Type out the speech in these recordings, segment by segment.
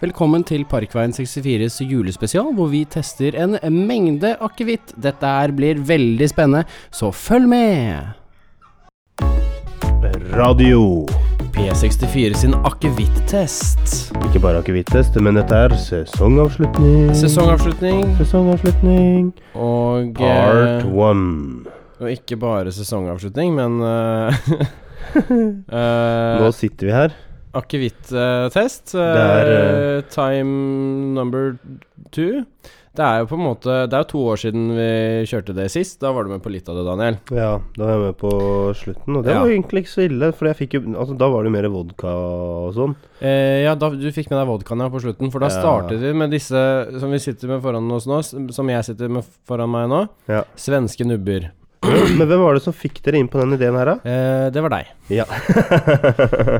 Velkommen til Parkveien 64s julespesial, hvor vi tester en mengde akevitt. Dette her blir veldig spennende, så følg med! Radio. P64 sin akevitt-test. Ikke bare akevittest, men dette er sesongavslutning. Sesongavslutning Sesongavslutning. og Part eh, one. Og ikke bare sesongavslutning, men eh, Nå uh, sitter vi her. Akevitt-test. Det er, eh, time number two. Det er jo på en måte Det er jo to år siden vi kjørte det sist. Da var du med på litt av det, Daniel. Ja, da var jeg med på slutten, og det Ja. var egentlig ikke så ille. For jeg fikk jo Altså, da var det jo mer vodka og sånn. Eh, ja, da, du fikk med deg vodkaen ja, på slutten, for da Ja. startet vi med disse som vi sitter med foran oss nå, s- som jeg sitter med foran meg nå. Ja. Svenske nubber. Men hvem var det som fikk dere inn på den ideen her, da? Eh, det var deg. Ja.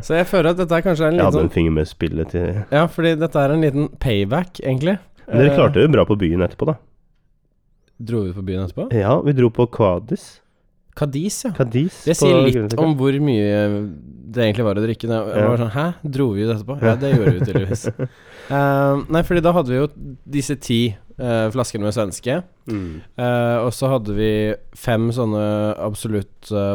Så jeg føler at dette er kanskje er en Jeg hadde liten en finger med i spillet til Men Ja, fordi dette er en liten payback, egentlig. dere klarte det jo bra på byen etterpå, da. Eh, Dro vi på byen etterpå? Ja, vi dro på Kvadis. Kadis, ja. Kadis. Det på sier litt Grünerløkka. om hvor mye det egentlig var å drikke. Det jeg Ja. var sånn, Hæ, dro vi ut etterpå? Ja, det gjorde vi tydeligvis. Eh, nei, fordi da hadde vi jo disse ti eh, flaskene med svenske. Mm. Eh, og så hadde vi fem sånne absolutt eh,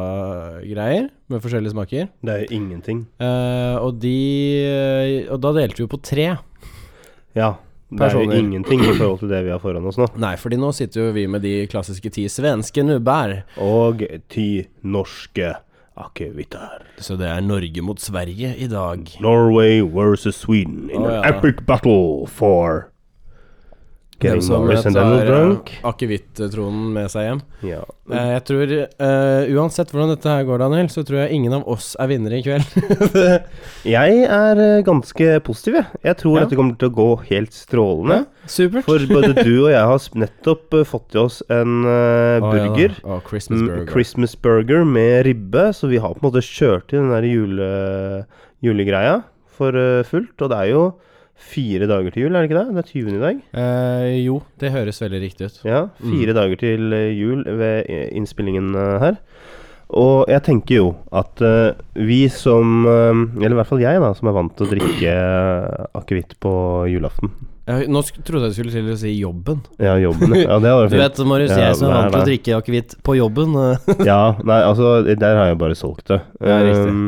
vodka-greier med forskjellige smaker. Det er jo ingenting. Eh, og de Og da delte vi jo på tre. Ja. Det er jo Personer. ingenting i forhold til det vi har foran oss nå. Nei, fordi nå sitter jo vi med de klassiske ti svenske nubber. Og ti norske akevitter. Så det er Norge mot Sverige i dag. Norway versus Sweden in Å, an ja. epic battle for Getting Norris and Daniel Drunk. eh, akevitt-tronen med seg hjem. Ja. Eh, jeg tror eh, Uansett hvordan dette her går, Daniel, så tror jeg ingen av oss er vinnere i kveld. Jeg er eh, ganske positiv, jeg. Jeg tror Ja. dette kommer til å gå helt strålende. Supert. For både du og jeg har sp- nettopp eh, fått i oss en Å, ja eh, da. burger. Å, Christmas Mm, burger. Christmas burger med ribbe, så vi har på en måte kjørt i den der jule, julegreia for eh, fullt. Og det er jo fire dager til jul, er det ikke det? Det er 20. i dag. Eh, jo, det høres veldig riktig ut. Ja, fire dager til eh, jul ved eh, innspillingen eh, her. Og jeg tenker jo at eh, vi som eh, Eller i hvert fall jeg, da, som er vant til å drikke eh, akevitt på julaften. Jeg, nå sk trodde jeg du skulle til å si jobben. Ja, jobben. Ja, det hadde Du vært vet, Marius, Ja, jeg som er nei, vant til å nei. drikke akevitt på jobben. eh. fint. Ja, nei, altså, der har jeg bare solgt det. Ja, riktig. Um,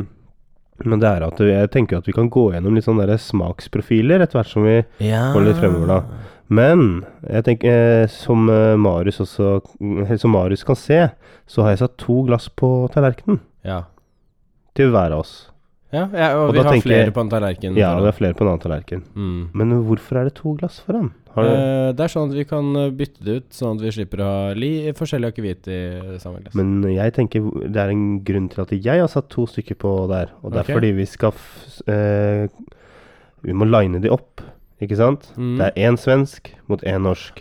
men det er at jeg tenker at vi kan gå gjennom litt sånne der smaksprofiler etter hvert som vi ja. går litt fremover, da. Men jeg tenker, eh, som eh, Marius også eh, Som Marius kan se, så har jeg satt to glass på tallerkenen. Ja. til hver av oss. ja, ja og, Og vi da har tenker flere jeg- på en tallerken. Ja, foran. det er flere på en annen tallerken. Mm. Men hvorfor er det to glass foran? Har du... Eh, det er sånn at vi kan eh, bytte det ut, sånn at vi slipper å ha li forskjellig akevitt i samme glass. Men jeg tenker det er en grunn til at jeg har satt to stykker på der. Og det er Ok. fordi vi skal f eh, Vi må line de opp, ikke sant? Mm. Det er én svensk mot én norsk.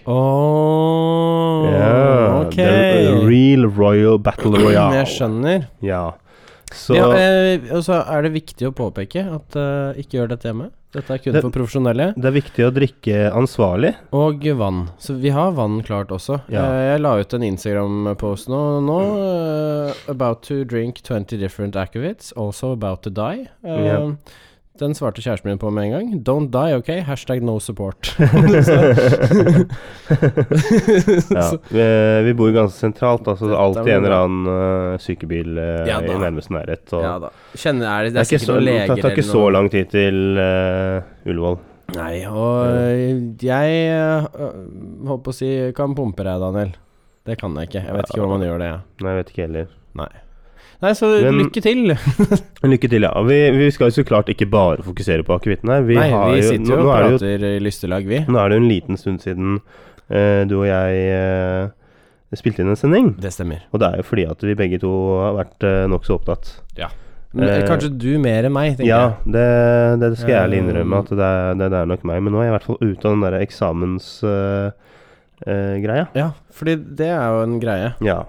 Åh, Ja, ok. Mm, det er en Real Royal Battle Royale. Jeg skjønner. Ja. Så Ja, eh, og så er det viktig å påpeke at eh, ikke gjør dette hjemme. Dette er kun Det- for profesjonelle. det er viktig å drikke ansvarlig. Og vann. Så vi har vann klart også. Ja. Eh, Jeg la ut en Instagram-post nå, nå eh, About to drink 20 different acovits, also about to die. Eh, Ja. Den svarte kjæresten min på med en gang. Don't die, ok? Hashtag no support. Ja. Eh, Vi, vi bor jo ganske sentralt, altså det er alltid blir en eller bra. annen eh, sykebil eh, Ja da. i nærmeste nærhet. Og ja da. Kjenner, er det, det er det, er ikke sikkert så, noen det leger tar ikke så lang tid til eh, Ullevål. Nei, og eh, jeg eh, holdt på å si kan pumpe deg, Daniel. Det kan jeg ikke. Jeg vet ikke hvordan man gjør det, jeg. Nei, jeg vet ikke heller. Nei. Nei, så Men- lykke til. Men lykke til, ja. Og Vi, vi skal jo så klart ikke bare fokusere på akevitten her. Vi Nei, har vi jo, sitter nå, jo nå, og er det prater i lystelag, vi. jo nå er det jo en liten stund siden eh, du og jeg eh, spilte inn en sending. Det stemmer. Og det er jo fordi at vi begge to har vært uh, nokså opptatt. Men, Eh, kanskje du mer enn meg, tenker Ja, det, det skal jeg ærlig Eh, innrømme at det er, det, det er nok meg. Men nå er jeg i hvert fall ute av den der eh, eksamensgreia. jeg. Ja, fordi det er jo en greie. ja.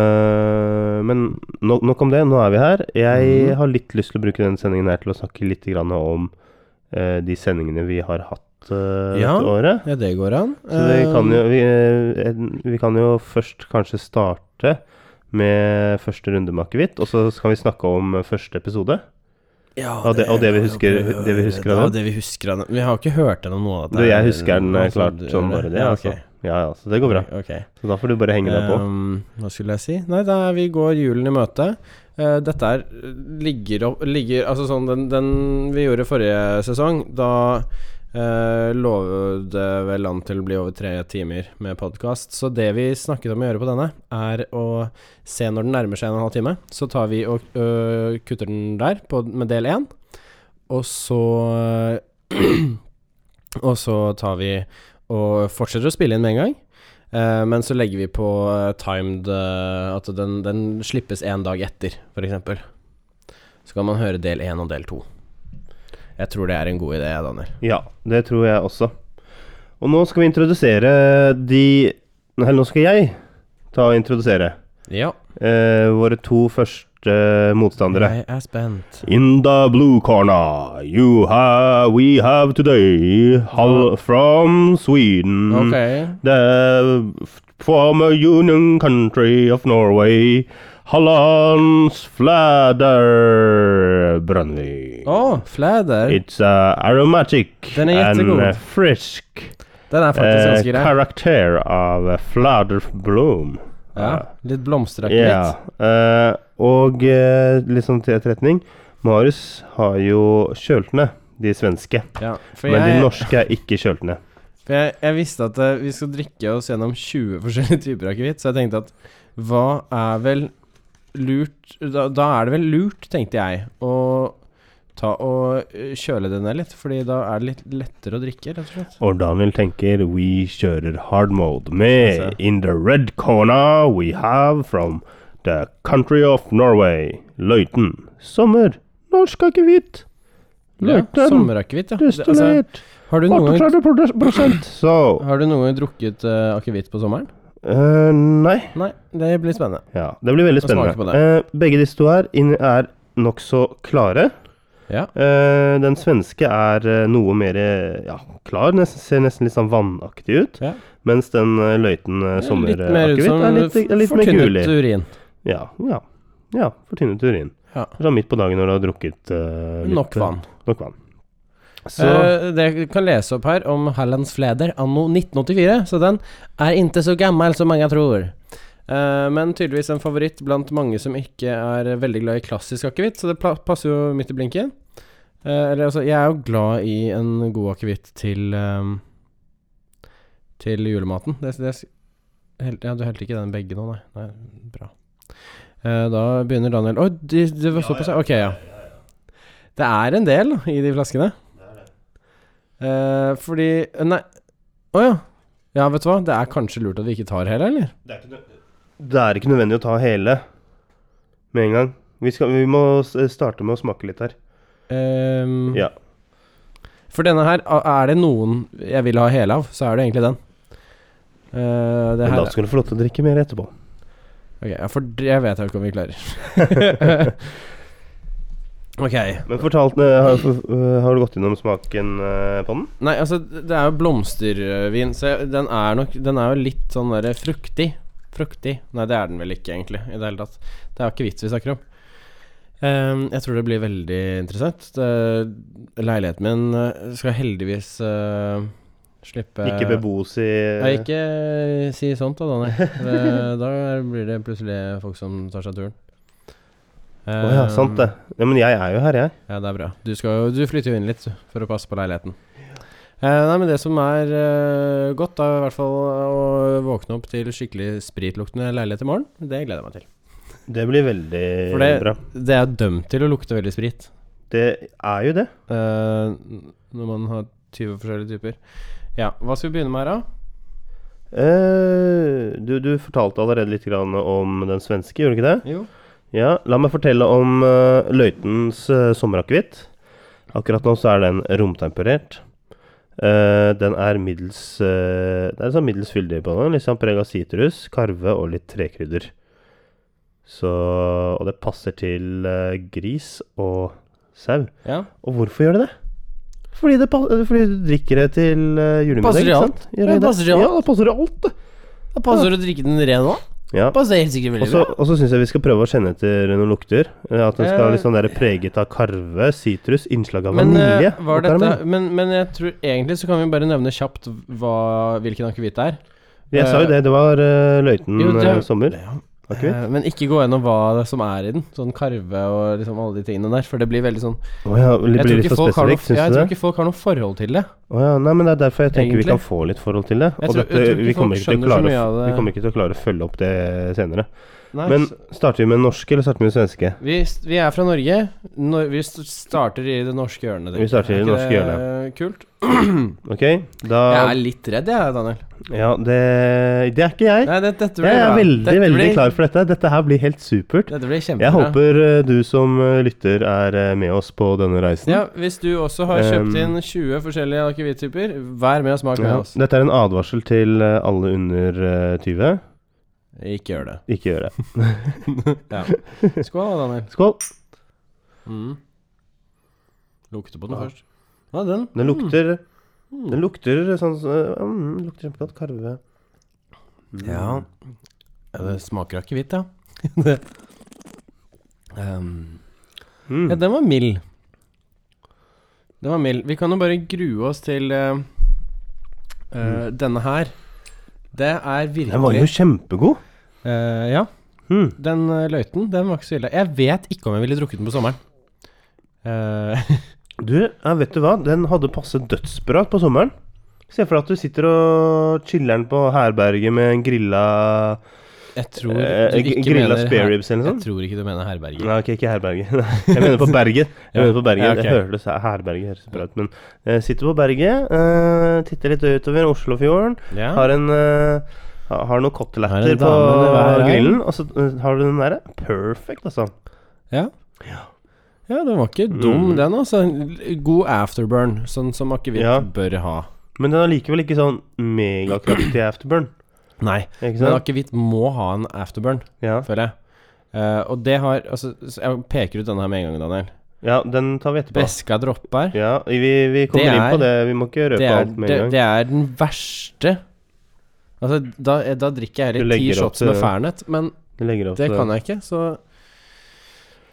Eh, men no, nok om det, nå er vi her. Jeg Mhm. har litt lyst til å bruke denne sendingen her til å snakke litt grann om eh, de sendingene vi har hatt eh, Ja. dette året. Ja, det går an. Så vi kan, Eh, jo, vi, eh, en- vi kan jo først kanskje starte med første runde med akevitt, og så skal vi snakke om første episode. Ja, Og det- og det vi husker- det vi husker av Ja, den? det vi husker av den. Vi har ikke hørt gjennom noe av Du, jeg husker den eh, klart som bare det. Altså. ok. Ja, ja, Eh. så det går bra. Ok. Så da får du bare henge deg på. Ehm, hva skulle jeg si? Nei, da er vi går julen i møte. Eh, dette her ligger opp ligger, Altså sånn den, den vi gjorde forrige sesong, da uh, lå det vel an til å bli over tre timer med podkast. Så det vi snakket om å gjøre på denne, er å se når den nærmer seg en og en halv time. Så tar vi og øh, kutter den der på, med del én, og så Og så tar vi og fortsetter å spille inn med en gang. Eh, men så legger vi på eh, timed eh, at den, den slippes en dag etter, f.eks. Så kan man høre del én og del to. Jeg tror det er en god idé, Daniel. Ja, det tror jeg også. Og nå skal vi introdusere de Eller nå skal jeg ta og introdusere Ja, eh, våre to første motstandere. jeg er spent. In the blue corner, you have, we have today Uh-huh. Hal from Sweden. Ok. The f- former Union country of Norway, Hollands flader Brønnøy. Å, flæder. It's uh, aromatic Den er and jättegod. uh, frisk Den er faktisk uh, ganske grei. karakter av uh, flader bloom. Ja, Uh, litt blomsteraktig. ja. eh, og eh, litt sånn til etterretning Marius har jo kjølt ned de svenske, Ja, for men de jeg, norske er ikke kjølt ned. for jeg, jeg visste at eh, vi skal drikke oss gjennom 20 forskjellige typer akevitt, så jeg tenkte at hva er vel lurt Da, da er det vel lurt, tenkte jeg, å ta og eh, kjøle det ned litt, fordi da er det litt lettere å drikke, rett og slett. Og Daniel tenker vi kjører hard mode med Altså. In the red corner we have from the country of Norway Løiten. Sommer. Norsk akevitt. Ja, Løiten. Sommerakevitt, ja. Det- Altså, Destillert. har du noen gang 38 prosent. Så har du noen gang drukket eh, akevitt på sommeren? eh, Nei. Nei, det blir spennende. Ja, det blir veldig Da smaker spennende. Eh, begge disse to her inn- er nokså klare. Ja. Eh, den svenske er eh, noe mer eh, ja, klar, nesten, ser nesten litt sånn vannaktig ut. Ja. Mens den eh, løyten eh, Litt mer ut sommerakevitt som er litt, er litt mer fortynnet gulig. urin. Ja, ja. ja fortynnet urin. Ja. Sånn midt på dagen når du har drukket eh, litt, Nok vann. Nok vann. Så Eh, det jeg kan lese opp her om Hallands Fleder anno 1984, så den er ikke så gammel som mange tror. Eh, men tydeligvis en favoritt blant mange som ikke er veldig glad i klassisk akevitt, så det pla passer jo midt i blinken. Eh, eller altså, jeg er jo glad i en god akevitt til ehm, Til julematen. Det, det, hel, ja, du helte ikke den begge nå, nei. nei bra. Eh, da begynner Daniel Oi, det de var såpass, ja. Ok, ja. Det er en del i de flaskene. Eh, fordi Nei. Å ja. Ja, vet du hva. Det er kanskje lurt at vi ikke tar hele, eller? det er, ikke, nø- det er ikke nødvendig å ta hele med en gang. Vi, skal, vi må s- starte med å smake litt her. Ehm, Ja. For denne her, a- er det noen jeg vil ha hele av, så er det egentlig den. Eh, det Men her da skal du få lov til å drikke mer etterpå. Ok, ja, For det vet jeg ikke om vi klarer. ok. Men fortalt, eh, har, eh, har du gått gjennom smaken eh, på den? Nei, altså, det er jo blomstervin, så jeg- den er nok Den er jo litt sånn derre fruktig. Fruktig. Nei, det er den vel ikke, egentlig, i det hele tatt. Det er akevitt vi snakker om. Ehm, jeg tror det blir veldig interessant. Det, leiligheten min eh, skal heldigvis eh, slippe Ikke bebos i Ja, ikke si sånt da, Danny. Det- da blir det plutselig folk som tar seg turen. Å ja, sant det. Ja, men jeg er jo her, jeg. ja, det er bra. Du, skal, jo- du flytter jo inn litt for å passe på leiligheten. Eh, nei, men Det som er eh, godt, er i hvert fall å våkne opp til skikkelig spritluktende leilighet i morgen. Det gleder jeg meg til. Det blir veldig For det- bra. Det er dømt til å lukte veldig sprit Det er jo det. eh, n- når man har 20 forskjellige typer. Ja, Hva skal vi begynne med her, da? Eh, du, du fortalte allerede litt grann om den svenske, gjorde du ikke det? Jo. Ja, la meg fortelle om eh, løytens eh, sommerakevitt. Akkurat nå så er den romtemperert. Eh, den er middels eh, Det er sånn middels fyldig på den. Litt sånn preg av sitrus, karve og litt trekrydder. Så Og det passer til eh, gris og sau. Ja. Og hvorfor gjør det det? Fordi, det pas- eh, fordi du drikker det til eh, julemiddag. Passer til ikke alt. sant? Ja, Gjør det det? passer til alt. Ja, det passer til alt. det. Da passer det å drikke den ren òg. Ja. Pass deg helt sikkert Og veldig så, bra. og så syns jeg vi skal prøve å kjenne etter noen lukter. Eh, At den skal Eh. litt sånn der preget av karve, sitrus, innslag av Men, vanilje. eh, var og karamell. dette, men, men jeg tror egentlig så kan vi bare nevne kjapt hva, hvilken akevitt det er. Jeg sa jo det, det var uh, Løiten Jo, det- eh, sommer. Ja. Akevitt. Eh, Men ikke gå gjennom hva som er i den. Sånn karve og liksom alle de tingene der. For det blir veldig sånn Å ja, det Jeg, blir tror litt ikke, for folk har noe, spesifikt, ja, syns jeg du tror det? ikke folk har noe forhold til det. Å ja, nei, men det er derfor jeg tenker Egentlig. vi kan få litt forhold til det. Jeg Og tror- jeg dette, tror ikke vi, folk kommer ikke til å skjønner så klare, mye å- av det. vi kommer ikke til å klare å følge opp det senere. Nei, Men så- starter vi med norske, eller starter vi med svenske? vi, vi er fra Norge. Når vi st- starter i det norske hjørnet. tenker Vi starter i jeg. Er det ikke norske Kult. Ok, da Jeg er litt redd jeg, Daniel. Ja, det, det er ikke jeg. Nei, det, dette blir Jeg er bra. veldig, Dette veldig blir- klar for dette. Dette her blir helt supert. Dette blir kjempebra. Jeg håper eh, du som eh, lytter er eh, med oss på denne reisen. Ja, Hvis du også har kjøpt Um, inn 20 forskjellige akevitttyper, vær med og smak med Ja, oss. Dette er en advarsel til eh, alle under eh, 20. Ikke gjør det. Ikke gjør det. Ja. Skål, da, Daniel. Skål. Mm. Lukte på den Ja. først. Ja, den. Den lukter Den lukter sånn eh, mm, den lukter kjempegodt. Karve. Ja. Det smaker akevitt, ja. Det- um, Mm. ja, den var mild. Den var mild. Vi kan jo bare grue oss til eh, eh, denne her. Det er virkelig Mm. Den var jo kjempegod. Eh, Ja. Mm. Den eh, løyten, den var ikke så ille. Jeg vet ikke om jeg ville drukket den på sommeren. Eh, Du, ja, vet du hva? Den hadde passet dødsbra på sommeren. Se for deg at du sitter og chiller'n på herberget med en grilla jeg tror eh, du ikke Grilla mener her- spare ribs eller noe Jeg sånt. tror ikke du mener herberget. Nei, ok, ikke herberget. Jeg mener på Bergen. Jeg Ja. mener på Bergen. Ja, ok. Jeg hørte sa- herberget høres bra ut, men eh, sitter på berget, eh, titter litt utover Oslofjorden, Ja. har en eh, ha- har noen Har koteletter en på dame ved hver arm. grillen, og så eh, har du den derre. Perfect, altså. Ja. ja, den var ikke dum, Mm. den, altså. En God afterburn, sånn som akevitt Ja. bør ha. Men den er likevel ikke sånn megakraftig afterburn. Nei, Ikke men sant? akevitt må ha en afterburn, Ja. føler jeg. Eh, og det har Altså, så jeg peker ut denne her med en gang, Daniel. ja, den tar vi etterpå. Beska dropper. Ja, vi, vi kommer Det inn på er- det. Vi må ikke røpe Det er, alt med det, en gang. det er den verste Altså, da, da drikker jeg Du heller ti legger opp shots med til- Altså- Fernet, men Vi legger eh, opp det til kan jeg ikke, så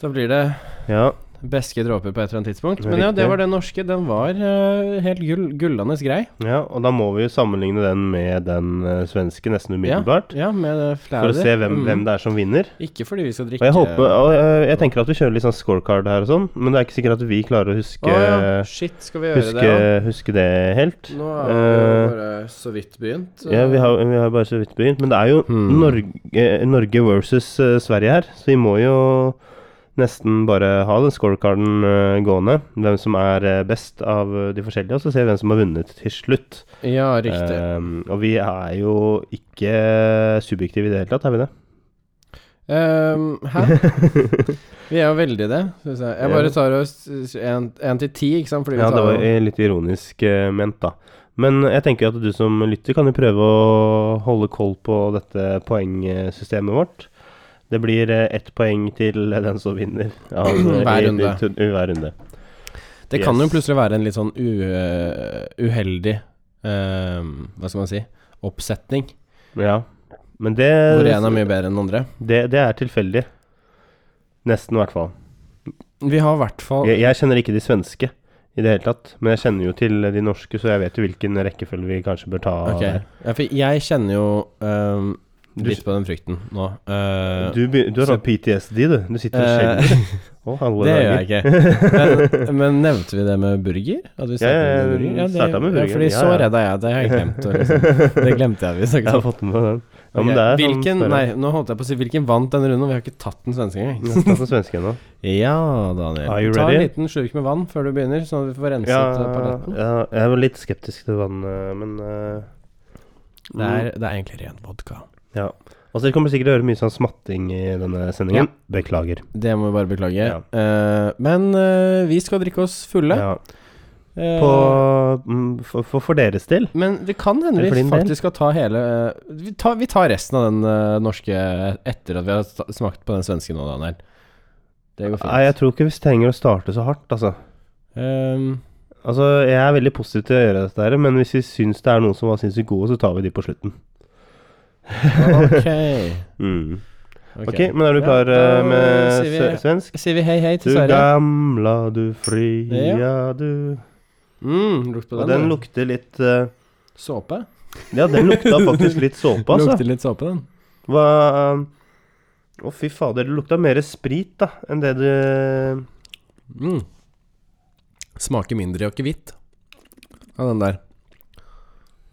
da blir det Ja, beske dråper på et eller annet tidspunkt. Det er Men ja, det riktig. var den norske. Den var eh, helt gull, gullende grei. ja, og da må vi jo sammenligne den med den eh, svenske nesten umiddelbart. Ja, med eh, flere. For å se hvem, Mm. hvem det er som vinner. Ikke fordi vi skal drikke Og jeg, håper, og eh, jeg tenker at vi kjører litt sånn scorecard her og sånn, men det er ikke sikkert at vi klarer Å å huske, ja, shit, skal vi gjøre huske, det? Ja? huske det helt. Nå er det jo Eh, bare så vidt begynt. ja, vi har, vi har bare så vidt begynt, men det er jo Hmm. Norge, Norge versus eh, Sverige her, så vi må jo nesten bare ha den scorecarden eh, gående. Hvem som er eh, best av eh, de forskjellige, og så ser vi hvem som har vunnet til slutt. Ja, riktig. Eh, og vi er jo ikke subjektive i det hele tatt, er vi det? Eh. Ehm, hæ? Vi er jo veldig det. Synes jeg. jeg bare Ja. tar oss én til ti, ikke sant? Fordi vi Ja, det tar var jo- eh, litt ironisk eh, ment, da. Men jeg tenker at du som lytter kan jo prøve å holde koll på dette poengsystemet vårt. Det blir eh, ett poeng til den som vinner. av, eh, Hver i- runde. i- i Hver runde. Det kan jo Yes. plutselig være en litt sånn u, eh, uheldig ehm, Hva skal man si? Oppsetning. Ja. Men Hvor en er det, mye bedre enn den andre. det, det er tilfeldig. Nesten, i hvert fall. Vi har i hvert fall Jeg, jeg kjenner ikke de svenske i det hele tatt. Men jeg kjenner jo til de norske, så jeg vet jo hvilken rekkefølge vi kanskje bør ta. Ok. der. Ja, for jeg kjenner jo ehm, Du- litt på den frykten nå. Eh, Du, be- du har sånn PTSD, du. Du sitter og eh, skjelver. Å, alle det dager. gjør jeg ikke. Men, men nevnte vi det med burger? At vi startet ja, med burger? vi startet med burger, Ja, fordi ja, så ja. redd er jeg. Det har jeg glemt. å Liksom. Det glemte jeg vi Jeg snakket har om. fått med den. Ja, Ok, men det er hvilken, sånn, nei, nå holdt jeg på å si hvilken vant denne runden? og Vi har ikke tatt den svenske engang. Nesten som svenske nå. Ja, Daniel. Are you Ta en ready? liten slurk med vann før du begynner, sånn at vi får renset Ja, eh, paletten. ja, jeg var litt skeptisk til vann, eh, men eh, Det, er, det er egentlig ren vodka. Ja. Altså, dere kommer sikkert til å høre mye sånn smatting i denne sendingen. Beklager. Det må vi bare beklage. Ja. Eh, men eh, vi skal drikke oss fulle. Ja. Eh, På, mm, for, for, for deres del. men det kan hende Eller for vi din del. faktisk skal ta hele eh, vi, tar, vi tar resten av den eh, norske etter at vi har sta- smakt på den svenske nå, Daniel. Det går fint. Nei, jeg tror ikke vi trenger å starte så hardt, altså. Ehm, Altså, Jeg er veldig positiv til å gjøre dette, her, men hvis vi syns det er noen som var sinnssykt gode, så tar vi de på slutten. Ok. Mm. Ok, men er du klar Ja, eh, da med sier sø- vi- svensk? Sier vi hei, hei Du til Sverige? gamla, du fria, du Mm, lukt på Og den. den da. lukter litt eh, såpe. Ja, den lukta faktisk litt såpe, altså. Lukter litt såpe, den. Hva eh, Å, fy fader. Det lukta mer sprit, da, enn det det Mm. Smaker mindre akevitt av den der.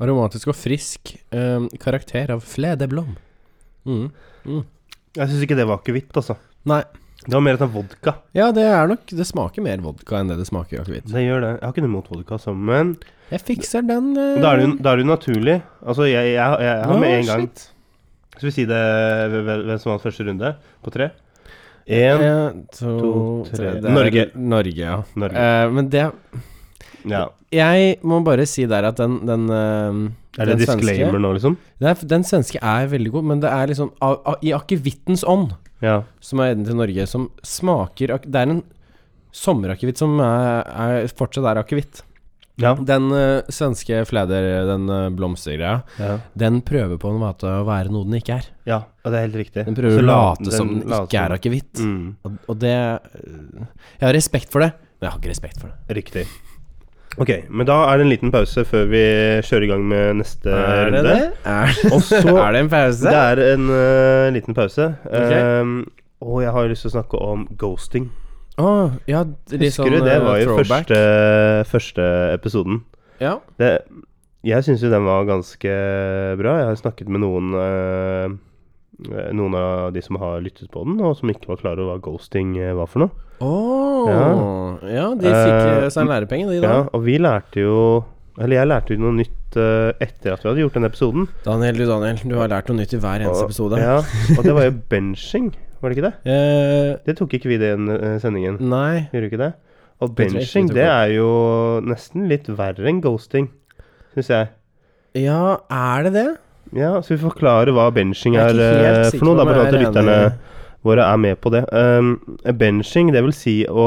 Aromatisk og frisk eh, karakter av fledeblom. Mm. Jeg syns ikke det var akevitt, altså. Nei. Det var mer etter vodka. Ja, det er nok Det smaker mer vodka enn det det smaker akevitt. Det gjør det. Jeg har ikke noe imot vodka, altså, men Jeg fikser den. eh, da er det jo- da er det jo naturlig. Altså, jeg, jeg, jeg, jeg har med ja, en gang shit. Skal vi si det hvem- hvem som vant første runde? På tre? Én En, to, to, tre tre. Det er- Norge. Norge, ja. Norge. Eh, men det Ja. Jeg må bare si der at den, den eh, Er det den svenske- disclaimer nå, liksom? Nei, for den svenske er veldig god, men det er liksom av, av, i akevittens ånd, Ja. som er den til Norge, som smaker ak- Det er en sommerakevitt som er, er, fortsatt er akevitt. Ja. Den eh, svenske fleder, den uh, blomstergreia, ja. den prøver på en måte å være noe den ikke er. ja. Det er helt riktig. Den prøver Så å la- late som den later ikke som- er akevitt. Mm, Og, og det eh, Jeg har respekt for det, men jeg har ikke respekt for det. riktig. Ok, men da er det en liten pause før vi kjører i gang med neste runde. Er, Og så er det en pause? Det er en eh, liten pause. Ok. Ehm, og jeg har lyst til å snakke om ghosting. Å, ja, litt Husker sånn du det eh, var i throwback. første, første episoden? Ja. Det, jeg syns jo den var ganske bra. Jeg har snakket med noen eh, Noen av de som har lyttet på den, og som ikke var klar over hva ghosting eh, var for noe. Åh, ja. de fikk eh, seg en lærepenge, de da. Ja, og vi lærte jo Eller jeg lærte jo noe nytt eh, etter at vi hadde gjort den episoden. Daniel, du Daniel, du har lært noe nytt i hver eneste Og- episode. Ja, og det var jo benching, var det ikke det? Eh, Det tok ikke vi i den eh, sendingen. nei Gjør du ikke det? Og Jeg tror ikke benching, Mm. det det går. er jo nesten litt verre enn ghosting, syns jeg. Ja, er det det? Ja, så vi forklarer hva benching Jeg er er, ikke helt eh, sikker for noe, på da, om bare jeg at er lytterne enig. våre er med på det. Um, benching, det vil si å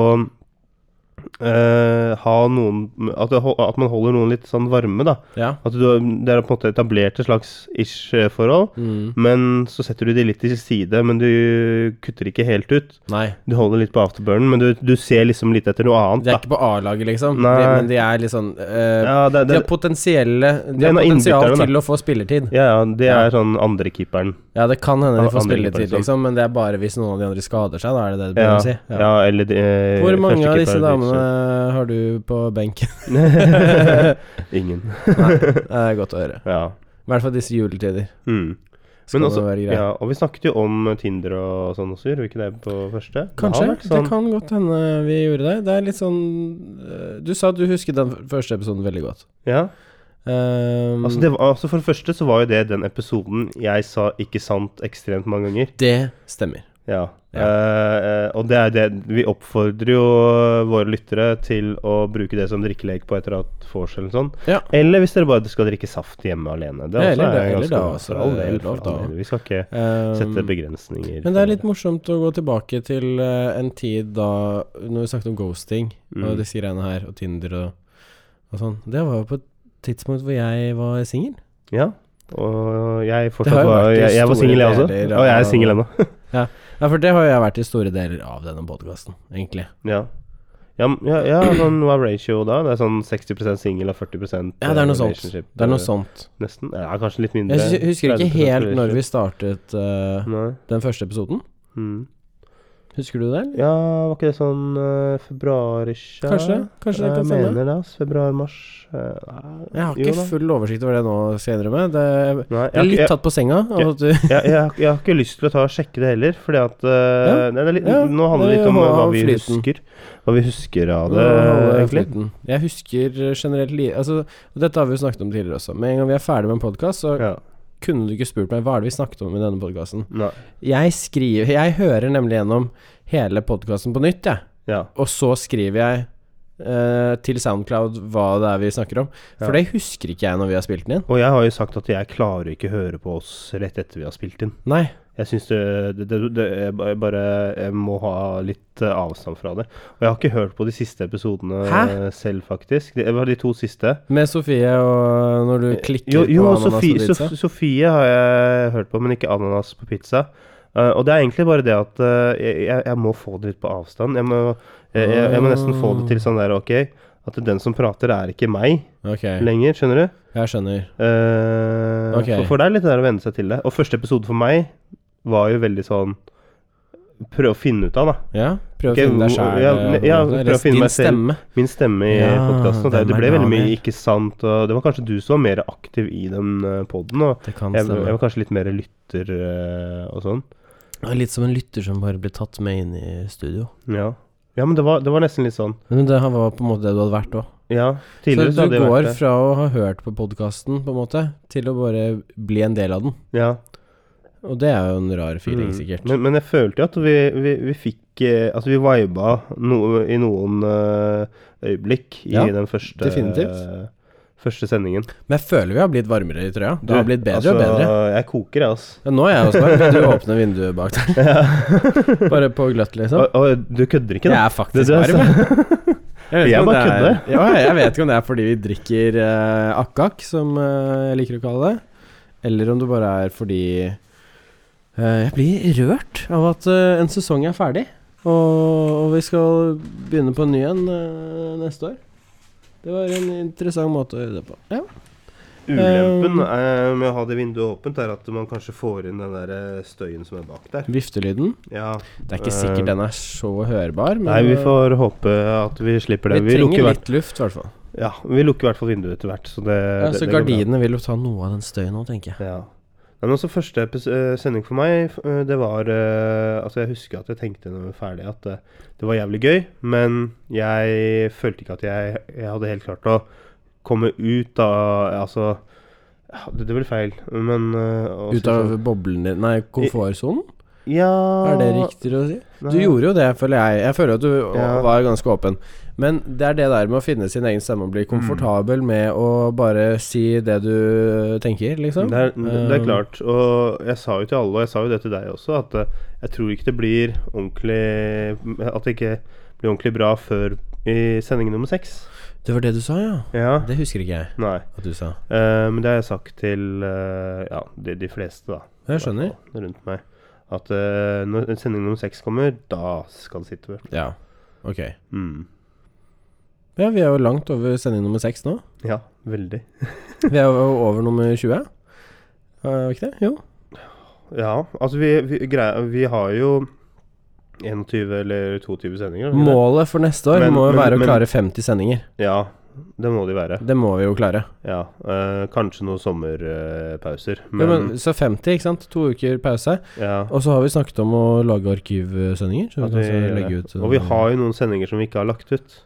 eh, ha noen at, det, hol- at man holder noen litt sånn varme, da. Ja. At du, har- det er på en måte etablert et slags ish-forhold, Mm. men så setter du de litt til side, men du kutter ikke helt ut. Nei. Du holder litt på afterburnen, men du, du ser liksom litt etter noe annet, De er da. ikke på A-laget, liksom. Nei. De, men de er litt sånn eh, Ja, det, De det, har potensielle De har er en av potensial innbytterne, da. til å få spilletid. Ja, ja, det Ja. er sånn andrekeeperen. Ja, det kan hende Ja, de får andre keeper, spilletid, liksom. liksom, men det er bare hvis noen av de andre skader seg, da er det det du prøver Ja, å si? ja. eller de, eh, Hvor mange av førstekeeper, disse damene drittsekk. har du på benken? Ingen. Nei, det er godt å høre. Ja. I hvert fall disse juletider. Mm. Skal Men også, det være greit. ja, og vi snakket jo om Tinder og sånn også, gjorde vi ikke det på første? Det har Kanskje. vært sånn, Det kan godt hende vi gjorde det. Det er litt sånn eh, Du sa at du husket den f- første episoden veldig godt. Ja. Ehm, Altså, det, det var, altså, for det første så var jo det den episoden jeg sa 'ikke sant' ekstremt mange ganger. stemmer. Ja. Eh, eh, og det er det Vi oppfordrer jo eh, våre lyttere til å bruke det som drikkelek på et eller annet vors eller sånn. Ja. Eller hvis dere bare skal drikke saft hjemme alene. Det Ja, også eller det- er eller ganske da bra. også, For all det er del, lov for all da. del. Vi skal ikke Ehm, sette begrensninger. men det er litt morsomt å gå tilbake til eh, en tid da Når vi snakket om ghosting og Mm. disse greiene her, og Tinder og, og sånn. Det var jo på et tidspunkt hvor jeg var singel. Ja. Og jeg Det har fortsatt jo var vært i Jeg, jeg var store singel, jeg også. deler Og jeg av- er singel ennå. Ja, for det har jeg vært i store deler av denne podkasten, egentlig. ja. Ja, men- ja, ja, sånn hva er ratio da? Det er sånn 60 singel og 40 Ja, det er noe sånt. relationship, Det er noe eh, sånt. Nesten. Ja, kanskje litt mindre. Jeg hus- husker ikke 30% helt når relationship. vi startet eh, Nei. den første episoden. Mm. Husker du det? eller? Ja, var ikke det sånn uh, februarish? ja? Kanskje. Kanskje det kan Jeg stemme. mener det, altså. ass. Februar-mars. Jeg Jeg har ikke full oversikt over det nå, skal jeg innrømme. Det jeg Nei, er jeg, litt jeg, tatt på senga. av Ja. at du, jeg, jeg, har- jeg har ikke lyst til å ta og sjekke det heller, fordi at Ja. eh, det er litt, Ja, Nå handler det det litt om må eh, hva ha vi flyten. husker. Hva vi husker av det, Holde egentlig. flyten. Jeg husker generelt li altså, og Dette har vi jo snakket om tidligere også. Med en gang vi er ferdig med en podkast, så Ja. kunne du ikke spurt meg hva er det vi snakket om i denne podkasten. Nei. Jeg skriver Jeg hører nemlig gjennom hele podkasten på nytt, jeg. Ja. Og så skriver jeg eh, til Soundcloud hva det er vi snakker om. For Ja. det husker ikke jeg når vi har spilt den inn. Og jeg har jo sagt at jeg klarer ikke å høre på oss rett etter vi har spilt inn. Nei. Jeg syns det, det, det, det jeg ba- jeg bare jeg må ha litt eh, avstand fra det. Og jeg har ikke hørt på de siste episodene Hæ? eh, selv, faktisk. Det var de to siste. Med Sofie og når du klikker Eh, Jo, jo på ananas Sofie, og pizza. Sof- Sofie har jeg hørt på, men ikke ananas på pizza. Eh, og det er egentlig bare det at eh, jeg, jeg- jeg må få det litt på avstand. Jeg må, jeg, jeg, jeg må nesten få det til sånn der, OK, at den som prater, er ikke meg Ok, lenger, skjønner du? jeg skjønner. Eh, Ok. for, for det er litt det der å venne seg til det. Og første episode for meg var jo veldig sånn Prøve å finne ut av, da. Ja, prøv å Ok, finne deg hvor- sjæl. ja, ne- ja, prøv å finne meg selv. Stemme. Min stemme i Ja, podkasten. Det, den det er ble veldig mye gaver. 'ikke sant', og det var kanskje du som var mer aktiv i den poden. Og Det kan jeg, stemme. jeg var kanskje litt mer lytter eh, og sånn. Det er Litt som en lytter som bare blir tatt med inn i studio. Ja, ja men det var, det var nesten litt sånn. Men det her var på en måte det du hadde vært òg. Ja, Så tidligere så, du hadde jeg går vært det. fra å ha hørt på podkasten, på en måte, til å bare bli en del av den. Ja. Og det er jo en rar feeling, Mm. sikkert. Men, men jeg følte jo at vi, vi, vi fikk eh, Altså, vi viba noe, i noen eh, øyeblikk i Ja, den første, definitivt. eh, første sendingen. Men jeg føler vi har blitt varmere i trøya. Det Du, har blitt bedre altså, og bedre. Jeg koker, jeg, altså. Ja, nå er jeg også varm. Du åpner vinduet bak der. Bare på gløtt, liksom. Og, og du kødder ikke, Jeg da? er faktisk Det- det er varm. jeg. vet Jeg ikke om bare det er- Ja, jeg vet ikke om det er fordi vi drikker eh, akkak, som eh, jeg liker å kalle det, eller om det bare er fordi eh, Jeg blir rørt av at eh, en sesong er ferdig, og, og vi skal begynne på en ny en eh, neste år. Det var en interessant måte å gjøre det på. Ja. Um. Ulempen eh, med å ha det vinduet åpent, er at man kanskje får inn den der eh, støyen som er bak der. Viftelyden. Ja. Det er ikke sikkert den er så hørbar, men Nei, vi eh, får håpe at vi slipper vi det. Vi, lukker trenger hvert, litt luft, i hvert fall. ja, vi lukker i hvert fall vinduet etter hvert, så det, Ja, det, så det går bra. gardinene vil jo ta noe av den støyen nå, tenker jeg. Ja. Nei, men også første epis- eh, sending for meg, f- eh, det var eh, Altså, jeg husker at jeg tenkte når vi var ferdig, at eh, det var jævlig gøy, men jeg følte ikke at jeg, jeg hadde helt klart å komme ut av Altså ja, Det det blir feil, men eh, å Ut si av sånn- boblen din Nei, komfortsonen? Ja Er det riktigere å si? Du nei. gjorde jo det, føler jeg. Jeg føler at du Ja. var ganske åpen. Men det er det der med å finne sin egen stemme og bli Mm. komfortabel med å bare si det du tenker, liksom. Det er, det er Um, klart. Og jeg sa jo til alle, og jeg sa jo det til deg også, at eh, jeg tror ikke det blir ordentlig At det ikke blir ordentlig bra før i sending nummer seks. Det var det du sa, ja. Ja. Det husker ikke jeg Nei. at du sa. Eh, men det har jeg sagt til eh, ja, de, de fleste, da. Jeg skjønner. Rundt meg. At eh, når sending nummer seks kommer, da skal det sitte. Ja. Ok. Mm. Ja, vi er jo langt over sending nummer seks nå. Ja, veldig. Vi er jo over nummer 20. Er vi ikke det? Jo. Ja, altså vi, vi, greia, vi har jo 21 eller 22 sendinger. har vi ikke det? Målet for neste år Men- må jo men- være å men- klare 50 sendinger. Ja, det må de være. Det må vi jo klare. Ja, eh, kanskje noen sommerpauser. Ja, men, men, så 50, ikke sant? To uker pause. ja, Og så har vi snakket om å lage arkivsendinger. Så vi kan at vi også gjør legge det. ut Og vi har jo noen sendinger som vi ikke har lagt ut.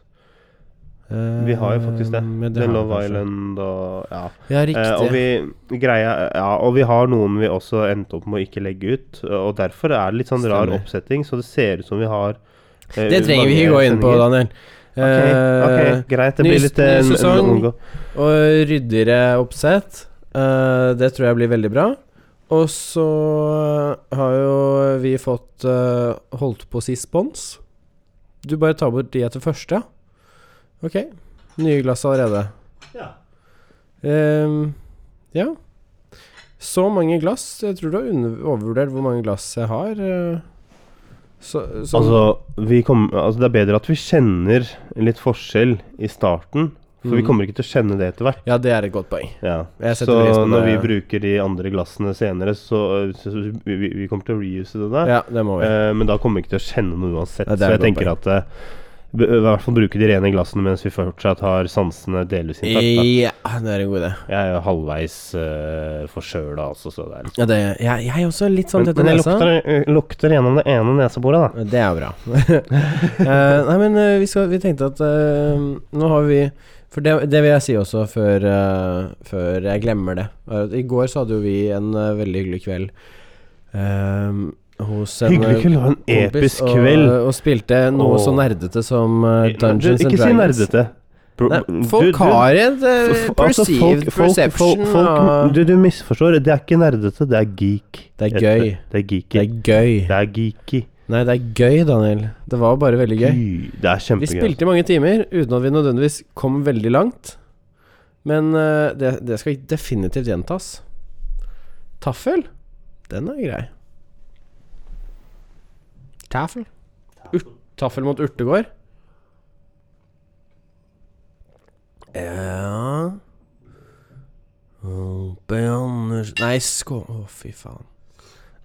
eh, Vi har jo faktisk det. men The har vi Love kanskje. Island og ja. Ja, riktig. Eh, og, vi, greia, ja, og vi har noen vi også endte opp med å ikke legge ut. eh, Og derfor er det litt sånn rar Stemmer. oppsetting, så det ser ut som vi har eh, det trenger vi ikke gå mange inn på, sendinger. Daniel. Ok, Eh, ok, greit. Det ny- blir litt eh, ny sesong. en- en omgå- Og ryddigere oppsett. Eh, det tror jeg blir veldig bra. Og så har jo vi fått eh, holdt på å si spons. Du bare tar bort de etter første, ja. Ok. Nye glass allerede. Ja. Ehm, ja. Så mange glass. Jeg tror du har under- overvurdert hvor mange glass jeg har. eh. Så, så Altså, vi kom, altså, det er bedre at vi kjenner litt forskjell i starten, for vi Mm. kommer ikke til å kjenne det etter hvert. Ja, det er et godt poeng. Ja. Jeg Så setter pris på når vi det. bruker de andre glassene senere, så, så så vi, vi- vi kommer til å reuse det der. Ja, det må vi. Eh, men da kommer vi ikke til å kjenne noe uansett. Ja, det er så jeg et godt tenker at eh, b- i hvert fall bruke de rene glassene mens vi fortsatt har sansene delvis intakt. Ja, det er en god idé. da. Jeg er jo halvveis uh, forskjøla, altså, så det er litt Ja, det, jeg, jeg er også litt sånn Men, tett i men jeg nesa. lukter, eh, lukter gjennom det ene neseboret, da. Det er bra. Eh, nei, men eh, vi, skal, vi tenkte at eh, nå har vi For det, det vil jeg si også før, eh, før jeg glemmer det. er at I går så hadde jo vi en eh, veldig hyggelig kveld eh, hos en Hyggelig kveld, det var en kompis, episk og, kveld. Og spilte noe Åh. så nerdete som eh, Men du, Dungeons and Ikke si Dragons. nerdete. Pro- Nei, du- folk du- har et eh, f- altså, perceived folk- folk- perception folk- folk- av du, du misforstår. Det er ikke nerdete, det er geek. Det er Heter gøy. Det er geeky. Det er gøy. Det er geeky. Nei, det er gøy, Daniel. Det var bare veldig gøy. Fy, Det er Vi kjempegøy. spilte i mange timer uten at vi nødvendigvis kom veldig langt. Men eh, det, det skal definitivt gjentas. Taffel, den er grei. Taffel? Urt, taffel mot urtegård? Ja Ope Anders Nei, skå... Å, fy faen.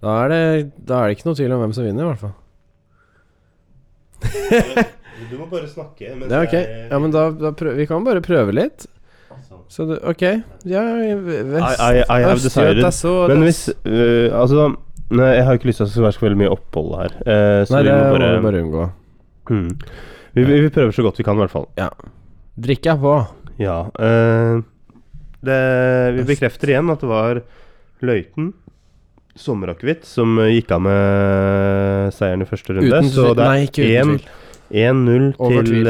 Da er, det, da er det ikke noe tvil om hvem som vinner, i hvert fall. Du må bare snakke. Det er ok. Ja, men da, da prøv, vi kan bare prøve litt. Så du, ok. Ja, vest, I- I- I have decided. Østgjøta så Men det- hvis øh, Altså, nei, jeg har ikke lyst til at det skal være så veldig mye opphold her. eh, så Nei, vi det må må bare, vi bare unngå. Mm. Vi, vi, vi prøver så godt vi kan, i hvert fall. Drikke er på. Ja. eh, det, vi bekrefter igjen at det var Løiten sommerakevitt som eh, gikk av med eh, seieren i første runde. Uten så tvil. det Nei, ikke uten er tvil. 1-0 Over til tvil. eh,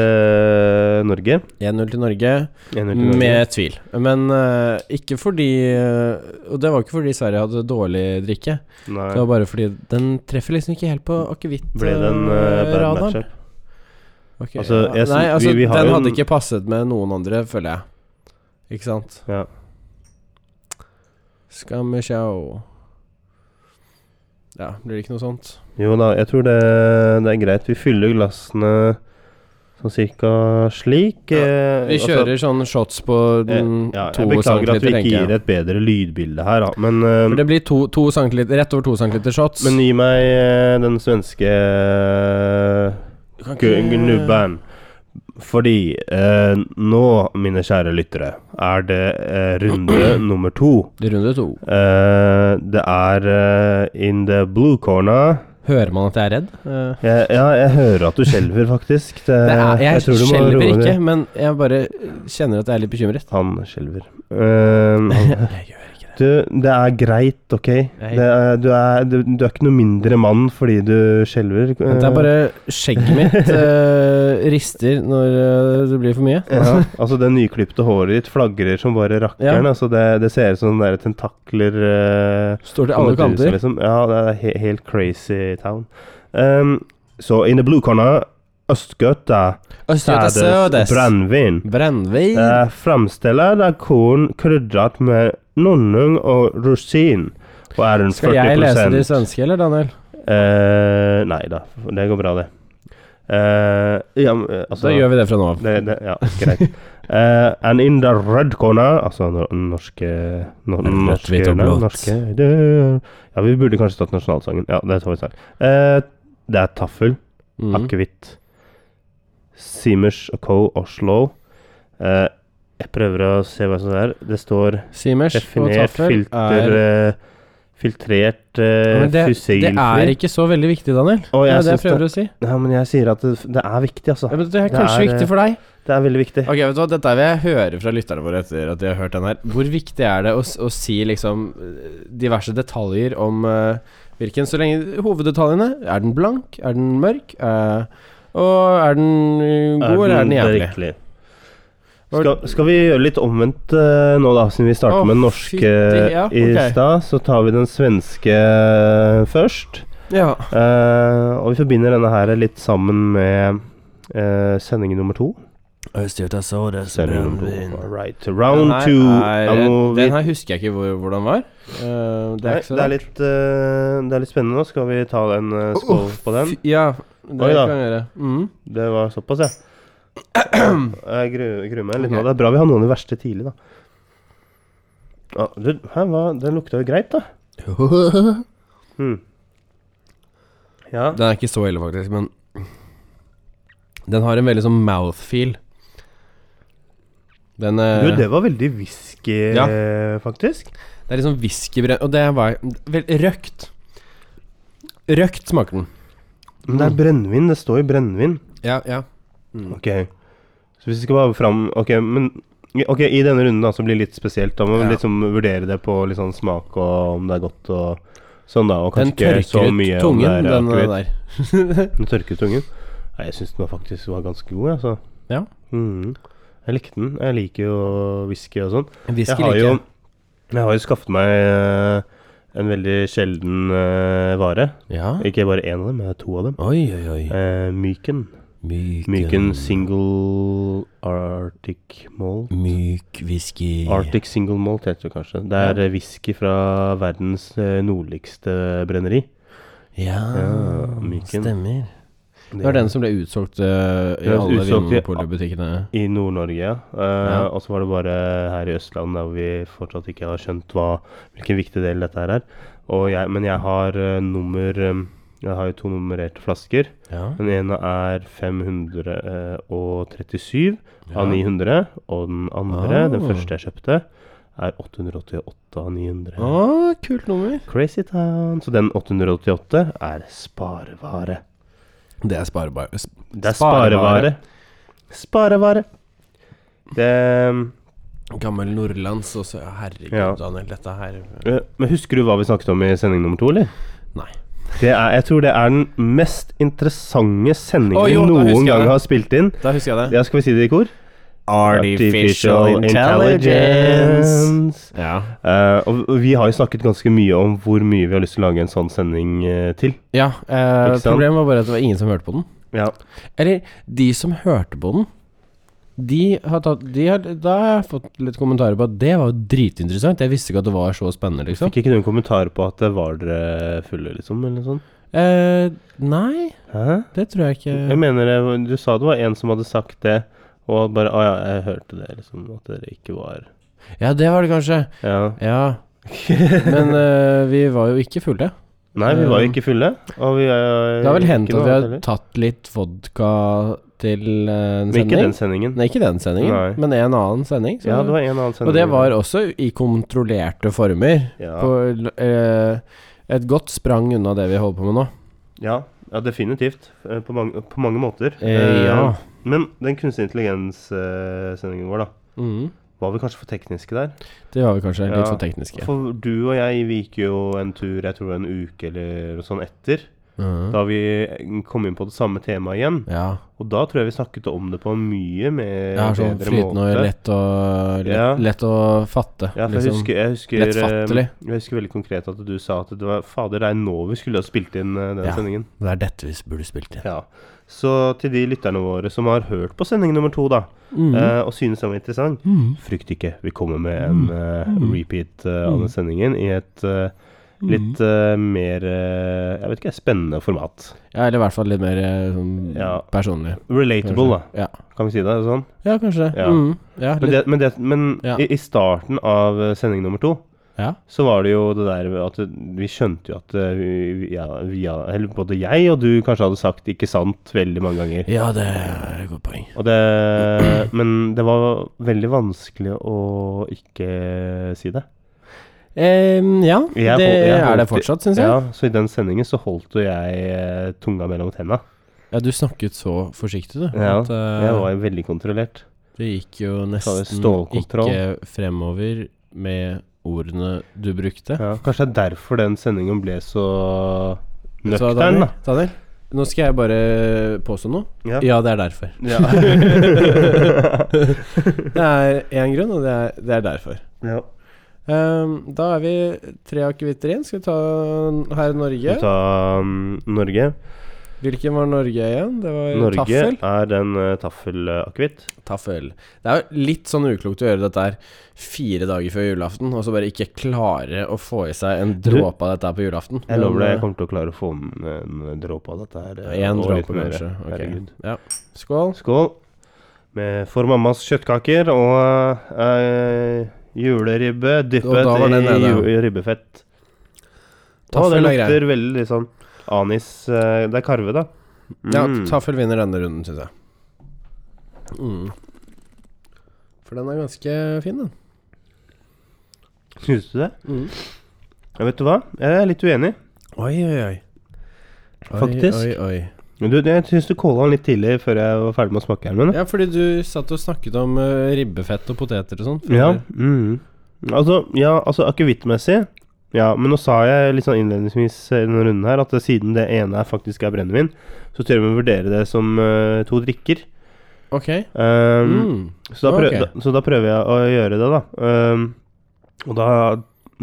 Norge. 1-0 til Norge 1-0 til Norge. med tvil. Men eh, ikke fordi eh, Og det var ikke fordi Sverige hadde dårlig drikke. Nei. Det var bare fordi den treffer liksom ikke helt på Ble det en eh, bad akevitt-radaren. matchup? Altså, jeg Nei, syns- altså, vi- vi har den jo en- hadde ikke passet med noen andre, føler jeg. Ikke sant? Ja. Skal vi sjå Ja, blir det ikke noe sånt? Jo da, jeg tror det, det er greit. Vi fyller glassene sånn cirka slik. eh, Vi altså- kjører sånne shots på Eh, den ja, to jeg beklager at vi centiliter, ikke tenker gir jeg. et bedre lydbilde her, da. Men, eh, For det blir to, to centiliter, rett over to centiliter shots. men gi meg eh, den svenske eh, Du kan ikke- gnubberen. Fordi eh, nå, mine kjære lyttere, er det eh, runde nummer to. Det er runde to. Eh, det er eh, in the blue corner. Hører man at jeg er redd? Eh, Jeg, ja, jeg hører at du skjelver, faktisk. Det, det er, jeg tror du må roe skjelver deg. ikke, men jeg bare kjenner at jeg er litt bekymret. Han skjelver. Ehm, han- Jeg gjør ikke det. du, det er greit, ok? Det er, du, er, du, du er ikke noe mindre mann fordi du skjelver. eh, Men det er bare skjegget mitt eh, rister når eh, det blir for mye. ja, altså Det nyklipte håret ditt flagrer som bare rakkeren. Altså det, det ser ut som sånne der tentakler eh, Står til alle kommer til huset, kanter. Liksom. Ja, det er he helt crazy town. Ehm, så in the blue corner, Østgøta, Østgøta sædes, Sødes. brennevin. Brennevin. Eh, Framstiller er korn krydret med nonning og rosin. Og er rundt 40 Skal jeg lese de svenske, eller, Daniel? Eh, nei da, det går bra, det. Eh, ja, men, eh, altså, Da gjør vi det fra nå av. det, det, ja, greit. Eh, and in the red corner Altså no- norske no, Rødt, Norske, hvitt og nei, blått. norske det, Ja, vi burde kanskje tatt nasjonalsangen. Ja, det tar vi selv. Eh, det er taffel, Mm. akevitt, Simers Co. Oslo. Eh, jeg prøver å se hva som er. Det står Simers og definert, taffel filter, er eh, filtrert, Ja, uh, men det, det er ikke så veldig viktig, Daniel. Og Det er det jeg jeg syns det, prøver å si. Nei, men jeg sier at det, det er viktig, altså. Ja, men det er det kanskje er, viktig for deg. Det er veldig viktig. Ok, vet du hva, Dette vil jeg høre fra lytterne våre etter at de har hørt den her. Hvor viktig er det å, s- å si liksom eh, diverse detaljer om eh, hvilken Så lenge hoveddetaljene Er den blank? Er den mørk? Eh, og er den eh, god, eller er den jævlig? riktig? Skal, skal vi gjøre litt omvendt eh, nå, da, siden vi starter Å, med den norske eh, fytti, ja, ok. i stad? Så tar vi den svenske eh, først. Ja. Eh, og vi forbinder denne her litt sammen med eh, sending nummer to. Østgjøta Sodes Sending nummer to. All Right. Round Den her two. er- Da må vi- Den her husker jeg ikke hvor, hvordan var. Eh, det Nei, er ikke så det, er rart. litt, eh, det er litt spennende nå. Skal vi ta en eh, skål på den? Fy- Ja, det Oi da. kan jeg gjøre. Mm. Det var såpass, ja. Jeg gruer gruer meg litt nå. Ok. Det er bra vi har noen i verste tidlig, da. Ja, du, hæ, hva? Den lukta jo greit, da. Mm. Hmm. Ja. Den er ikke så ille, faktisk, men den har en veldig sånn mouthfeel. Den eh, Du, det var veldig whisky, Ja. eh, faktisk. Det er litt sånn whiskybrenn Og det var vel, røkt. Røkt smaker den. Mm. Men det er brennevin. Det står jo brennevin. Ja, ja. Mm. Ok. Så hvis vi skal bare fram Ok, men Ok, I denne runden da, så blir det litt spesielt. Da må Ja. vi liksom vurdere det på litt sånn smak og om det er godt og sånn, da. Og Den kanskje ikke så tørker mye ut om tungen, det er den eh, akevitt. der. Den tørket ungen? Nei, jeg syns den var faktisk var ganske god, jeg, altså. Ja. Mhm. Jeg likte den. Jeg liker jo whisky og sånn. Jeg Whisky har liker jo, jeg. jeg har jo skaffet meg eh, en veldig sjelden eh, vare. Ja. Ikke bare én av dem, men to av dem. Oi, oi, oi. Eh, Myken. Myk, Myken Single Arctic Malt. myk whisky. Arctic Single Malt heter det kanskje. Det er eh, whisky fra verdens eh, nordligste brenneri. Ja, Ja, myken. stemmer. Det var den som ble utsolgt eh, i Ja, alle utsolgt i- vinmonopolbutikkene. I Nord-Norge, ja. Eh, Ja. Og så var det bare her i Østland der hvor vi fortsatt ikke har skjønt hva, hvilken viktig del dette her er. Og jeg, men jeg har eh, nummer eh, Jeg har jo to nummererte flasker. Ja. Den ene er 537 Ja. av 900. Og den andre, Ah. den første jeg kjøpte, er 888 av 900. Å, kult nummer. Crazy Town. Så den 888 er sparevare. Det er sparebar... sp- Det er sparevare. Sparevare. Det Gammel nordlands også. Ja, Herregud, Ja. Daniel, dette her Eh, Men husker du hva vi snakket om i sending nummer to, eller? Nei. Det er, jeg tror det er den mest interessante sendingen Å, vi jo, da husker noen jeg gang det. har spilt inn. Da husker jeg det. Ja, skal vi si det i kor? Ja. Eh, og og vi har jo snakket ganske mye om hvor mye vi har lyst til å lage en sånn sending eh, til. ja eh, Ikke sant? problemet var bare at det var ingen som hørte på den. Ja. Eller, de som hørte på den de har tatt, de har, da har jeg fått litt kommentarer på at det var jo dritinteressant. Jeg visste ikke at det var så spennende, liksom. Fikk ikke noen kommentarer på at det var dere fulle, liksom? Eller noe sånt? Eh, nei, Hæ? det tror jeg ikke. Jeg mener, det- du sa det var en som hadde sagt det, og bare Å ja, jeg hørte det, liksom. At dere ikke var Ja, det var det kanskje. Ja. Ja. Men eh, vi var jo ikke fulle. Nei, vi var jo Um, ikke fulle. Og vi er Det har vel Eh, ikke hendt noe at vi har annet heller. tatt litt vodka til eh, en Men ikke sending. den sendingen. Nei, ikke den sendingen, Nei. men en annen sending. så- Ja, det var en annen sending. og det var også i kontrollerte former. ja. På eh, et godt sprang unna det vi holder på med nå. Ja, ja definitivt. Eh, På mange, på mange måter. Eh, ja. Eh, Men den kunstig intelligens-sendingen vår, da. Mhm. Var vi kanskje for tekniske der? Det var vi kanskje litt Ja. for tekniske. For du og jeg vi gikk jo en tur jeg tror en uke eller noe sånn etter. Mhm. Da vi kom inn på det samme temaet igjen. Ja. Og da tror jeg vi snakket om det på en mye mer ja sånn bedre flytende og måte. lett, og, lett, Ja. lett å fatte. liksom. Ja, for jeg husker, jeg husker Lettfattelig. eh, Jeg husker veldig konkret at du sa at det var Fader, det er nå vi skulle ha spilt inn eh, den Ja. sendingen. Det er dette vi burde spilt inn. Ja. Så til de lytterne våre som har hørt på sending nummer to, da, Mhm. eh, og synes den var interessant, Mhm. frykt ikke. Vi kommer med en eh, repeat eh, av den sendingen i et eh, litt eh, mer eh, Jeg vet ikke, spennende format. Ja, eller i hvert fall litt mer eh, sånn Ja. personlig. Relatable, da. Ja. Kan vi si det sånn? ja, kanskje det. Ja. Mm, ja, Men, litt, det, men, det, men Ja. i, i starten av eh, sending nummer to ja. så var det jo det der at vi skjønte jo at eh, vi, ja, vi, ja, eller både jeg og du kanskje hadde sagt 'ikke sant' veldig mange ganger. ja, det er et godt poeng. Og det, men det var veldig vanskelig å ikke si det. Em, ja, Jeg det hol- jeg er det holdt- fortsatt, syns jeg. Ja. Ja, så i den sendingen så holdt jo jeg eh, tunga mellom tenna. du snakket så forsiktig, du. Ja, at, eh, Jeg var jo veldig kontrollert. Det gikk jo Sa det nesten stålkontroll? ikke fremover med ordene du brukte. Ja, kanskje det er derfor den sendingen ble så Så nøktern, Daniel, da. Daniel, nå skal jeg bare påstå noe. Ja. Ja, det er derfor. Ja. Det er én grunn, og det er, det er derfor. ja. Em, da er vi tre akevitter igjen. Skal vi ta her i Norge? Skal vi ta um, Norge? Hvilken var Norge igjen? Det var Norge Eh, taffel. er en uh, taffelakevitt. Taffel. Det er jo litt sånn uklokt å gjøre dette her fire dager før julaften, og så bare ikke klare å få i seg en dråpe av dette her på julaften. Jeg Men, lover deg, jeg eh, kommer til å klare å få med en dråpe av dette her. eh, En og litt dråpe, mer. kanskje. Ok. Herregud. Ja. eh, Skål. Skål med for mammas kjøttkaker og eh, juleribbe Og da var dyppet den i nede, ja. ju- ribbefett. Å, det Taffel er grei. lukter veldig litt sånn anis eh, Det er karve, da. Ja, Mm. taffel vinner denne runden, syns jeg. Mm. For den er ganske fin, den. Syns du det? Mm. Ja, vet du hva? Jeg er litt uenig. Oi, oi, oi. Oi, Faktisk. Oi, oi. Du, jeg syns du calla den litt tidlig før jeg var ferdig med å smake her. Men, Ja, fordi du satt og snakket om eh, ribbefett og poteter og sånn. Ja. Mm. Altså, ja, altså akevittmessig Ja, men nå sa jeg litt sånn innledningsvis i denne runden her at siden det ene er faktisk er brennevin, så tør vi å vurdere det som eh, to eh, drikker. Ok. Um, Mm. så, da prøv, Ok. da, så da prøver jeg å gjøre det, da. Um, og da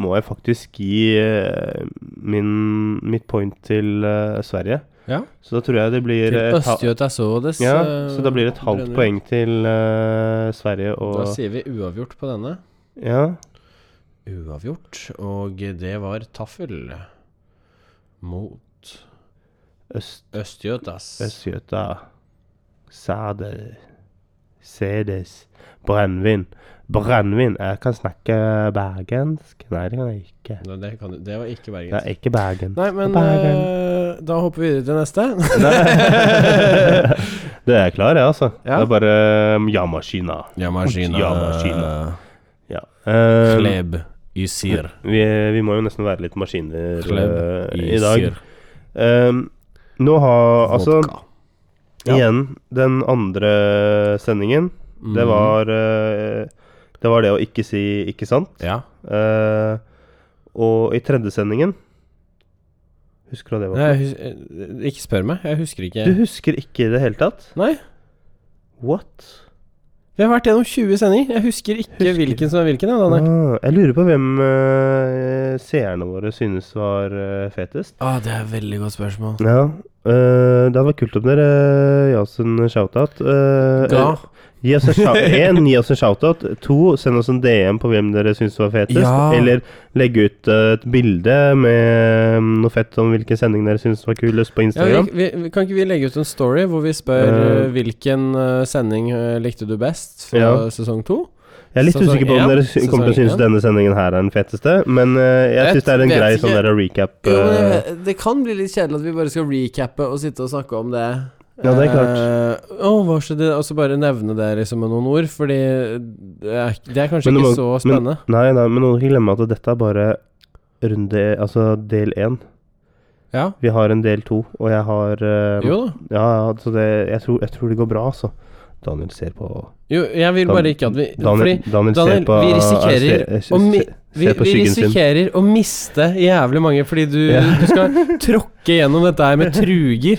må jeg faktisk gi eh, min, mitt point til eh, Sverige. Ja. Så da tror jeg det blir Til eh, et hal- Østgötasodes. Ja, eh, så da blir det et halvt Brønnøy. poeng til eh, Sverige og Da sier vi uavgjort på denne. Ja. Uavgjort, og det var taffel mot Øst, Østgötas. Østgøta. Sæder. Sedes. Brennevin. Brennevin. Jeg kan snakke bergensk. Nei, det kan jeg ikke. Nei, det, kan, du- det var ikke Det Bergen. er ikke Bergen. Nei, men Bergen. eh, da hopper vi videre til neste. Nei. det er jeg klar, jeg, altså. Ja. Det er bare um, ja-maskina. Yamashina. Yamashina. Ja. Um, Eh, Kleb Ysir. vi, vi må jo nesten være litt maskiner uh, i dag. Ysir. Um, nå har altså Vodka. Ja. igjen den andre sendingen. Det Mhm. var eh, Det var det å ikke si 'ikke sant'. Mm, Ja. Eh, og i tredje sendingen Husker du hva det var? Nei, hus eh, ikke spør meg, jeg husker ikke. Du husker ikke i det hele tatt? Nei. What? Vi har vært gjennom 20 sendinger. Jeg husker ikke Husker. hvilken som er hvilken. Ja, Daniel. Ah, jeg lurer på hvem eh, seerne våre synes var eh, fetest. Ah, det er et veldig godt spørsmål. Ja. eh, det hadde vært kult om dere eh, ga oss en shoutout. Uh, Da, Gi oss en shout- en, gi oss en shoutout. To, send oss en DM på hvem dere syns var fetest. Ja. Eller legge ut eh, et bilde med mm, noe fett om hvilken sending dere syns var kulest på ja, vi, Instagram. vi, vi- kan ikke vi legge ut en story hvor vi spør Eh. eh, hvilken eh, sending eh, likte du best fra Ja. sesong to? Jeg er litt sesong usikker på om én, dere sy- kommer til å sesong synes én. denne sendingen her er den feteste, men eh, jeg Jeg syns det er en vet grei ikke. sånn der recap. Jo, men eh, jeg, det kan bli litt kjedelig at vi bare skal recappe og sitte og snakke om det. Ja, det er Eh, Å, hva skjedde? Og så bare nevne det liksom med noen ord, fordi det er, det er kanskje Men du ikke må- så men- spennende. Nei, nei, men nå må du ikke glemme at dette er bare runde Altså del én. ja, Vi har en del to, og jeg har eh, jo da. Ja, ja, så det jeg tror, jeg tror det går bra, altså. Daniel ser på Jo, jeg vil Dan- bare ikke at vi Fordi Daniel, Daniel, Daniel, ser på vi risikerer eh, se- å mi- se- Vi, se på vi skyggen sin. risikerer å miste jævlig mange fordi du, Ja. du skal tråkke gjennom dette her med truger.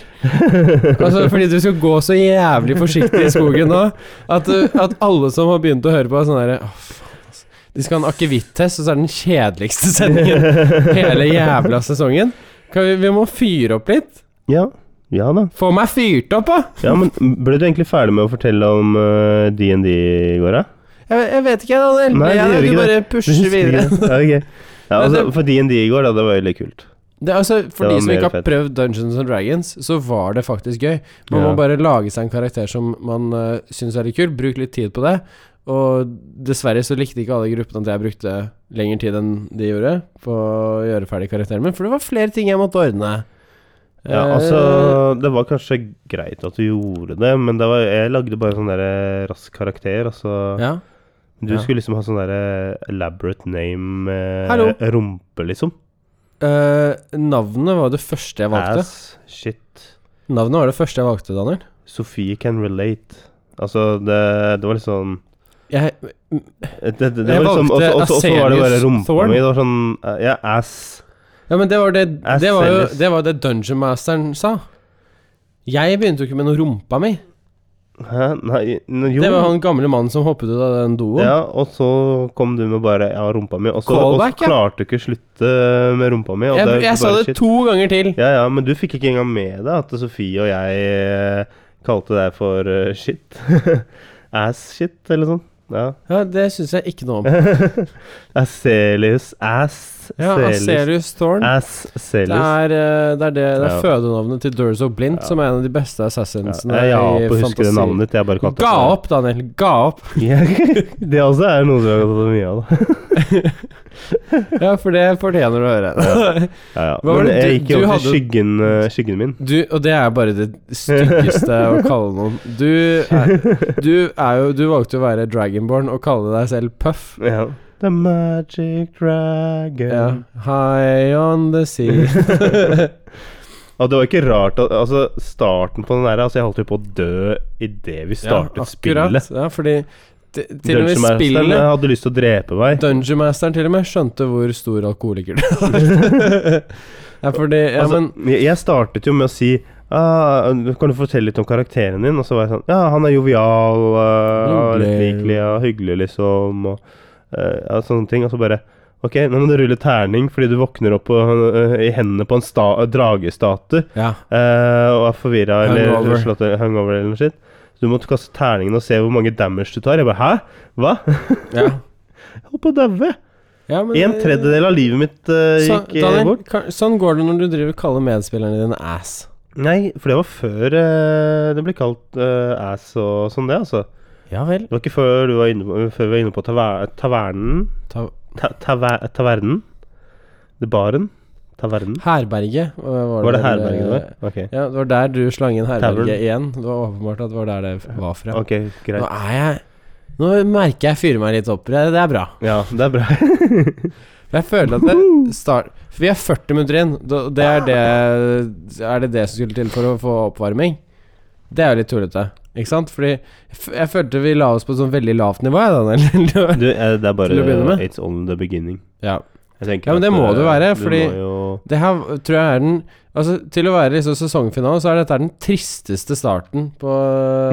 Altså Fordi du skal gå så jævlig forsiktig i skogen nå at, du- at alle som har begynt å høre på, er sånn derre «Å, faen, altså». De skal ha en akevitt-test, og så er det den kjedeligste sendingen hele jævla sesongen. Kan vi, vi må fyre opp litt. Ja, ja da. Få meg fyrt opp, da! Ja, men ble du egentlig ferdig med å fortelle om eh, DND i går, da? Jeg, jeg vet ikke, Daniel. Nei, jeg, det gjør du ikke bare Du husker pusher videre. ikke? Ja, ok. ja, Men altså, det- for DND i går, da, det var veldig kult. Det, er altså, for Det de var som ikke mer har fett. prøvd Dungeons and Dragons, så var det faktisk gøy. Man Ja. må bare lage seg en karakter som man uh, syns er litt kul, bruk litt tid på det. Og dessverre så likte ikke alle i gruppen at jeg brukte lengre tid enn de gjorde på å gjøre ferdig karakteren min, for det var flere ting jeg måtte ordne. Ja, Eh, altså, det var kanskje greit at du gjorde det, men det var, jeg lagde bare sånn der eh, rask karakter, altså. Eh, ja. Du Ja. skulle liksom ha sånn der eh, elaborate name eh, Hallo. rumpe, liksom. Eh, navnet var det første jeg valgte. Ass, shit. Navnet var det første jeg valgte, Daniel. Sofie can relate. Altså, det, det var litt sånn Jeg, det, det, det Jeg var liksom, valgte også, også, også var det bare Aselius rumpa Thorn. mi. Det var sånn eh, Ja, ass. Ja, men det var det, Jeg det var jo selges. det, var det Dungeon Masteren sa. Jeg begynte jo ikke med noe rumpa mi. Hæ? Nei, n- jo. Det var han gamle mannen som hoppet ut av den doen. Ja, og så kom du med bare Ja, rumpa mi. Og så, og så Callback, ja. klarte du ikke å slutte med rumpa mi. Og jeg det, jeg sa bare det shit. to ganger til. Ja, ja, men du fikk ikke engang med deg at Sofie og jeg eh, kalte deg for eh, shit. Ass-shit, eller sånn. Ja. Ja, Det syns jeg ikke noe om. Aselius. Ass. Ja, Aselius Thorn. Det Ass-Selius. er, eh, det er, det, det er Ja. fødenavnet til Durzo Blind, som er en av de beste assassinsene Ja, i jeg ga opp å huske det fantasi. navnet ditt. Jeg bare kalte det Ga for det. opp, Daniel. Ga opp. Ja, det også er noe som jeg har gått mye av. Da. Ja, for det fortjener du å høre. Ja, ja. Hva var Men det jeg du- gikk jo du opp hadde- til skyggen, eh, skyggen min. Du, og det er bare det styggeste å kalle noen. Du er, du er jo Du valgte jo å være dragonborn og kalle deg selv Puff. Ja. The magic dragon. Ja. High on the sea. Og det var ikke rart at Altså, starten på den der Altså, jeg holdt jo på å dø idet vi startet ja, spillet. Ja, fordi t- til og med Dungeon Masteren spillet hadde lyst til å drepe meg. Dungeon Masteren til og med skjønte hvor stor alkoholiker du var. ja, fordi, ja, altså, men jeg, jeg startet jo med å si ah, 'Kan du fortelle litt om karakteren din?' Og så var jeg sånn 'Ja, han er jovial, uh, Hyggelig. lettlikelig og hyggelig, liksom.' Og eh, ja, sånne ting. Og så bare 'Ok, nå må du rulle terning fordi du våkner opp på, eh, i hendene på en sta dragestatue' Ja. eh, og er forvirra eller Hungover. slått hungover eller noe shit. Så du måtte kaste terningen og se hvor mange damage du tar. Jeg bare 'Hæ? Hva?' Ja. Jeg holdt på å daue. Ja, men- En tredjedel av livet mitt eh, Så- gikk eh, Daniel, bort. kan- Sånn går det når du driver og kaller medspillerne dine ass. Nei, for det var før eh, det ble kalt eh, ass og sånn, det, altså. Ja vel. Det var ikke før, du var inne på, før vi var inne på taver tavernen Ta ta taver Tavernen? Det baren? Tavernen? herberget. øh, Var, Var det vel, herberget det var? øh, Ok, Ja, det var der du slang inn Tavern. herberget igjen. Det var åpenbart at det var der det var fra. ok, Nå greit. er jeg Nå merker jeg fyrer meg litt opp. Det det er bra. Ja, det er bra. Jeg føler at det start, For vi er 40 minutter inn. Da- Det er det Er det det som skulle til for å få oppvarming? Det er jo litt tullete, ikke sant? Fordi jeg f- jeg følte vi la oss på et sånn veldig lavt nivå, jeg, Daniel. Du, eh, det er bare Til å begynne med? It's only the beginning. ja. Jeg tenker Ja, men at, det må eh, det være, fordi- Du må jo Det her tror jeg er den Altså, til å være liksom sesongfinale, så er dette den tristeste starten på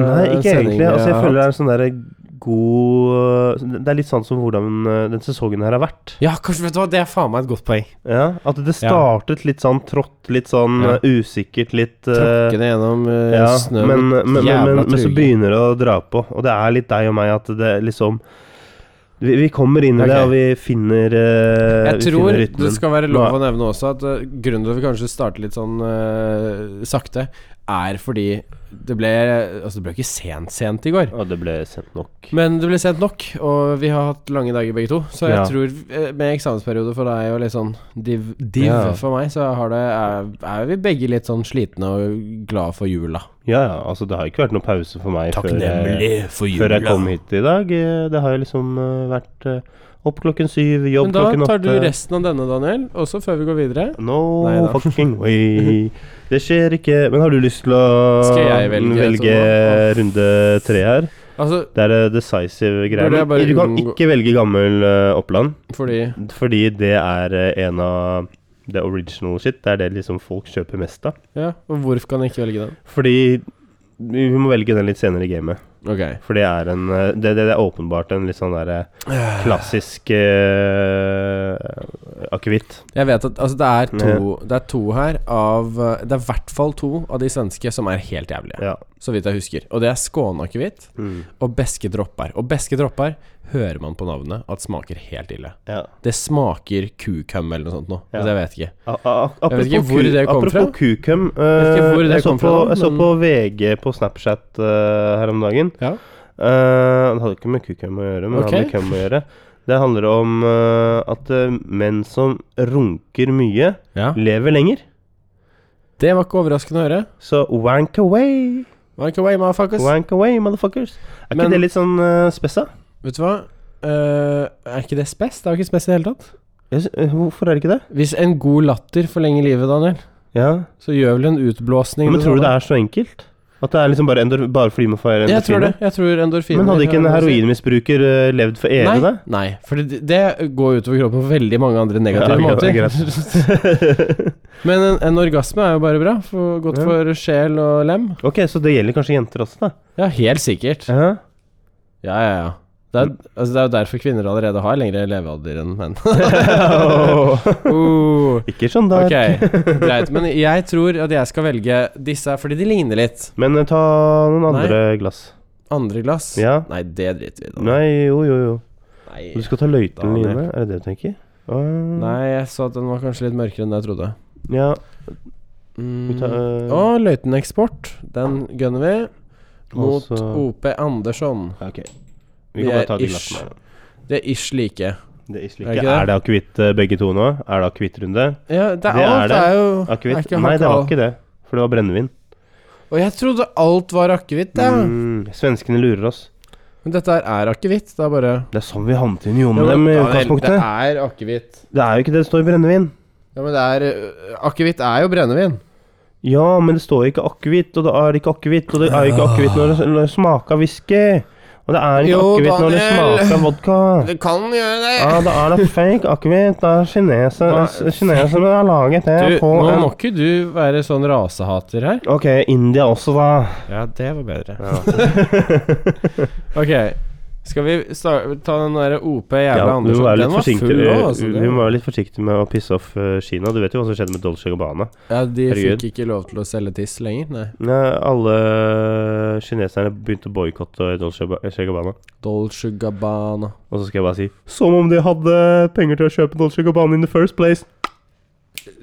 Eh, Nei, ikke egentlig. Altså, jeg føler det det er en sånn der god Det er litt sånn som hvordan eh, den sesongen her har vært. Ja, kanskje, vet du hva, det er faen meg et godt poeng. Ja, At det startet litt sånn trått, litt sånn Ja. eh, usikkert, litt eh, Tråkkende gjennom eh, ja, snø men, mot men, men, jævla men, men så truger. begynner det å dra på, og det er litt deg og meg at det liksom Vi, vi kommer inn i det, Ok. og vi finner Jeg eh, vi tror finner det rytmen. skal være Nå lov er- å nevne også at eh, grunnen til at vi kanskje starter litt sånn eh, sakte, er fordi det ble Altså, det ble ikke sent sent i går. Å, det ble sendt nok. Men det ble sent nok, og vi har hatt lange dager begge to. Så jeg Ja. tror eh, med eksamensperiode for deg og litt sånn div, div Ja. for meg, så har det, er, er vi begge litt sånn slitne og glad for jula. Ja ja, altså det har ikke vært noen pause for meg før jeg, for før jeg kom hit i dag. eh, Det har jo liksom eh, vært eh, opp klokken syv, jobb Men da klokken åtte. tar du resten av denne, Daniel, også før vi går videre. No Nei da. fucking way. Det skjer ikke. Men har du lyst til å Skal jeg velge etterpå? runde tre her? Altså Det er det decisive greier. Burde jeg bare Du kan unngå- ikke velge gammel eh, Oppland, fordi fordi det er eh, en av the original shit. Det er det liksom folk kjøper mest av. Ja, og hvorfor kan jeg ikke velge den? Fordi vi vi må velge den litt senere i gamet. Ok. For det er en eh, Det, det, det er åpenbart en litt sånn derre klassisk eh, akevitt. Jeg vet at altså, det, er to, det er to her av eh, Det er i hvert fall to av de svenske som er helt jævlige, Ja. så vidt jeg husker. Og det er skåneakevitt. Mm. Og beske dropper. Og beske dropper hører man på navnet at smaker helt ille. ja. Det smaker kukum eller noe sånt noe. Ja. Altså, jeg vet ikke. A- a- Jeg vet ikke Apropos hvor ku- det kom apropos fra. kukum eh, vet ikke hvor det Jeg så kom på, fra, jeg så men- på VG på Snapchat eh, her om dagen. Ja. Eh, det hadde ikke med kukum å gjøre, men det hadde Ok. med cum å gjøre. Det handler om eh, at eh, menn som runker mye, lever lenger. Det var ikke overraskende å høre. Så wank away, Wank away, motherfuckers. wank away, motherfuckers. Er Men- ikke det litt sånn eh, spessa? Vet du hva? Eh, er ikke det spes? Det er jo ikke spes i det hele tatt. Jeg sy- eh, Hvorfor er det ikke det? Hvis en god latter forlenger livet, Daniel, Ja. så gjør vel en utblåsning Men tror du det er så enkelt? At det er liksom bare, endor, bare fordi man får Jeg tror det. endorfiner? Jeg tror endorfiner Men hadde ikke en endorfin- heroinmisbruker eh, levd for evig, Nei, da? nei, for det, det går utover kroppen på veldig mange andre negative Ja, måter. ok, Men en, en orgasme er jo bare bra. For, godt Ja. for sjel og lem. Ok, så det gjelder kanskje jenter også, da? Ja, helt sikkert. Ja. Ja, ja, ja. Det er, altså, det er jo derfor kvinner allerede har lengre levealder enn menn. uh, Ikke sånn der. ok, greit. Men jeg tror at jeg skal velge disse fordi de ligner litt. Men eh, ta noen andre glass. Andre glass? Ja. Nei, det driter vi i. da. Nei, jo, jo, jo. Du Nei. skal ta løytene Daniel. dine, er det det du tenker? Ah, Nei, jeg så at den var kanskje litt mørkere enn jeg trodde. Ja. Mm. Vi tar, eh, Og Løiteneksport. Den gunner vi. Mot Og så- OP Andersson. Ok. Vi Vi kan er bare ta de ish. glassene. her. Det er ish like. Det er ish Er like. ikke det? Er det akevitt eh, begge to nå? Er det akevittrunde? Ja, det er Det er alt. det. Det er jo er Akevitt? Ah, ikke Nei, det var hakal. ikke det. For det var brennevin. Og jeg trodde alt var akevitt, ja. Mm, svenskene lurer oss. Men dette her er akevitt. Det er bare Det er sånn vi havnet inn i Jon Ja, men- dem i ja, det- Det utgangspunktet. er akevitt. Det er jo ikke det det står i brennevin. Ja, men det er ø, Akevitt er jo brennevin. Ja, men det står ikke akevitt, og det er ikke akevitt, og det er ikke akevitt når det, når det smaker whisky. Og Og det er Jo, ikke akevitt når det Daniel. smaker vodka. Du kan gjøre det! Ja, da er det fake akevitt. Det er kineser, Hva- kineserne har laget det Du, på nå en må ikke du være sånn rasehater her. Ok, India også, da. Ja, det var bedre. ok, skal vi sta- ta den derre OP jævla Ja, vi må Andersen? være Den litt var full forsiktige òg, altså. vi Den- må være litt forsiktige med å pisse off eh, Kina. Du vet jo hva som skjedde med Dolce Gabbana. Ja, de Herregud. fikk ikke lov til å selge tiss lenger, nei. Nei, Alle eh, kineserne begynte å boikotte Dolce Ba- Gabbana. Dolce Gabbana. Og så skal jeg bare si Som om de hadde penger til å kjøpe Dolce Gabbana in the first place.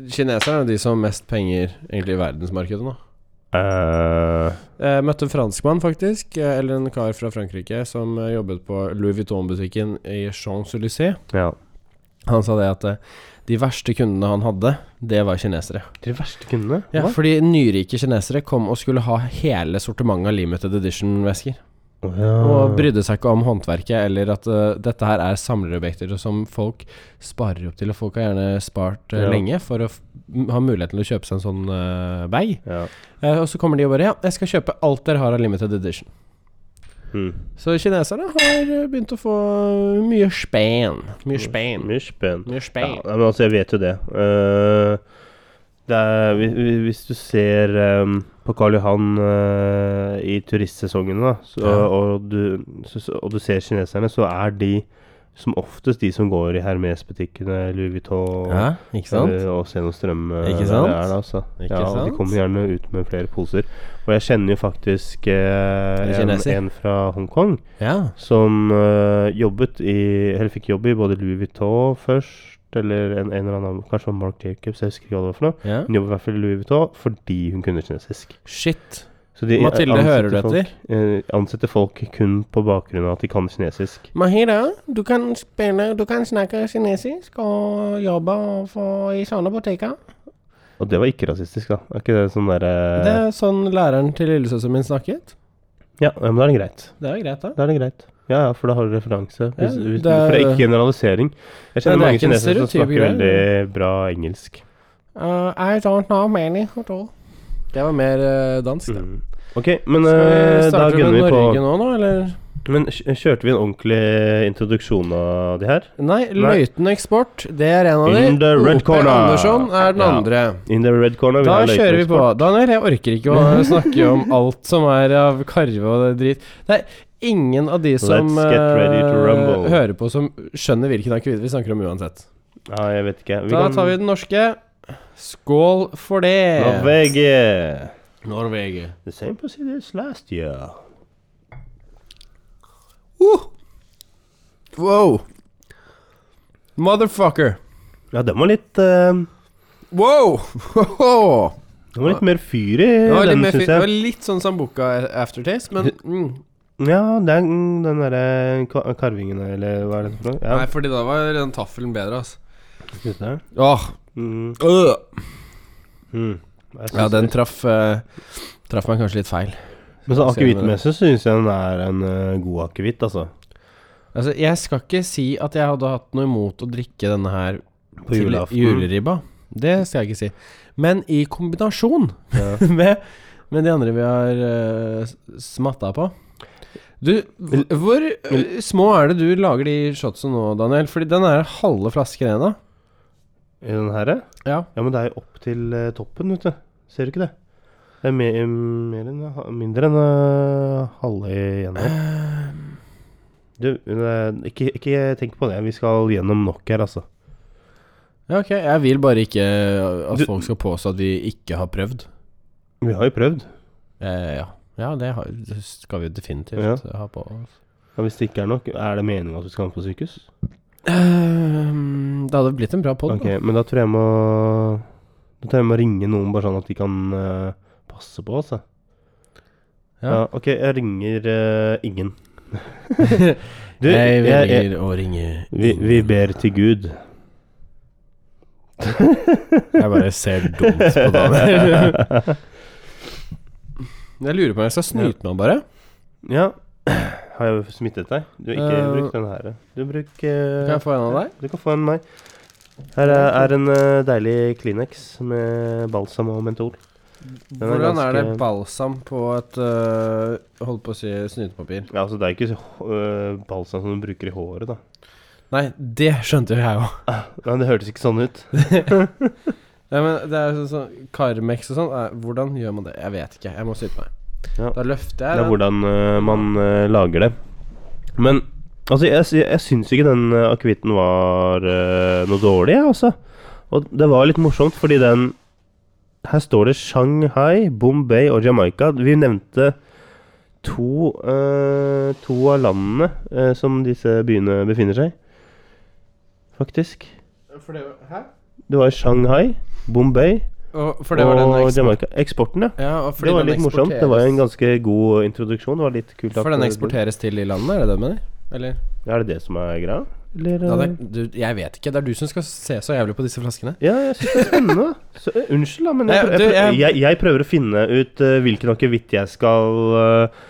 Kineserne er de som har mest penger egentlig i verdensmarkedet nå. Eh, Jeg møtte en franskmann, faktisk, eh, eller en kar fra Frankrike, som eh, jobbet på Louis Vuitton-butikken i Champs-Élysées. ja. Han sa det at eh, de verste kundene han hadde, det var kinesere. De verste kundene? Ja, Hva? fordi nyrike kinesere kom og skulle ha hele sortimentet av limited edition-vesker. Å, ja. Og brydde seg ikke om håndverket eller at eh, dette her er samlerobjekter som folk sparer opp til. Og folk har gjerne spart eh, Ja. lenge for å f m- ha muligheten til å kjøpe seg en sånn eh, bag. ja. Eh, og så kommer de og bare Ja, jeg skal kjøpe alt dere har av limited edition. Mm. Så kineserne har eh, begynt å få mye spen. Mye spen. Mye spenn. Mye Ja, spen. nei, men altså, jeg vet jo det. Eh, det er, hvis, hvis du ser eh, på Karl Johan eh, i turistsesongen, da, så, Ja. og, du, så, så- og du ser kineserne, så er de som oftest de som går i Hermes-butikkene, Louis Vuitton Ja, ikke sant? eh, og Seno Strøm. eh, Ikke der sant? det Er, da, altså. Ikke ja, og de sant? kommer gjerne ut med flere poser. Og jeg kjenner jo faktisk eh, Er det en, kineser? en fra Hongkong Ja. som eh, jobbet i Eller fikk jobb i både Louis Vuitton først, eller en, en eller annen Kanskje det var Mark Jacobs, jeg husker ikke hva det var for noe. ja. Hun jobbet i hvert fall i Louis Vuitton fordi hun kunne kinesisk. Shit. Så de Mathilde, ansetter hører du folk- etter? eh, ansetter folk kun på bakgrunn av at de kan kinesisk. Mahira, du kan, spille, du kan snakke kinesisk og jobbe for, i sånne butikker. Og det var ikke rasistisk, da. Er ikke det sånn derre Det er sånn læreren til lillesøsteren min snakket. Ja, ja, men da er det greit. Det er jo greit, da. Da er det greit. Ja, ja, for da har du referanse. Hvis, Ja, hvis, det er- for det er ikke generalisering. Ja, Jeg det kjenner er mange ikke en kinesere som stereotyp snakker greie, veldig bra engelsk. Uh, I don't know many at all. Det var mer eh, dansk, det. Mm. Ok, men Skal eh, vi da starte gunner med vi på Norge nå, nå, eller? Men kj- kjørte vi en ordentlig introduksjon av de her? Nei, Løiten Eksport, det er en av de. In the red OP corner. Andersson er den Ja. andre. In the red corner? Da har løypen kjører vi på. sport. Daniel, jeg orker ikke å snakke om alt som er av karve og drit. Det er ingen av de som Let's get ready to eh, rumble. hører på, som skjønner hvilken akevitt vi snakker om uansett. Ja, Ah, jeg vet ikke. Da tar vi den norske. Skål for det! Norvegia. Norvege. The same procedure as last year. Wow! Motherfucker. Ja, den var litt eh, Wow! Den var litt mer fyr i, Det var litt, den, mer, fi- syns det var jeg. litt sånn Sambuca aftertaste, men mm. Ja, den, den derre ka- karvingen eller hva er det for noe? Ja, Nei, fordi da var den taffelen bedre, altså. synes jeg. Åh, Mm, øh. mm. Jeg Ja, synes den det. traff eh, Traff meg kanskje litt feil. Men så akevittmessig syns jeg den er en eh, god akevitt, altså. Altså, jeg skal ikke si at jeg hadde hatt noe imot å drikke denne her På til julaften. juleribba. Det skal jeg ikke si. Men i kombinasjon Ja. med, med de andre vi har eh, s- smatta på Du, hvor, hvor eh, små er det du lager de shotsene nå, Daniel? Fordi den er halve flasken igjen, da. I den herre? Ja. Ja, men det er jo opp til eh, toppen, vet du. Ser du ikke det? Det er mer, mer enn, mindre enn eh, halve igjen her. Du, eh, ikke, ikke tenk på det. Vi skal gjennom nok her, altså. ja, ok. Jeg vil bare ikke eh, at Du- folk skal påstå at vi ikke har prøvd. Vi har jo prøvd. Eh, ja. ja, det, har, det skal vi definitivt Ja. ha på oss. Ja, hvis det ikke er nok, er det meninga at du skal på sykehus? Ehm, det hadde blitt en bra pod. Ok, men da tror jeg må Da tror jeg må ringe noen, bare sånn at de kan eh, passe på oss, da. Ja. Ja. ok, jeg ringer eh, ingen. du, jeg jeg, velger jeg, å ringe vi, vi ber til Gud. Jeg bare ser dumt på Daniel. jeg lurer på om jeg skal snyte meg, bare. Ja. Har jeg smittet deg? Du har ikke Eh, brukt den her. Du bruk Kan jeg få en av deg? Du kan få en av meg. Her er, er en eh, deilig Kleenex med balsam og mentol. er Hvordan er det ganske- balsam på et øh, Holdt på å si snytepapir? Ja, altså Det er jo ikke øh, balsam som du bruker i håret, da. Nei, det skjønte jo jeg òg. Nei, Det hørtes ikke sånn ut. Ja, men det er sånn, sånn Carmex og sånn. eh, Hvordan gjør man det? Jeg vet ikke. Jeg må syte meg. Ja. Da løfter Det jeg. er den. hvordan øh, man øh, lager det. Men altså, jeg, sy- jeg syns ikke den øh, akevitten var øh, noe dårlig, jeg, altså. Og det var litt morsomt, fordi den Her står det Shanghai, Bombay og Jamaica. Vi nevnte to, øh, to av landene øh, som disse byene befinner seg i, faktisk. For det, hæ? Det var Shanghai, Bombay Og, for det var den og ekspor- Jamaica. Eksporten, ja. ja, og fordi det var den litt morsomt. Det var jo en ganske god introduksjon. Det var litt kult at- For den eksporteres til i landet, er det det du mener? Eller? Ja, Er det det som er greia? Eller Ja, eh? det er, du, jeg vet ikke. Det er du som skal se så jævlig på disse flaskene. Ja, jeg syns det er spennende. Så, eh, unnskyld, da, men jeg, Nei, prø- jeg, du, prø- jeg- jeg, jeg prøver å finne ut eh, hvilken akevitt jeg skal eh,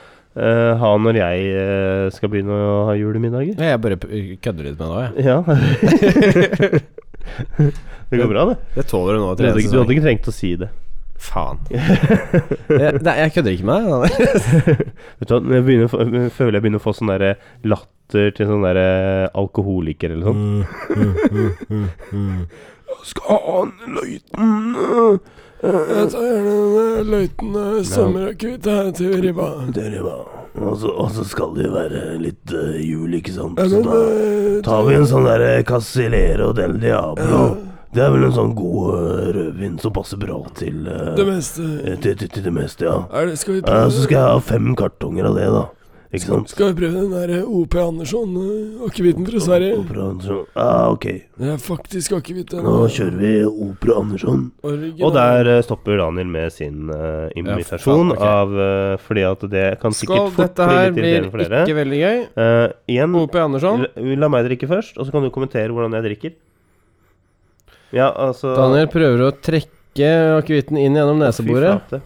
eh, ha når jeg eh, skal begynne å ha julemiddager. Ja, Jeg bare p- kødder litt med det òg, jeg. Ja. det går bra, det. Det tåler du nå. Du hadde, ikke, du hadde ikke trengt å si det. Faen. jeg, nei, jeg kødder ikke med deg. Vet du hva, jeg begynner, å få- jeg føler jeg begynner å få sånn derre latter til sånn derre alkoholiker eller sånn. mm, Skal han løyten Jeg tar gjerne løyten eh, sommerakevitt her til ribba. Dere, hva? Og så, og så skal det jo være litt eh, jul, ikke sant? Ja, Så men, da tar vi en sånn derre Casillero del Diablo. Det er vel en sånn god eh, rødvin som passer bra til, eh, meste. til, til, til det meste, ja. skal vi Eh, så skal jeg ha fem kartonger av det, da. Ikke sant? Skal vi prøve den der eh, OP Andersson-akevitten eh, fra Opera Andersson. Ah, ok. Det er faktisk akevitt. Nå kjører vi Opera Andersson. Og der eh, stopper Daniel med sin eh, invitasjon Ja, faen, ok. av eh, Fordi at det kan Skål, sikkert fort dette bli her litt blir irriterende for dere. ikke veldig gøy. Eh, igjen, OP Andersson. la, la meg drikke først, og så kan du kommentere hvordan jeg drikker. Ja, altså Daniel prøver å trekke akevitten inn gjennom Fy neseboret flate.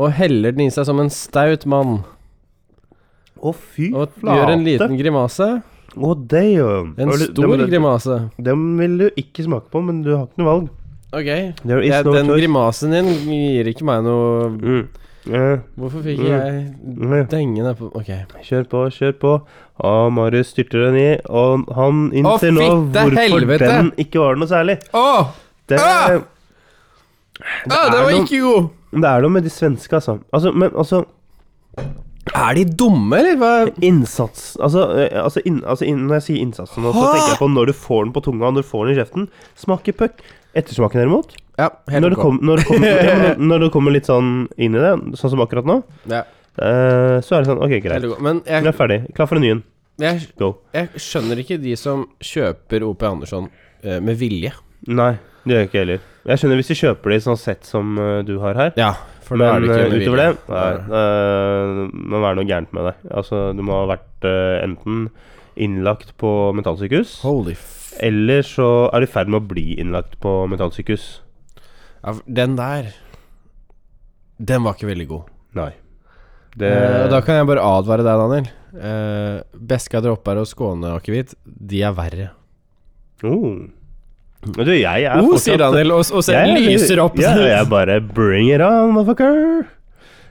og heller den i seg som en staut mann. Å, fy Og flate! gjør en liten grimase. Å, damn! En Har du- stor den, grimase. Den vil du ikke smake på, men du har ikke noe valg. Ok. There is Jeg, no den choice. grimasen din gir ikke meg noe Mm. Eh, Hvorfor fikk Mm. jeg Mm. denge nedpå Ok. kjør på, kjør på. Og Marius styrter den i, og han innser nå fitte hvorfor helvete! den ikke var noe særlig. Å! Det, Ah! det er noe- god! det er noe med de svenske, altså. altså men altså Er de dumme, eller? Hva? Innsats Altså, eh, altså, inn, altså inn, når jeg sier innsatsen, nå, så Hæ? tenker jeg på når du får den på tunga, og når du får den i kjeften. Smaker puck. Ettersmaken, derimot Ja, helt når det, ok. kom, når, det kom, ja, men når- når det kommer litt sånn inn i det, sånn som akkurat nå, Ja, eh, så er det sånn OK, greit. helt ok. Men Vi er jeg, ferdig. Klar for en ny en. jeg, Go. jeg skjønner ikke de som kjøper OP Andersson eh, med vilje. Nei, det gjør jeg ikke heller. Jeg skjønner hvis de kjøper det i sånn sett som eh, du har her. Ja, for da er Men det ikke eh, med utover vilje. det Nei, eh, må være noe gærent med deg. Altså, du må ha vært eh, enten innlagt på mentalsykehus Holy f... Eller så er de i ferd med å bli innlagt på mentalsykehus. Ja, for den der Den var ikke veldig god. Nei. Eh, Det, og da kan jeg bare advare deg, Daniel. Eh, Beska dropper og Skåne akevitt, de er verre. oh. Men Du, jeg er Oh, sier Daniel, og, og ser Jeg er- lyser opp. Ja, jeg bare Bring it on, motherfucker!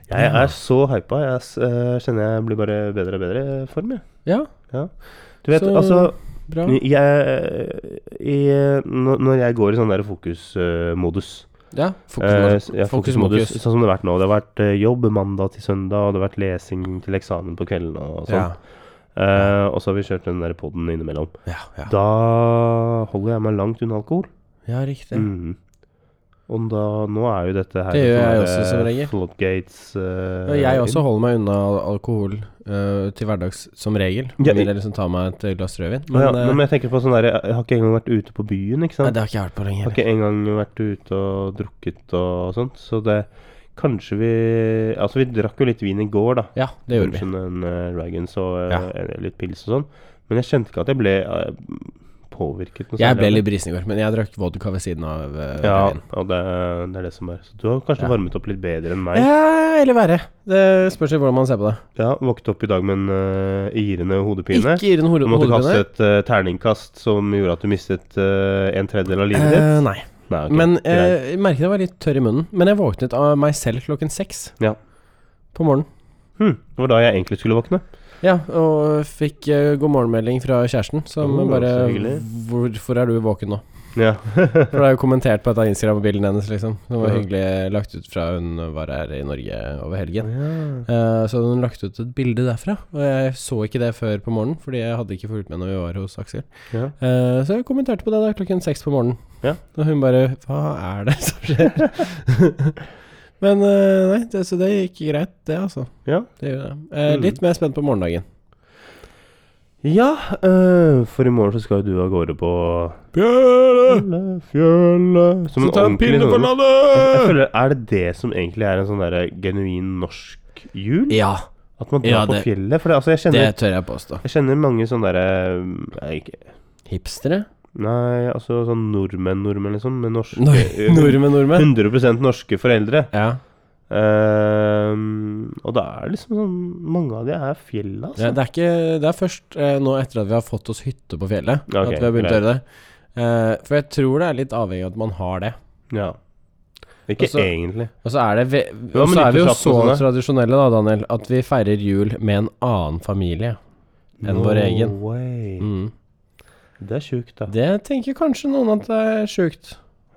Jeg er så hypa. Jeg s- eh, kjenner jeg blir bare bedre og bedre form, jeg. Ja, Du vet, Så- altså bra. jeg, eh, i, når- Når jeg går i sånn der fokusmodus Ja, Eh, fokusmodus. s- ja, fokusmodus. fokusmodus. Sånn som det har vært nå. Det har vært eh, jobb mandag til søndag, og det har vært lesing til eksamen på kvelden og sånn. Ja, Eh, og så har vi kjørt den der poden innimellom. ja, ja. Da holder jeg meg langt unna alkohol. ja riktig. Mhm. Og da, nå er jo dette her Det gjør jeg også, eh, som regel. Floodgates eh, Ja, Jeg også holder meg unna al- alkohol eh, til hverdags som regel. Ja, Med i- mindre jeg liksom tar meg et glass rødvin. inn. Å Men, ja, eh, men sånn- jeg tenker på sånn der Jeg jeg har ikke engang vært ute på byen, ikke nei, sant? det har ikke jeg vært på lenge. jeg har ikke engang vært ute og drukket og sånt, så det Kanskje vi Altså, vi drakk jo litt vin i går, da. Ja, det gjorde vi. Punchen and uh, Ragans og eh, Ja. eh, litt pils og sånn. Men jeg kjente ikke at jeg ble eh, påvirket. noe Jeg særlig ble av det. litt brisen i går, men jeg drakk vodka ved siden av uh, Ja, rødvin. og det, det er det som er. Så du har kanskje Ja. varmet opp litt bedre enn meg. Ja, eller verre. Det spørs jo hvordan man ser på det. Ja, Våknet opp i dag med en eh, irrende hodepine. Ikke irrende hore- Du måtte uh, kaste hodepine. et eh, terningkast som gjorde at du mistet eh, en tredjedel av livet Eh, ditt. nei. Nei, ok. Men greit. eh, jeg merket jeg var litt tørr i munnen. Men jeg våknet av meg selv klokken seks Ja. på morgenen. Hm, det var da jeg egentlig skulle våkne. Ja, og fikk eh, god morgenmelding fra kjæresten, som Oh, bare så hyggelig. 'Hvorfor er du våken nå?' Ja. For det er jo kommentert på et av Instagram-bildene hennes, liksom. Det var Ja. hyggelig lagt ut fra hun var her i Norge over helgen. Ja. Eh, Så hadde hun lagt ut et bilde derfra, og jeg så ikke det før på morgenen, fordi jeg hadde ikke fulgt med når vi var hos Aksel. Ja. Eh, Så jeg kommenterte på det da klokken seks på morgenen. Ja. Og hun bare Hva er det som skjer? Men eh, nei, det, så det gikk greit, det, altså. Ja. Det gjorde det. Eh, Mm. Litt mer spent på morgendagen. Ja, eh, for i morgen så skal jo du av gårde på Bjørne! Fjellet, fjellet Som en ordentlig sånn Jeg landet! føler, Er det det som egentlig er en sånn der genuin norsk jul? Ja, At man drar Ja, det- på fjellet? For det, altså, jeg, det kjenner, tør jeg påstå. jeg kjenner mange sånne derre eh, ikke- Hipstere? Nei, altså sånn nordmenn-nordmenn, liksom. Med norske Nor nordmenn, nordmenn. 100 norske foreldre. Eh, Ja. Eh, og da er det liksom sånn Mange av de er fjellet, altså. Ja, det, er ikke, det er først eh, nå etter at vi har fått oss hytte på fjellet, Ja, ok, at vi har begynt greit. å gjøre det. Eh, for jeg tror det er litt avhengig av at man har det. ja. Ikke Altså- egentlig. Og så er, det ve Ja, og men så er vi jo nyttårsaften så og sånn, ja. tradisjonelle da, Daniel, at vi feirer jul med en annen familie. enn vår egen. Way. Mm. Det er sjukt, da. Det tenker kanskje noen at det er sjukt.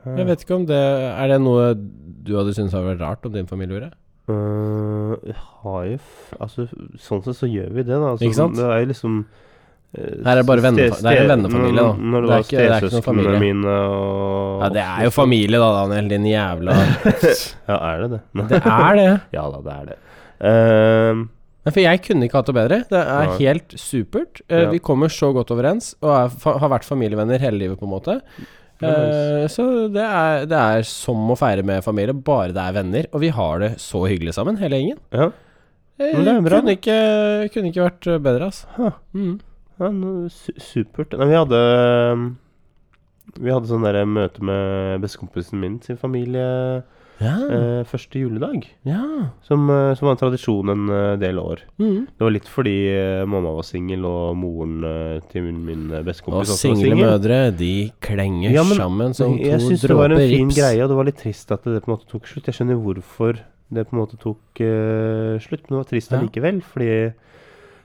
Jeg vet ikke om det Er det noe du hadde syntes hadde vært rart om din familie gjorde? Øh, jeg har jo f altså, Sånn sett så gjør vi det, da. Altså, Ikke sant? Det er jo liksom uh, Her er det bare vennefa- det er en vennefamilie, da. Når det, Det er var ikke- det er ikke noen stesøsknene familie. mine og Ja, det er jo familie da, Daniel, din jævla Ja, er det det? Nei. Det er det. Ja da, det er det. Ehm, Nei, for jeg kunne ikke hatt det bedre. Det er Nei. helt supert. Eh, Ja. Vi kommer så godt overens og er, fa har vært familievenner hele livet, på en måte. Ja, nice. Eh, så det er, det er som å feire med familie, bare det er venner. Og vi har det så hyggelig sammen, hele gjengen. ja. Eh, Men det er bra, kunne, ikke, kunne ikke vært bedre, altså. Huh. Mm. ja no, su supert. Nei, vi hadde ehm, Vi hadde sånn der møte med bestekompisen min sin familie Ja. eh, første juledag. Ah. ja. Som, eh, som var en tradisjon en eh, del år. Mm. Det var litt fordi eh, mamma var singel, og moren eh, til min, min eh, Og bestekompis også var single singel. mødre, de klenger Ja, men sammen som Jeg- to Jeg syns det var dråper en fin rips. greie, og det var litt trist at det på en måte tok slutt. Jeg skjønner hvorfor det på en måte tok eh, slutt, men det var trist Ja. allikevel. Fordi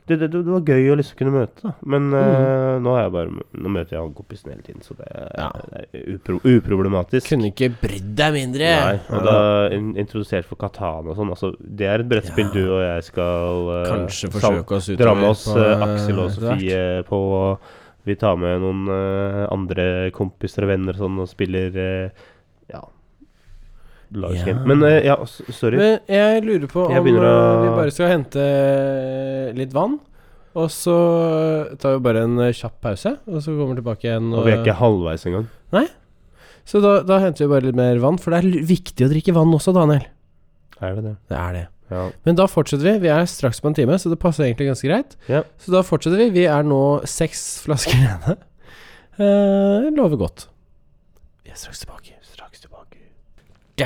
det, det, det var gøy å liksom kunne møte, da. Mm. Men eh, nå, er jeg bare, nå møter jeg han kompisen hele tiden, så det, er- Ja. det er upro uproblematisk. Kunne ikke brydd deg mindre. Nei, og da in introdusert for Katana og sånn. Altså, det er et brettspill du og jeg skal eh, Kanskje sam- forsøke oss utover Dra med oss på, eh, Aksel og etter Sofie på Vi tar med noen eh, andre kompiser og venner og sånn og spiller eh, Ja. Ja. Lagsgame. Men eh, ja, s- sorry. Men jeg lurer på om Jeg begynner å- eh, vi bare skal hente eh, litt vann. Og så tar vi bare en eh, kjapp pause, og så kommer vi tilbake igjen. eh, Og vi er ikke halvveis engang. Så da, da henter vi bare litt mer vann, for det er l- viktig å drikke vann også, Daniel. Er det det? Det er det. Ja. Men da fortsetter vi. Vi er straks på en time, så det passer egentlig ganske greit. Ja. Så da fortsetter vi. Vi er nå seks flasker rene. Eh, lover godt. Vi er straks tilbake. Straks tilbake.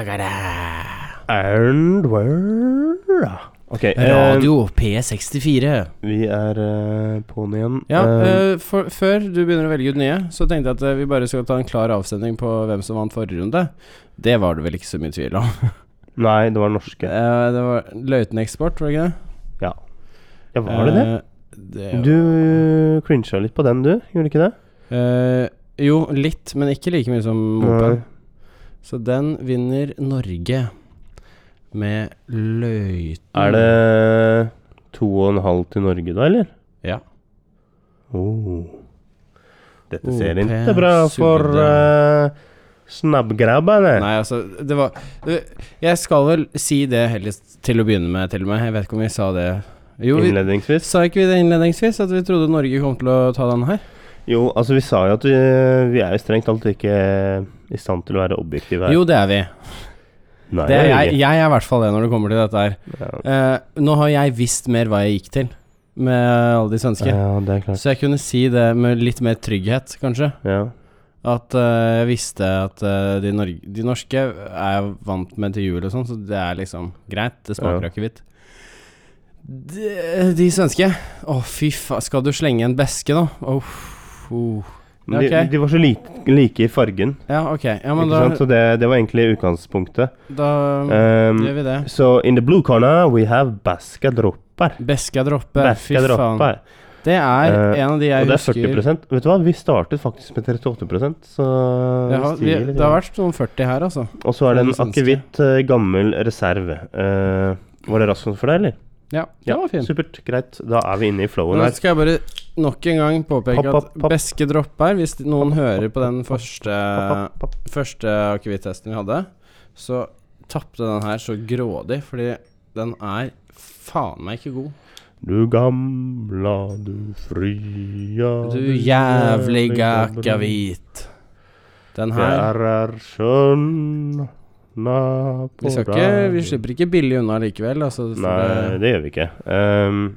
Gagara. And where Ok, eh, Radio P64. vi er eh, på'n igjen. Ja, Eh, eh, for, Før du begynner å velge ut nye, så tenkte jeg at eh, vi bare skal ta en klar avstemning på hvem som vant forrige runde. Det var det vel ikke så mye tvil om. nei, det var norske. Eh, det var Løiteneksport, var det ikke det? Ja, var det det? Eh, det var- Du crincha litt på den, du? Gjorde du ikke det? Eh, jo, litt, men ikke like mye som Nei. Moped. Så den vinner Norge med Løiten. Er det to og en halv til Norge da, eller? Ja. Oh. Dette Oh, ser per ikke bra for sugde. uh, snabbgrabbene. Nei, altså, det var det- Jeg skal vel si det helst til å begynne med, til og med. Jeg vet ikke om vi sa det Jo, vi, Innledningsvis. Sa ikke vi det innledningsvis, at vi trodde Norge kom til å ta den her? Jo, altså vi sa jo at vi, vi er jo strengt talt ikke i stand til å være objektive her. Jo, det er vi. Nei, Det er, vi jeg, ikke. jeg er i hvert fall det når det kommer til dette her. Eh, nå har jeg visst mer hva jeg gikk til med alle de Ja. svenske, ja, det er klart. så jeg kunne si det med litt mer trygghet, kanskje. Ja. At eh, jeg visste at eh, de, nor de norske er jeg vant med til jul og sånn, så det er liksom greit. Det smaker Ja. akevitt. De, de svenske Å, fy faen. Skal du slenge en beske nå? Åh, oh. Men de, Ok. de var så like, like i fargen, Ja, ok. Ja, men ikke da, sant? så det, det var egentlig utgangspunktet. da Um, gjør vi det. so in the blue corner we have Baska Dropper. Beska droppe. Fy Baska faen. Dropper. Det er Eh, en av de jeg Og det er husker 40 Vet du hva, vi startet faktisk med 38 så det har, vi, stiger litt. det har vært sånn 40 her, altså. Og så er det en Det syns jeg. akevitt eh, gammel reserve. Eh, var det raskt for deg, eller? Ja, den var fin. Supert, greit. Da er vi inne i flowen Nå her. skal jeg bare nok en gang påpeke Hopp, hopp, at hopp. beske dropper Hvis noen hører på den første, Papp, papp, papp. første akevittesten vi hadde, så tapte den her så grådig, fordi den er faen meg ikke god. Du gamla, du fria Du jævliga akevit. Den Jeg her er skjønna på Vi, skal ikke, vi slipper ikke billig unna likevel. Altså, for Nei, det- det gjør vi ikke. Ehm,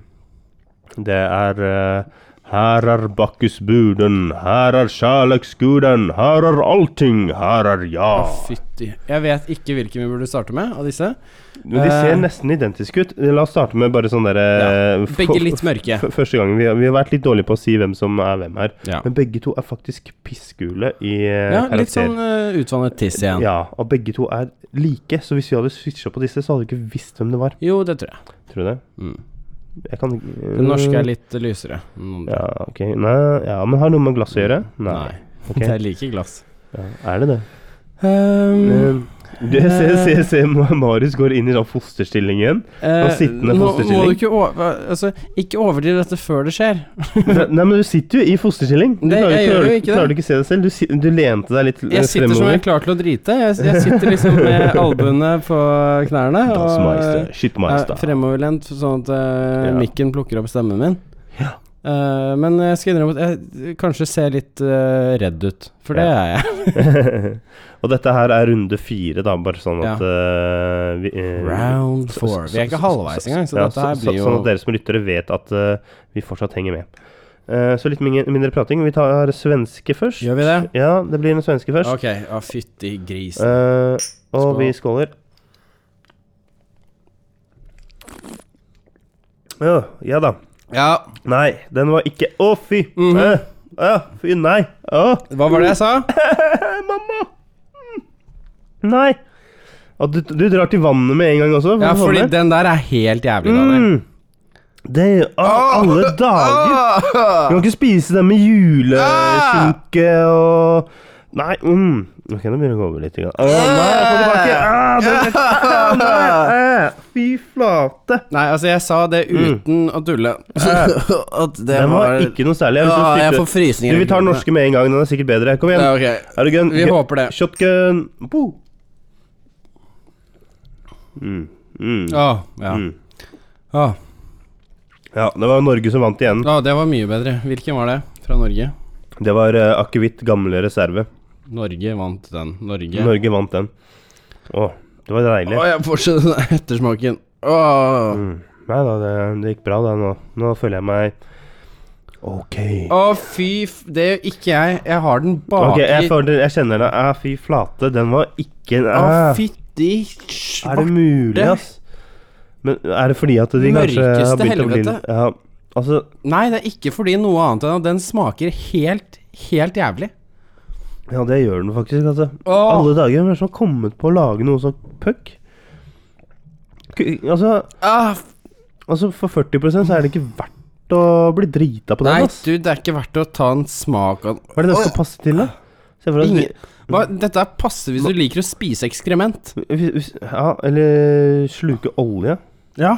det er eh, Her er Bakkusbuden, her er kjærleiksguden, her er allting, her er ja. Å, fytti. Jeg vet ikke hvilken vi burde starte med av disse. Men de ser Eh. nesten identiske ut. La oss starte med bare sånn derre eh, Begge f- litt mørke. f- Første gangen. Vi har, vi har vært litt dårlige på å si hvem som er hvem her. Ja, Men begge to er faktisk pissgule i eh, ja karakter. Litt sånn eh, utvannet tiss igjen. Ja, og begge to er like, så hvis vi hadde switcha på disse, så hadde vi ikke visst hvem det var. Jo, det tror jeg. Tror du det? Mm. Jeg kan eh, Den norske er litt lysere. enn den andre. Mm. Ja, ok. Nei, ja, men har det noe med glass å gjøre? Nei. Nei. Ok. Det er like glass. Ja, er det det? Um, Eh, du, se, se, se, Marius går inn i sånn fosterstilling igjen. eh, sittende nå må fosterstilling. du ikke over... Altså, ikke overdriv dette før det skjer. Nei, men du sitter jo i fosterstilling. Du Nei, klarer, jeg gjør jo klarer, ikke det. klarer du ikke se deg selv? Du, si- du lente deg litt eh, Jeg sitter som jeg er fremover. klar til å drite. Jeg, jeg sitter liksom med albuene på knærne Das og Meister. Shit er Meister. Eh, fremoverlent, sånn at eh, Ja. mikken plukker opp stemmen min. Eh, men jeg skal innrømme at jeg kanskje ser litt eh, redd ut, for det Ja. er jeg. og dette her er runde fire, da, bare sånn at Ja. eh, vi, eh, Round så- four. så- Vi er ikke så- halvveis så- engang, så ja, dette her blir jo Sånn at dere som lyttere vet at eh, vi fortsatt henger med. Eh, så litt mindre, mindre prating. Vi tar svenske først. Gjør vi det? Ja, det blir en svenske først. Ok, ja, fytti grisen. Eh, og Skål. vi skåler. Ja, ja da. Ja, Nei, den var ikke Å, fy! Mhm. Eh, eh, fy, nei! Å, hva var det jeg sa? mamma! Mm. Nei! Og du, du drar til vannet med en gang også? for Ja, å få fordi med. den der er Ah! helt jævlig, Daniel. mm. Det er jo Å, alle dager! Du kan ikke spise den med juleskinke Ah! og Nei, mm. Ok, nå begynner det å gå over litt. Igjen. Å, nei, få tilbake! Ah, den, nei, eh, fy flate! Nei, altså, jeg sa det uten å tulle. At det Den Mm. var ikke noe særlig. Jeg vil Ah, så jeg stykke- får frysninger. Du, Vi tar den norske med en gang. Den er sikkert bedre. Kom igjen. Ja, ok. Er du gun? Vi håper det. Shotgun. Bo. Mm. Mm. Å, ja. Mm. Å, Ja, det var Norge som vant igjen. å, det var mye bedre. Hvilken var det fra Norge? Det var uh, akevitt gamle reserve. Norge vant den. Norge. Norge vant den. Å, det var deilig. Å, jeg får så den ettersmaken. Å. Mm. Nei da, det, det gikk bra da nå. Nå føler jeg meg OK. Å, fy f... Det gjør ikke jeg. Jeg har den baki Ok, jeg, føler, jeg kjenner det. Ah, fy flate, den var ikke Å, ah. fytti Er det mulig, ass? Men er det fordi at de kanskje har Mørkeste begynt å bli helvete. litt ja, Altså, Nei, det er ikke fordi noe annet enn at den smaker helt, helt jævlig. ja, det gjør den faktisk, altså. Åh. Alle dager. Hvem er det som har kommet på å lage noe så puck? K- Altså, Ah, f- altså, for 40 så er det ikke verdt å bli drita på nei, den, ass. du, det er ikke verdt å ta en smak av Hva er det den skal passe til, da? Se for deg Ingen- Hva, Dette er passe hvis du liker å spise ekskrement. hvis- hvis- Ja, eller sluke olje. Ja,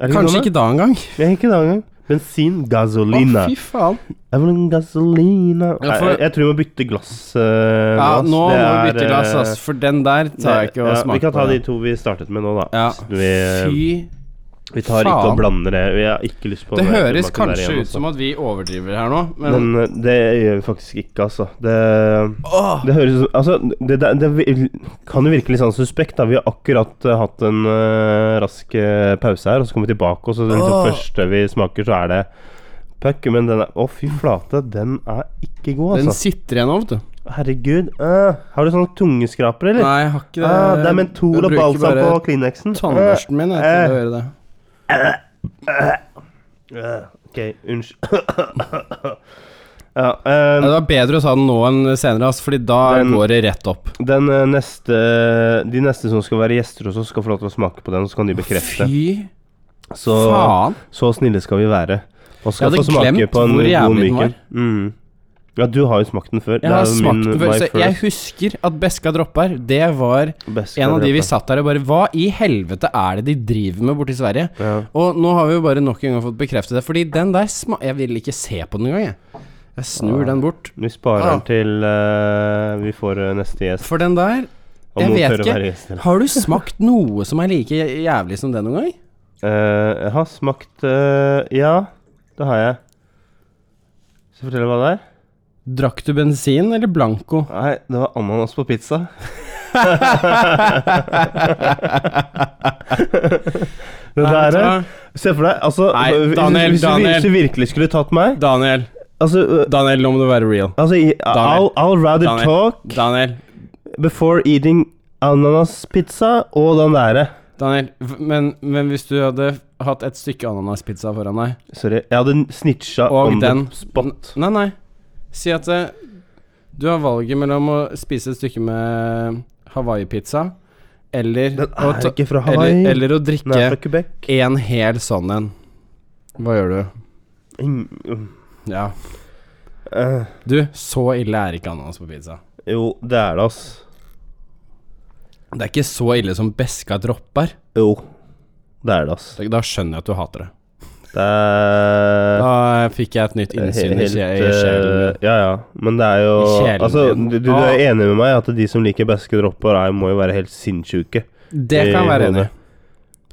Er det Kanskje noe med? ikke da engang. Jeg, ikke det engang. Bensin, gasolina. Å, fy faen. Evelyn Gasolina Ja, for- jeg, jeg tror vi må bytte glass. eh, nå, Ja, ass. nå må Det vi er, bytte glass, eh, ass, for den der tar jeg ikke å ja, Vi smake kan ta på. de to vi startet med nå, da. ja. Så Vi, eh, Fy vi tar ikke faen. og blander det. Vi har ikke lyst på Det den der høres tomaten der kanskje igjen, ut som at vi overdriver her nå, altså. men, Men eh, det gjør vi faktisk ikke, altså. Det, Åh! det høres ut som Altså, det, det, det vi- kan jo virke litt sånn suspekt, da. Vi har akkurat eh, hatt en eh, rask eh, pause her, og så kommer vi tilbake, og så det liksom Åh! første vi smaker, så er det puck. Men den er Å, fy flate, den er ikke god, den altså. sitter igjen over, vet du. Herregud. eh, har du sånn tungeskraper, eller? Nei, jeg har ikke det. Ah, det er mentol og balsam på Kleenexen. Tannbørsten min jeg, til å Eh, gjøre det. eh, ok, unnskyld. Ja, eh, Ja, Det var bedre å ta den nå enn senere, ass, Fordi da Den- går det rett opp. den eh, neste De neste som skal være gjester hos oss, skal få lov til å smake på den, så kan de bekrefte. Fy Så, faen! så snille skal vi være. Og skal Jeg hadde få smake glemt på en hvor god jævlig den var. myken. Mm. Ja, du har jo smakt den før. Jeg har smakt den før, my så jeg husker at Beska dropper. Det var best en av de vi kvalitet. satt der og bare Hva i helvete er det de driver med borte i Sverige? Ja. Og nå har vi jo bare nok en gang fått bekreftet det, fordi den der sma... Jeg vil ikke se på den engang, jeg. Jeg snur den bort. Vi sparer Ah. den til eh, vi får eh, neste gjest. For den der Om Jeg noen vet tør å ikke. være gjest, eller? Har du smakt noe som er like jæ- jævlig som det noen gang? Eh, jeg har smakt eh, Ja, det har jeg. Skal jeg fortelle hva det er? Drakk du bensin eller blanco? Nei, det var ananas på pizza. det der eh? er Se for deg, altså Nei, hvis- Daniel, hvis, du vir- Daniel. hvis du virkelig skulle tatt meg Daniel, Altså, øh, Daniel, nå må du være real. altså i- I'll, I'll rather Daniel. talk Daniel, before eating ananaspizza og den derre. Daniel, v- men, men hvis du hadde hatt et stykke ananaspizza foran deg Sorry, jeg hadde snitcha Og on den. the spot. Nei, nei. Si at eh, du har valget mellom å spise et stykke med hawaiipizza eller, Den å er ta- ikke fra Hawaii. eller, eller å den er fra drikke Quebec. en hel sånn en. Hva gjør du? Mm, Ja. øh, Du, så ille er ikke ananas på pizza. jo, det er det, ass. Det er ikke så ille som beska dropper. Jo, det er det, ass. Da skjønner jeg at du hater det. Det er Da fikk jeg et nytt innsyn i Helt, sje- i eh, sjelen min. Ja, ja. Men det er jo I sjelen Altså, min. du, du Ah. er enig med meg at de som liker beske dropper, er, må jo være helt sinnssyke. Det kan jeg være enig i.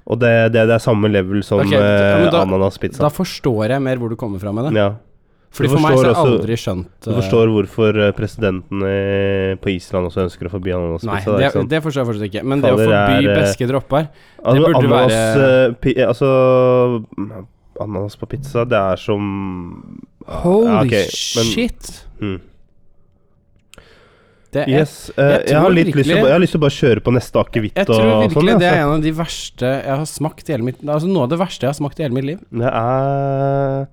Og det, det, det er samme level som Ok, ja, eh, men da- Da ananaspizza. forstår jeg mer hvor du kommer fra med det. Ja. Fordi Du for meg så har jeg forstår også- aldri skjønt Du eh, forstår hvorfor eh, presidenten eh, på Island også ønsker å forby Nei, ananaspizza? det, ikke sant? det forstår jeg fortsatt ikke. Men det å Fader, forby er, eh, beske dropper Altså, burde ananas, være- eh, pi, altså mm, Ananas på pizza, det er som Holy ja, ok, men- shit! mm. Det er, Yes. eh, jeg jeg, tror har litt lyst til, virkelig- å- jeg har lyst til å bare kjøre på neste akevitt Jeg og tror virkelig sånn. det er altså. en av de verste jeg har smakt i hele mitt Altså noe av det verste jeg har smakt i hele mitt liv. Det er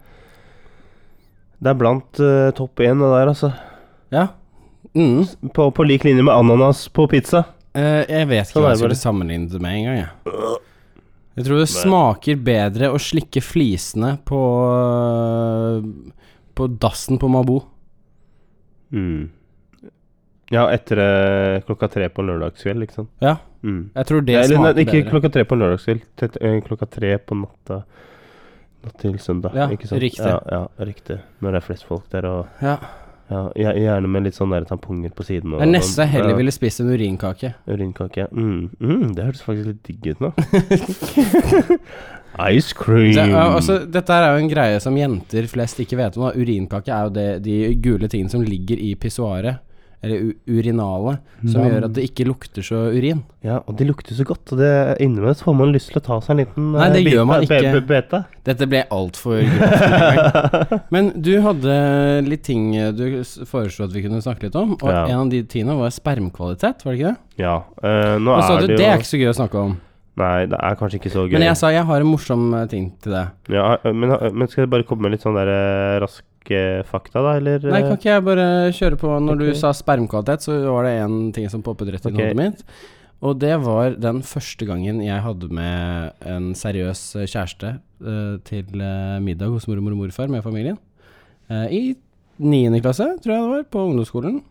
Det er blant eh, topp én, det der, altså. Ja. Mm. På, på lik linje med ananas på pizza. Eh, jeg vet ikke Sånn hva er jeg det bare. skulle sammenligne det med engang, jeg. Jeg tror det smaker bedre å slikke flisene på øh, På dassen på Mabo. Mm. Ja, etter eh, klokka tre på en lørdagskveld, liksom. Ja. Mm. Jeg tror det Eller nei, smaker ikke bedre. klokka tre på en lørdagskveld. tett- eh, Klokka tre på natta natt til søndag. Ja, ikke sant? riktig. Ja, ja, riktig. Når det er flest folk der, og Ja. ja, gjer- gjerne med litt sånn der tamponger på siden. Og, sånn. Det er nesten jeg heller Ja, ville spist en urinkake. Urinkake. Mm, mm, det hørtes faktisk litt digg ut nå. Ice cream. Det, er- altså, dette her er jo en greie som jenter flest ikke vet om. Da. Urinkake er jo det, de gule tingene som ligger i pissoaret, eller u- urinalet, som Mm. gjør at det ikke lukter så urin. Ja, og det lukter så godt, og det innimellom så får man lyst til å ta seg en liten Nei, eh, det gjør man be- ikke. be- Bete. Dette ble altfor grovt. Men du hadde litt ting eh, du s- foreslo at vi kunne snakke litt om, og Ja. en av de tingene var spermkvalitet, var det ikke det? Ja, eh, nå Og så sa er du det jo Altså, det er ikke så gøy å snakke om. Nei, det er kanskje ikke så gøy. Men jeg sa jeg har en morsom eh, ting til deg. ja, eh, men, men skal jeg bare komme med litt sånn der eh, raske fakta, da, eller? eh? Nei, kan ikke jeg bare kjøre på? Når ok. du sa spermkvalitet, så var det én ting som poppet rett inn i Ok. hodet mitt. Og det var den første gangen jeg hadde med en seriøs eh, kjæreste eh, til eh, middag hos mormor og morfar med familien. Eh, I niende klasse, tror jeg det var, på ungdomsskolen.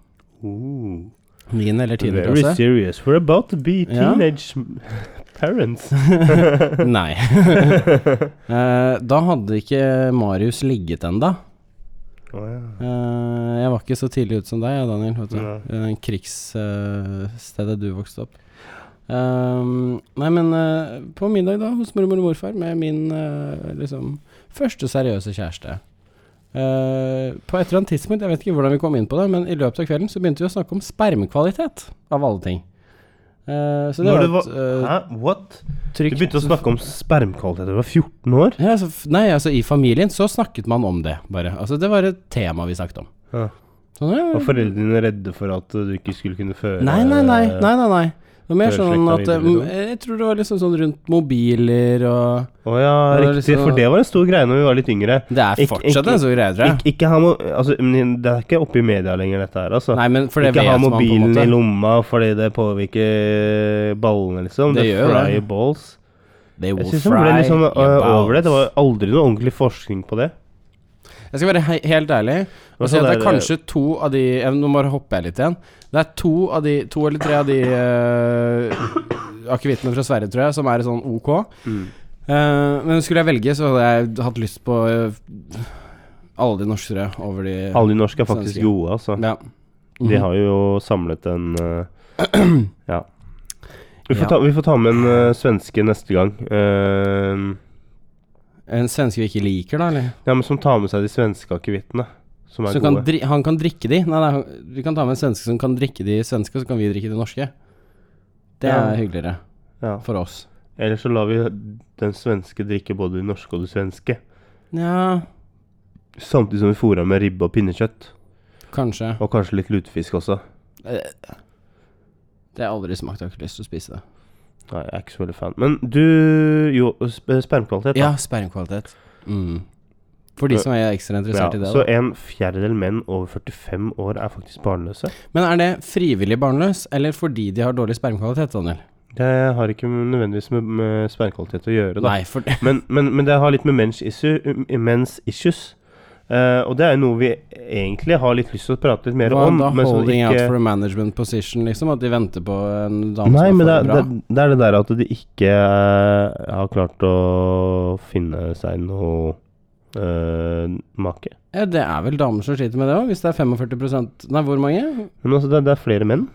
Ooh, Niende eller tiende very klasse. serious. We're about to be altså. Ja. teenage parents. Nei. Eh, da hadde ikke Marius ligget ennå. Å, ja. Eh, jeg var ikke så tidlig ute som deg, jeg, Daniel. Vet du. Nei. I krigsstedet du vokste opp. Ehm, nei, men eh, på middag da hos mormor og morfar med min eh, liksom første seriøse kjæreste. Eh, på et eller annet tidspunkt, jeg vet ikke hvordan vi kom inn på det, men i løpet av kvelden så begynte vi å snakke om spermekvalitet, av alle ting. Eh, så det Når var du et var eh, Hæ, what? Du trykk begynte å snakke om spermkvalitet da du var 14 år? ja, altså, f- Nei, altså i familien så snakket man om det, bare. Altså det var et tema vi snakket om. Ja. Sånn, ja, ja. Var foreldrene dine redde for at du ikke skulle kunne føre Nei, nei, nei. nei, nei, nei. Det var mer Eh, Før sånn slekta at eh, videre, mm, Jeg tror det var liksom sånn rundt mobiler og Å Det ja, var riktig. liksom- For det var en stor greie når vi var litt yngre. Det er Ikke- fortsatt ikke- en sånn greie, tror jeg. Ik ikke ha mo altså, men det er ikke oppe i media lenger, dette her, altså. Nei, men for det ikke vet ha man på en mobilen i måte. lomma fordi det påvirker ballene, liksom. Det Det, gjør fry det. balls. They Jeg will syns det ble fry litt sånn your øh, over det. Det var balls. aldri noe ordentlig forskning på det. Jeg skal være he helt ærlig og Men si så at det er der, kanskje to av de jeg, Nå bare hopper jeg litt igjen. Det er to av de To eller tre av de eh, akevittene fra Sverige, tror jeg, som er sånn ok. Mm. Eh, men skulle jeg velge, så hadde jeg hatt lyst på eh, alle de norske, tror jeg, over de Alle de norske er faktisk Svenske. gode, altså. Ja. De Mhm. har jo samlet en øh, Ja. Vi får, Ja. ta, vi får ta med en øh, svenske neste gang. Eh, En svenske vi ikke liker, da, eller? ja, men som tar med seg de svenske akevittene. Som er Så kan gode. dri han kan drikke de? Nei, nei, han- vi kan ta med en svenske som kan drikke de svenske, og så kan vi drikke de norske. Det Ja. er hyggeligere Ja. for oss. Eller så lar vi den svenske drikke både det norske og det svenske. Nja, Samtidig som vi fôrer med ribbe og pinnekjøtt. kanskje. Og kanskje litt lutefisk også. Eh, Det har jeg aldri smakt, jeg har ikke lyst til å spise det. Nei, jeg er ikke så veldig fan. Men du Jo, sp spermkvalitet, da. Ja, spermkvalitet. Mm. For de som er ekstra interessert i det. så Da. en fjerdedel menn over 45 år er faktisk barnløse. Men er det frivillig barnløs, eller fordi de har dårlig spermkvalitet, Daniel? Det har ikke nødvendigvis med, med spermkvalitet å gjøre, da. Nei, for Men, men, men det har litt med mens, issue, mens issues Eh, Og det er jo noe vi egentlig har litt lyst til å prate litt mer Hva om. da? men som Holding out ikke- for a management position, liksom? At de venter på en dame Nei, som men det får er, det det, bra? er- det er det der at de ikke eh, har klart å finne seg noe eh, make. Ja, det er vel damer som sliter med det òg, hvis det er 45 Nei, hvor mange? Men altså, det, er- det er flere menn,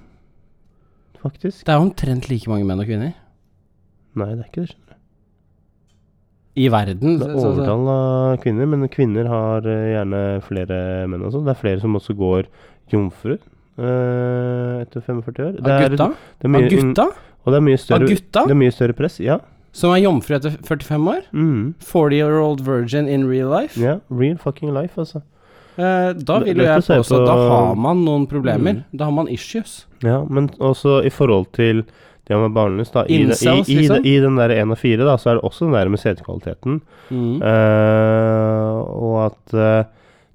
faktisk. Det er omtrent like mange menn og kvinner. Nei, det er ikke det. skjønner I verden. du. Det er overtall av kvinner, men kvinner har eh, gjerne flere menn også. Det er flere som også går jomfruer eh, etter 45 år. av Det er- gutta? Det er Av mye, gutta? Og det er mye Av større, gutta? det er mye større press. Ja. Som er jomfru etter 45 år? Mm. 40 year old virgin in real life? ja. Real fucking life, altså. Eh, da vil Det- jo jeg dette ser påstå på- Mm. at da har man noen problemer. Da har man issues. Ja, men også i forhold til det med barnløs, da. I, Incels, i, i, liksom? i den der én av fire, da, så er det også den der med sædkvaliteten. Mm. Eh, og at eh,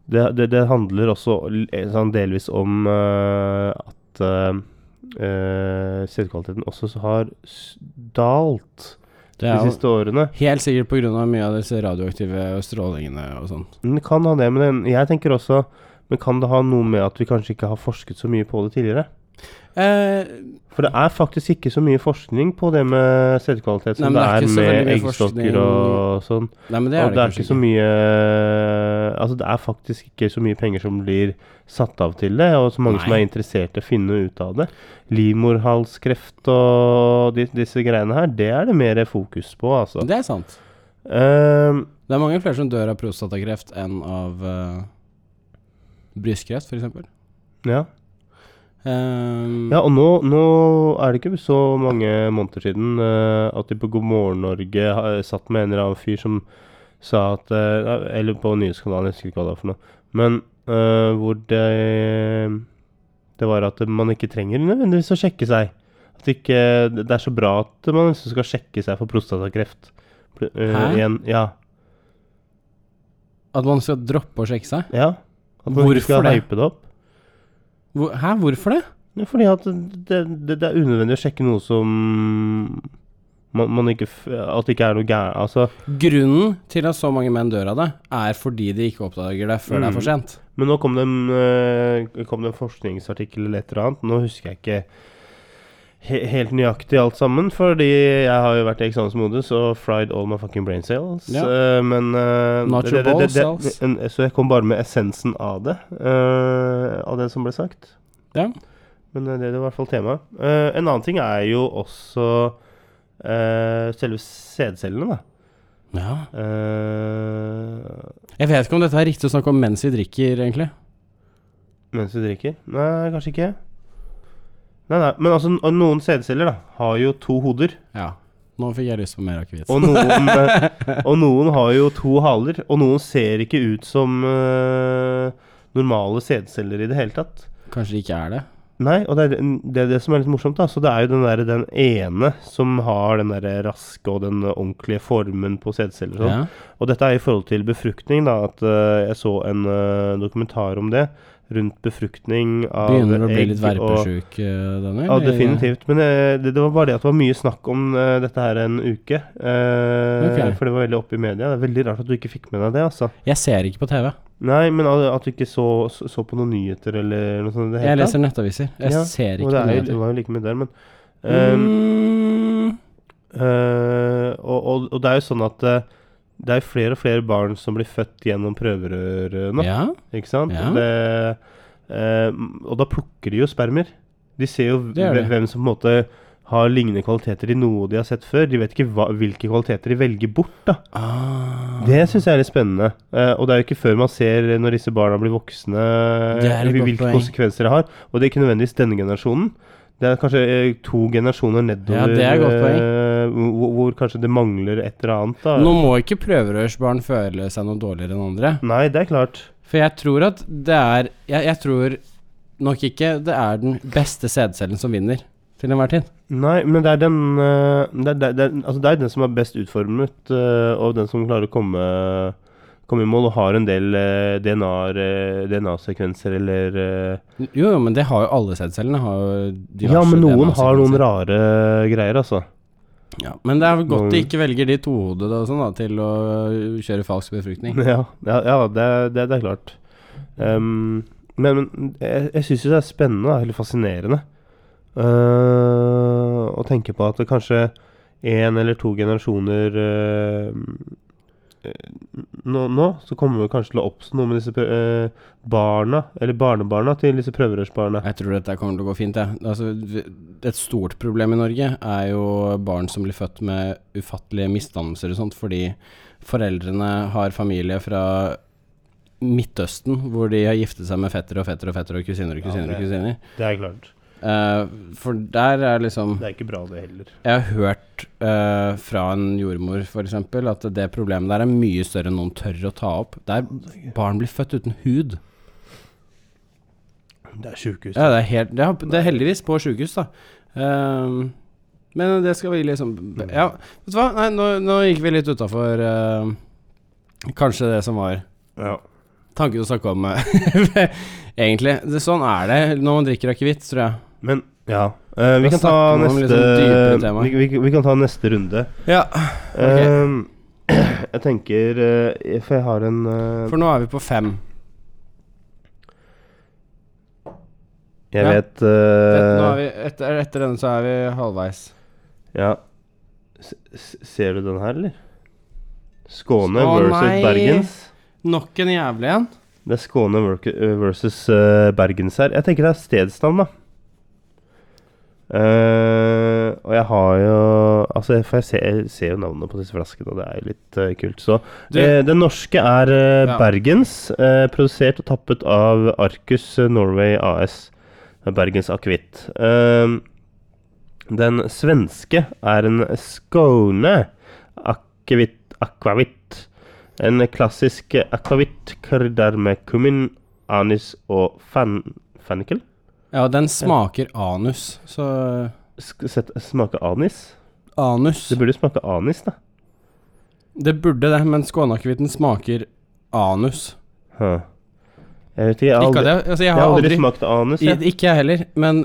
det, det, det handler også l- eh, sånn delvis om eh, at eh, eh, sædkvaliteten også så har s- dalt Det de er jo siste årene. helt sikkert pga. mye av disse radioaktive strålingene og sånn. Men det kan ha det, men den- jeg tenker også Men kan det ha noe med at vi kanskje ikke har forsket så mye på det tidligere? Eh, For det er faktisk ikke så mye forskning på det med sædkvalitet som Nei, men det det er er, ikke så med veldig mye eggstokker forskning. og sånn. nei, men det er og det, det er kanskje ikke så mye Altså, det er faktisk ikke så mye penger som blir satt av til det, og så mange som Nei. er interessert i å finne ut av det. Livmorhalskreft og de, disse greiene her, det er det mer fokus på, altså. Det er sant. Ehm, Det er mange flere som dør av prostatakreft enn av uh, brystkreft, f.eks. ja. Um, ja, og nå, nå er det ikke så mange måneder siden eh, at de på God morgen Norge eh, satt med en eller annen fyr som sa at eh, Eller på nyhetskanalen, jeg husker ikke hva det var for noe. Men eh, hvor det Det var at man ikke trenger nødvendigvis å sjekke seg. At det ikke Det er så bra at man nesten skal sjekke seg for prostatakreft. Pl- eh, Hæ? igjen. Ja. At man skal droppe å sjekke seg? ja. At man Hvorfor ikke skal det? hype det opp. Hvor, hæ, hvorfor det? Ja, fordi at det, det, det er unødvendig å sjekke noe som man, man ikke f- At det ikke er noe gærent. Altså, Grunnen til at så mange menn dør av det, er fordi de ikke oppdager det før det er Mm. for sent. men nå kom det, en, eh, kom det en forskningsartikkel eller et eller annet. Nå husker jeg ikke he helt nøyaktig alt sammen, fordi jeg har jo vært i eksamensmodus og fried all my fucking brain cells. Ja. eh, men eh, Not your ball cells. en- Så jeg kom bare med essensen av det. eh, av det som ble sagt. Ja. Men eh, det er i hvert fall temaet. Eh, en annen ting er jo også eh, selve sædcellene, da. ja. Eh, Jeg vet ikke om dette er riktig å snakke om mens vi drikker, egentlig. mens du drikker? Nei, kanskje ikke. Nei, nei, Men altså, n- noen sædceller da, har jo to hoder. Ja. Nå fikk jeg lyst på mer akevitt. Og noen, eh, og noen har jo to haler. Og noen ser ikke ut som eh, normale sædceller i det hele tatt. Kanskje det ikke er det. Nei, og det er det, er det som er litt morsomt, da. Så det er jo den, der, den ene som har den der raske og den ordentlige formen på sædceller. og Sånn. Ja. Og dette er i forhold til befruktning, da. At eh, jeg så en eh, dokumentar om det. Rundt befruktning av Begynner du å bli egg litt og- verpesjuk, eh, Daniel? Ja, eller? definitivt. Men eh, det, det var bare det at det var mye snakk om eh, dette her en uke. eh, Ok. For det var veldig oppe i media. Det er veldig rart at du ikke fikk med deg det, altså. Jeg ser ikke på TV. Nei, men at at du ikke så, så, så på noen nyheter eller noe sånt. i Det hele Jeg tatt. leser nettaviser. Jeg Ja, ser ikke og på det, er, jo- Ehm, det nyheter. var jo like mye der, men ehm, Mm. eh, og, og, og det er jo sånn at eh, det er flere og flere barn som blir født gjennom prøverør eh, nå, Ja. ikke sant? Ja. Det, ehm, og da plukker de jo spermer. De ser jo Det gjør hvem, de. hvem som på en måte har lignende kvaliteter i noe de har sett før. De vet ikke hva, hvilke kvaliteter de velger bort, da. Ah. Det syns jeg er litt spennende. Eh, og det er jo ikke før man ser eh, når disse barna blir voksne, Det er et hvil- godt hvilke poeng. konsekvenser det har. Og det er ikke nødvendigvis denne generasjonen. Det er kanskje eh, to generasjoner nedover Ja, det er et godt poeng. eh, hvor, hvor kanskje det mangler et eller annet. Da. Nå må ikke prøverørsbarn føle seg noe dårligere enn andre. Nei, det er klart. For jeg tror at det er Jeg, jeg tror nok ikke det er den beste sædcellen som vinner til enhver tid. Nei, men det er den eh, det er, det er, det er, altså det er den som er best utformet, eh, og den som klarer å komme Komme i mål og har en del eh, DNA-sekvenser eller eh, Jo, jo, men det har jo alle sædcellene. har jo diverse Ja, men noen DNA-sekvenser. har noen rare greier, altså. ja, Men det er vel godt de Noen- ikke velger de tohodede og sånn da til å øh, kjøre falsk befruktning. Ja, ja, ja det, er- det, er- det er klart. Ehm, men, men jeg, jeg syns jo det er spennende, da, eller fascinerende, eh, å tenke på at det kanskje én eller to generasjoner eh, eh, nå, nå så kommer vi kanskje til å oppstå noe med disse prø- eh, barna, eller barnebarna til disse prøverørsbarna. Jeg tror dette kommer til å gå fint, jeg. Altså, vi- et stort problem i Norge er jo barn som blir født med ufattelige misdannelser og sånt, fordi foreldrene har familie fra Midtøsten, hvor de har giftet seg med fettere og fettere og fettere og kusiner og Ja, kusiner og det- kusiner. Det er klart. Eh, for der er liksom Det er ikke bra, det heller. Jeg har hørt eh, fra en jordmor f.eks. at det problemet der er mye større enn noen tør å ta opp. Der barn blir født uten hud. Det er sjukehus. Ja, det er, helt, det er, det er heldigvis på sjukehus, da. Ehm, men det skal vi liksom Mm. Ja, vet du hva? Nei, nå, nå gikk vi litt utafor ehm, kanskje det som var Ja. tanken å snakke om, eh, egentlig. Det, sånn er det når man drikker akevitt, tror jeg. Men ja. eh, vi, Da kan ta snakker man om neste, litt sånn dypere temaer. vi, vi, vi kan ta neste runde. Ja, Ehm, jeg tenker eh, For jeg har en eh, For nå er vi på fem. Jeg ja. vet Det, eh, nå er vi, etter, etter denne så er vi halvveis. Ja. S s- ser du den her, eller? Skåne Å, versus nei. Bergens. Nok en jævlig en. Det er Skåne verk- eh, versus eh, Bergens her. Jeg tenker det er stedsnavn, da. Eh, og jeg har jo Altså, jeg- for jeg ser, jeg ser jo navnene på disse flaskene, og det er jo litt eh, kult, så Du- eh, Den norske er eh, Ja. Bergens, eh, produsert og tappet av Arcus Norway AS. eh, Bergens akevitt. Eh, den svenske er en Skåne akevitt akvavitt. En klassisk akvavitt krydder med kummin, anis og fan, fennikel. Ja, den smaker anus, så Sk- sett- Smaker anis? Anus. Det burde jo smake anis, da. Det burde det, men skåneakevitten smaker anus. Hæ. Jeg vet ikke, jeg har Ikke aldri, at jeg, altså jeg jeg har aldri, aldri smakt anus. I, Jeg. ikke jeg heller, men,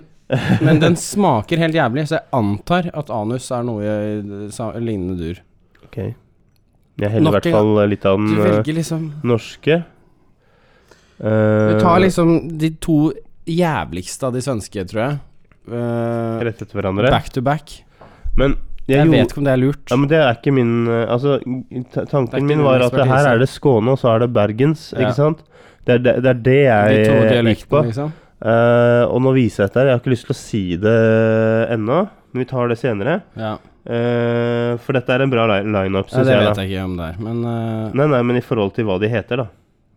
men den smaker helt jævlig, så jeg antar at anus er noe i sa- lignende dur. Ok. Jeg heller i Nok hvert en fall litt av Du den eh, velger liksom norske. Du Eh, tar liksom de to jævligste av de svenske, tror jeg. Eh, rett etter hverandre. back to back. Men jeg, Jeg gjorde- vet ikke om det er lurt. Ja, men det er ikke min eh, Altså, i- ta- Det er ikke tanken min din var at det her ekspertise. er det Skåne, og så er det Bergens, Ja. ikke sant? Det er det, det, er det De jeg to gikk på. dialektene, liksom. Eh, og nå viser jeg dette her. Jeg har ikke lyst til å si det ennå, men vi tar det senere. Ja. Eh, for dette er en bra li- lineup, ja, syns det jeg. vet Da. jeg ikke om det er, men eh, Nei, nei, men i forhold til hva de heter, da,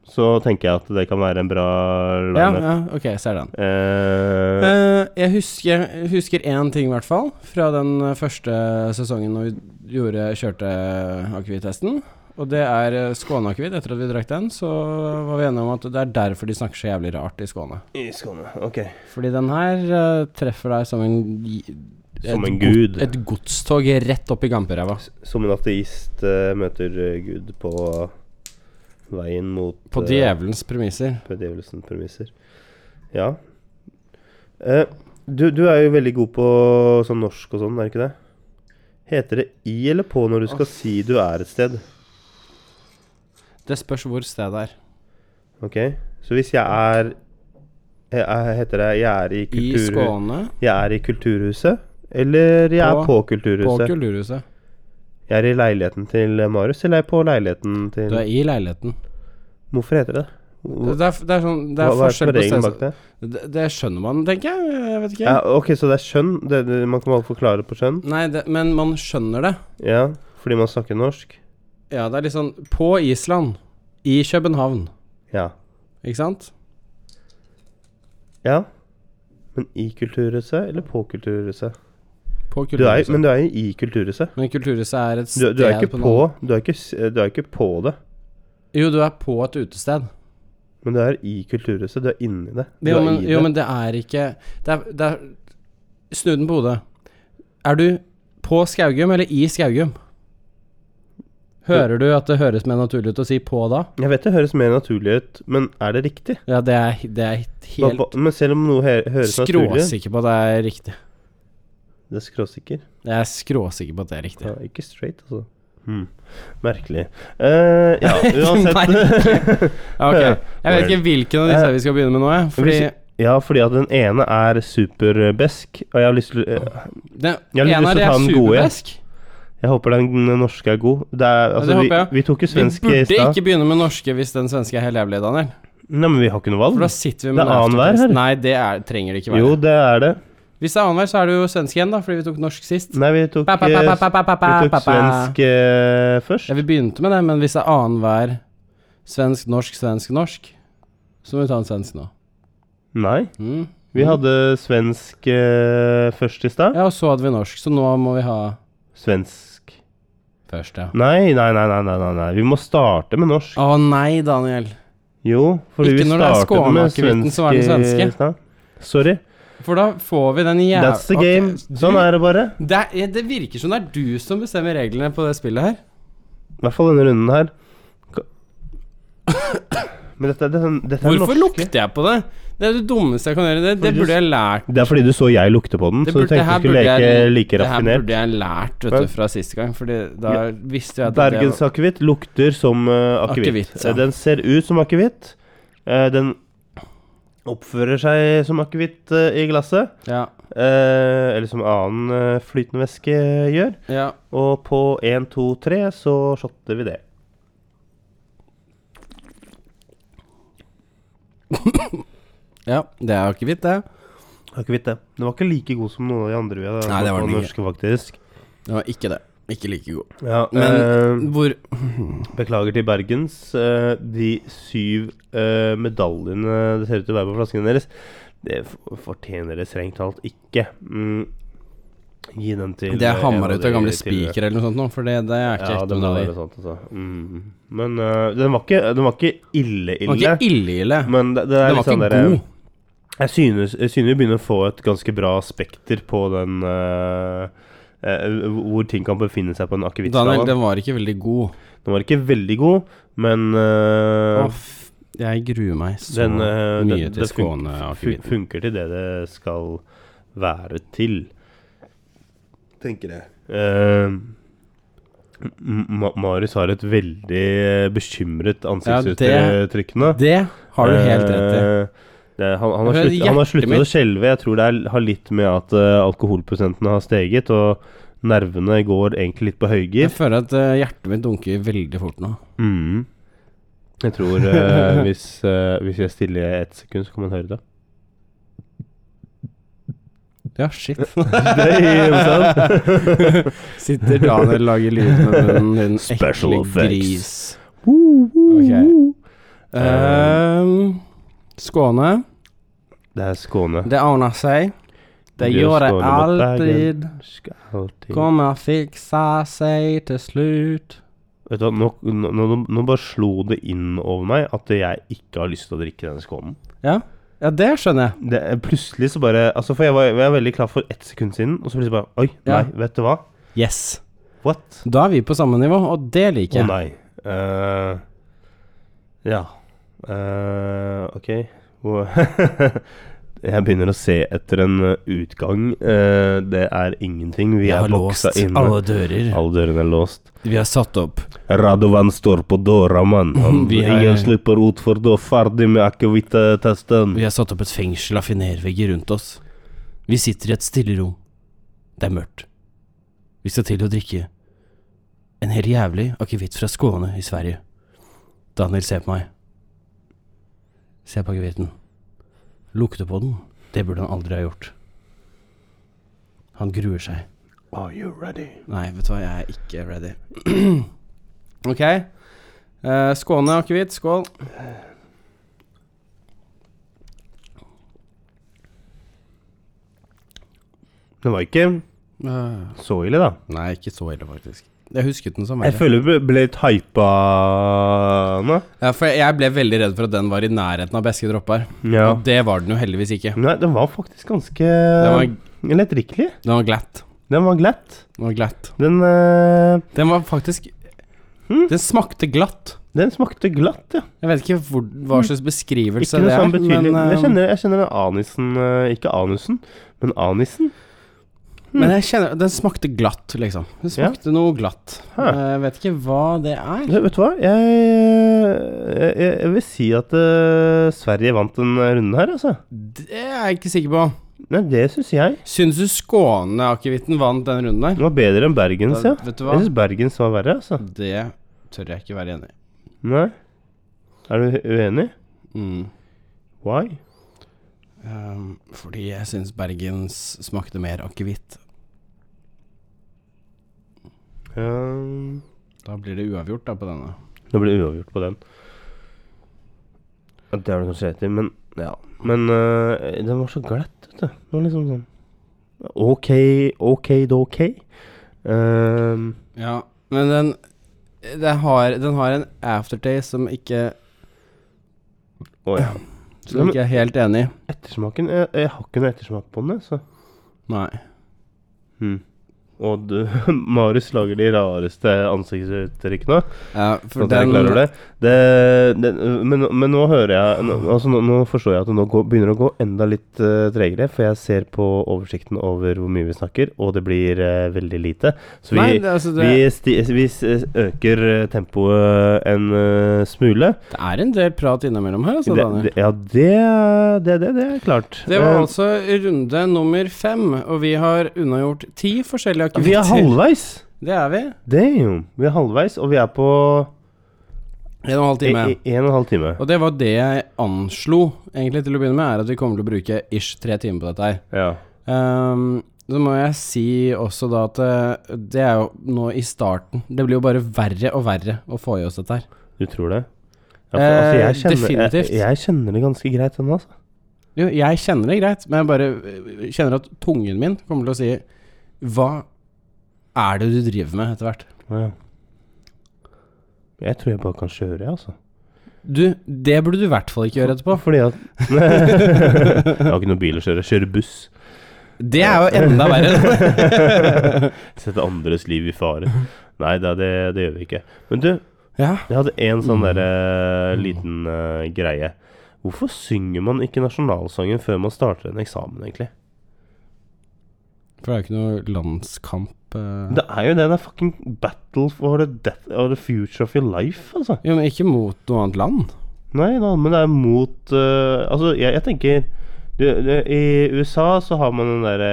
så tenker jeg at det kan være en bra ja, lineup. ja, ok, jeg ser den. Eh, Eh, jeg husker, jeg husker én ting, i hvert fall, fra den eh, første sesongen når vi gjorde, kjørte akevitt-testen. Og Og det er eh, Skåneakevitt. Etter at vi drakk den, så var vi enige om at det er derfor de snakker så jævlig rart i Skåne. I Skåne. Ok. Fordi den her eh, treffer deg som en gi- Som et en go- gud. Et godstog rett opp i gamperæva. Som en ateist eh, møter eh, Gud på veien mot På eh, djevelens premisser. på djevelsen premisser. Ja. Eh, du, du er jo veldig god på sånn norsk og sånn, er du ikke det? Heter det i eller på når du skal si du er et sted? Det spørs hvor stedet er. Ok? Så hvis jeg er jeg, jeg Heter det jeg er i, I kultur, Skåne, jeg er i Kulturhuset? Eller jeg er På- på på Kulturhuset? Kulturhuset. jeg er i leiligheten til Marius, eller jeg er på leiligheten til Du er i leiligheten. Hvorfor heter det Hvor- Det er, f- det er, sånn, det hva, er hva er forskjell på regelen bak stedet det? det, det skjønner man, tenker jeg. Jeg vet ikke. Ja, ok, så det er skjønn? Det, det, man kan bare forklare på skjønn? Nei, det, men man skjønner det. Ja, fordi man snakker norsk? Ja, det er litt sånn På Island, i København, Ja. ikke sant? Ja. Men i Kulturhuset eller på Kulturhuset? På Du er, Kulturhuset. men du er jo i Kulturhuset. men, Kulturhuset er et Du, sted du er ikke en på annen- du er ikke, s- du er ikke på det, Jo, du er på et utested. men du er i Kulturhuset. Du er inni det. Du Jo, er men, i jo, det. men det er ikke det er, det er, Snu den på hodet. Er du på Skaugum eller i Skaugum? Hører du at det høres mer naturlig ut å si 'på' da? Jeg vet det høres mer naturlig ut, men er det riktig? Ja, det er, det er Hva- helt hva- Men selv om noe he høres naturlig ut skråsikker på at det er riktig. Det er skråsikker. Jeg er skråsikker på at det er riktig. Ja, ikke straight, altså. Hmm. Merkelig. Eh, ja, uansett Ok, Jeg vet ikke hvilken av disse vi skal begynne med nå, jeg. Fordi Eh, Hvis- Ja, fordi at den ene er superbesk, og jeg har lyst til eh, den, Jeg har litt en lyst av til de å ta er den gode, jeg. superbesk. Jeg håper den norske er god. Det er, altså, det vi, håper jeg. vi tok jo Vi svensk i burde stad. ikke begynne med norske hvis den svenske er helt jævlig, Daniel. Nei, men vi har ikke noe For da valg. sitter vi med Det er en annenhver her. Nei, det er, trenger det ikke være. Jo, det er det. Hvis det er annenhver, så er det jo svensk igjen, da, fordi vi tok norsk sist. Nei, vi tok, Pa, pa, pa, eh, pa, pa, pa, pa, pa, vi pa, tok pa. svensk eh, først. Ja, vi begynte med det, men hvis det er annenhver svensk, norsk, svensk, norsk, så må vi ta en svensk nå. Nei, Mm. vi hadde svensk eh, først i stad. Ja, og så hadde vi norsk, så nå må vi ha Svensk først, ja. nei nei, nei, nei, nei, nei, nei. Vi må starte med norsk. Å nei, Daniel. Jo, Ah. fordi Ikke vi når det er startet med skåneakevitten svensk som er den i svenske. stad. Sorry. For da får vi den jævla That's the game. Sånn er det bare. Det, er, det virker som det er du som bestemmer reglene på det spillet her. I hvert fall denne runden her. Ka- Men dette, dette, dette er Hvorfor norske. lukter jeg på det? Det er det dummeste jeg kan gjøre. Det, det Fordi du burde jeg lært. Det er fordi du så jeg lukte på den, Det så du burde- det tenkte her du skulle burde leke jeg- like Det her raffinert. burde jeg lært vet Men- du, fra siste gang, Fordi da visste jeg at det var Bergensakevitt lukter som uh, akevitt. Akevitt, ja. Eh, Den ser ut som akevitt. Eh, den oppfører seg som akevitt eh, i glasset. ja, eh, eller som annen eh, flytende væske gjør. ja. Og på 1, 2, 3 så shotter vi det. ja, det er akevitt, det. Akevitt, det. Den var ikke like god som noen av de andre vi hadde Nei, det var på den norske, faktisk. Det var ikke det. Ikke like god. Ja, Men- eh, Hvor Beklager til Bergens. eh, de syv eh, medaljene det ser ut til å være på flaskene deres, det f- fortjener det strengt talt ikke. Mm. Gi den til Det er eh, en hammer ut av de gamle tidligere. spiker eller noe sånt nå, for det, det er ikke Ja, ekte det må medaljer. være sant, altså. Mm. Men eh, den, var ikke, den var ikke ille, Det var ille. ikke ille-ille. men det, det er Den litt var sånn ikke derre god. jeg synes, jeg synes vi begynner å få et ganske bra spekter på den eh, eh, Hvor ting kan befinne seg på en Daniel, akevittskala. den var ikke veldig god. Den var ikke veldig god, men eh, Åh, f- jeg gruer meg så Den, eh, mye den, til det fun fun Skåne-akevitten. funker til det det skal være til. Tenker jeg. Ma Marius har et veldig eh, bekymret ansiktsuttrykk nå. Det har du helt rett i. Eh, det, han, han, har Jeg hører slutt, han har hjertet sluttet mitt. å skjelve. Jeg tror det er, har litt med at eh, alkoholprosenten har steget, og nervene går egentlig litt på Jeg høygir. føler at eh, hjertet mitt dunker veldig fort nå. Mm. Jeg tror eh, hvis, eh, hvis jeg stiller ett sekund, så kan man høre det. Ja, shit. Det Sitter Daniel og lager lyd med munnen din. Special Ekle effects. gris. Ehm, Skåne. Det er Skåne. Det ordner seg. Det Det gjør det Skåne mot Bergen. alltid. Skal alltid Kommer fixa seg til slutt. Vet du hva, nå, nå, nå- nå bare slo det inn over meg at jeg ikke har lyst til å drikke denne skålen. Ja, ja det skjønner jeg. Det, er- plutselig så bare altså For jeg var, jeg var veldig klar for ett sekund siden, og så plutselig bare Oi, Ja. nei, vet du hva? Yes. What? Da er vi på samme nivå, og det Å liker jeg. nei. Eh, ja. Eh, ok. Hvor- jeg begynner å se etter en eh, utgang. Eh, det er ingenting. Vi er boksa inne. dører. Alle dørene er låst. Vi har satt opp. Radovan står på døra, mann. Han- Vi er- Ingen slipper ut for da. Ferdig med akevittetesten. Vi har satt opp et fengsel av finervegger rundt oss. Vi sitter i et stille rom. Det er mørkt. Vi skal til å drikke en helt jævlig akevitt fra Skåne i Sverige. Daniel, se på meg. Se på akevitten. Lukte på den. Det burde han aldri ha gjort. Han gruer seg. Are you ready? Nei, vet du hva, jeg er ikke ready. ok. Eh, Skåne akevitt, skål. Det var ikke så ille, da. Eh, Nei, ikke så ille, faktisk. Jeg husket den som Jeg verre. føler vi ble litt hypa nå. Ja, for jeg ble veldig redd for at den var i nærheten av beske dropper. Ja. Og det var den jo heldigvis ikke. Nei, den var faktisk ganske Den var, lettdrikkelig. den var glatt. Den var glatt. Den var glatt. Den, eh, Den var faktisk Mm. Den smakte glatt. den smakte glatt, ja. Jeg vet ikke hvor, hva slags Hm. Ikke beskrivelse noe det er, sånn betydelig. men, Jeg eh, kjenner, jeg kjenner den anisen eh, Ikke anusen, men anisen. men jeg kjenner Den smakte glatt, liksom. Den Ja. smakte noe glatt. Hæ. Eh, Jeg vet ikke hva det er. Vet du hva, jeg, jeg, eh, jeg jeg vil si at eh, Sverige vant den runden her, altså. Det er jeg ikke sikker på. Nei, det syns jeg. Syns du Skåne-akevitten vant den runden der? Den var bedre enn Bergens, ja. Da- Vet du hva? Jeg syns Bergens var verre, altså. Det tør jeg ikke være enig i. Nei. Er du uenig? Mm. Why? Ehm, fordi jeg syns Bergens smakte mer akevitt. Um, Da blir det uavgjort da på denne. Det ble uavgjort på den. Ja, Det har du kanskje rett i, men ja. Men øh, den var så glatt, vet du. Den var liksom sånn OK, OK, det OK. Ehm, Ja, men den den har, den har en aftertaste som ikke Å ja. Ja, Som men- ikke er helt enig i. Ettersmaken jeg, jeg har ikke noe ettersmak på den, altså. jeg, så Nei. Og du, Marius lager de rareste ansiktsuttrykkene. Ja, for For Sånn at jeg klarer det. det, det men, men nå hører jeg nå, altså nå, nå forstår jeg at det nå går, begynner å gå enda litt eh, tregere, for jeg ser på oversikten over hvor mye vi snakker, og det blir eh, veldig lite. Så vi, Nei, det, altså det, vi, sti, vi s- øker eh, tempoet en eh, smule. det er en del prat innimellom her, altså, det, Daniel. det, ja, det, det, det, det er klart. Det var Eh, altså runde nummer fem, og vi har unnagjort ti forskjellige vi er akevitter. halvveis! Det er vi. Damn! Vi er halvveis, og vi er på En og en halv i- time. i- en og en halv time. Og det var det jeg anslo egentlig til å begynne med, er at vi kommer til å bruke ish tre timer på dette her. Ja. Ehm, så må jeg si også da at eh, det er jo nå i starten Det blir jo bare verre og verre å få i oss dette her. Du tror det? Ja, for, altså, jeg Eh, kjenner, jeg, definitivt. jeg kjenner det ganske greit ennå, altså. Jo, jeg kjenner det greit, men jeg bare eh, kjenner at tungen min kommer til å si Hva er det du driver med, etter hvert? Ja. Jeg tror jeg bare kan kjøre, jeg, altså. Du, det burde du i hvert fall ikke gjøre etterpå. Fordi at Jeg har ikke noen bil å kjøre. Kjøre buss. Det er jo enda verre. Sette andres liv i fare. Nei da, det, det gjør vi ikke. Men du, ja. jeg hadde en sånn Mm. derre liten eh, greie. Hvorfor synger man ikke nasjonalsangen før man starter en eksamen, egentlig? For det er jo ikke noe landskamp eh. Det er jo det. Det er fucking battle for the, death, or the future of your life, altså. Jo, men ikke mot noe annet land. Nei da, men det er mot eh, Altså, jeg, jeg tenker du, du, I USA så har man den derre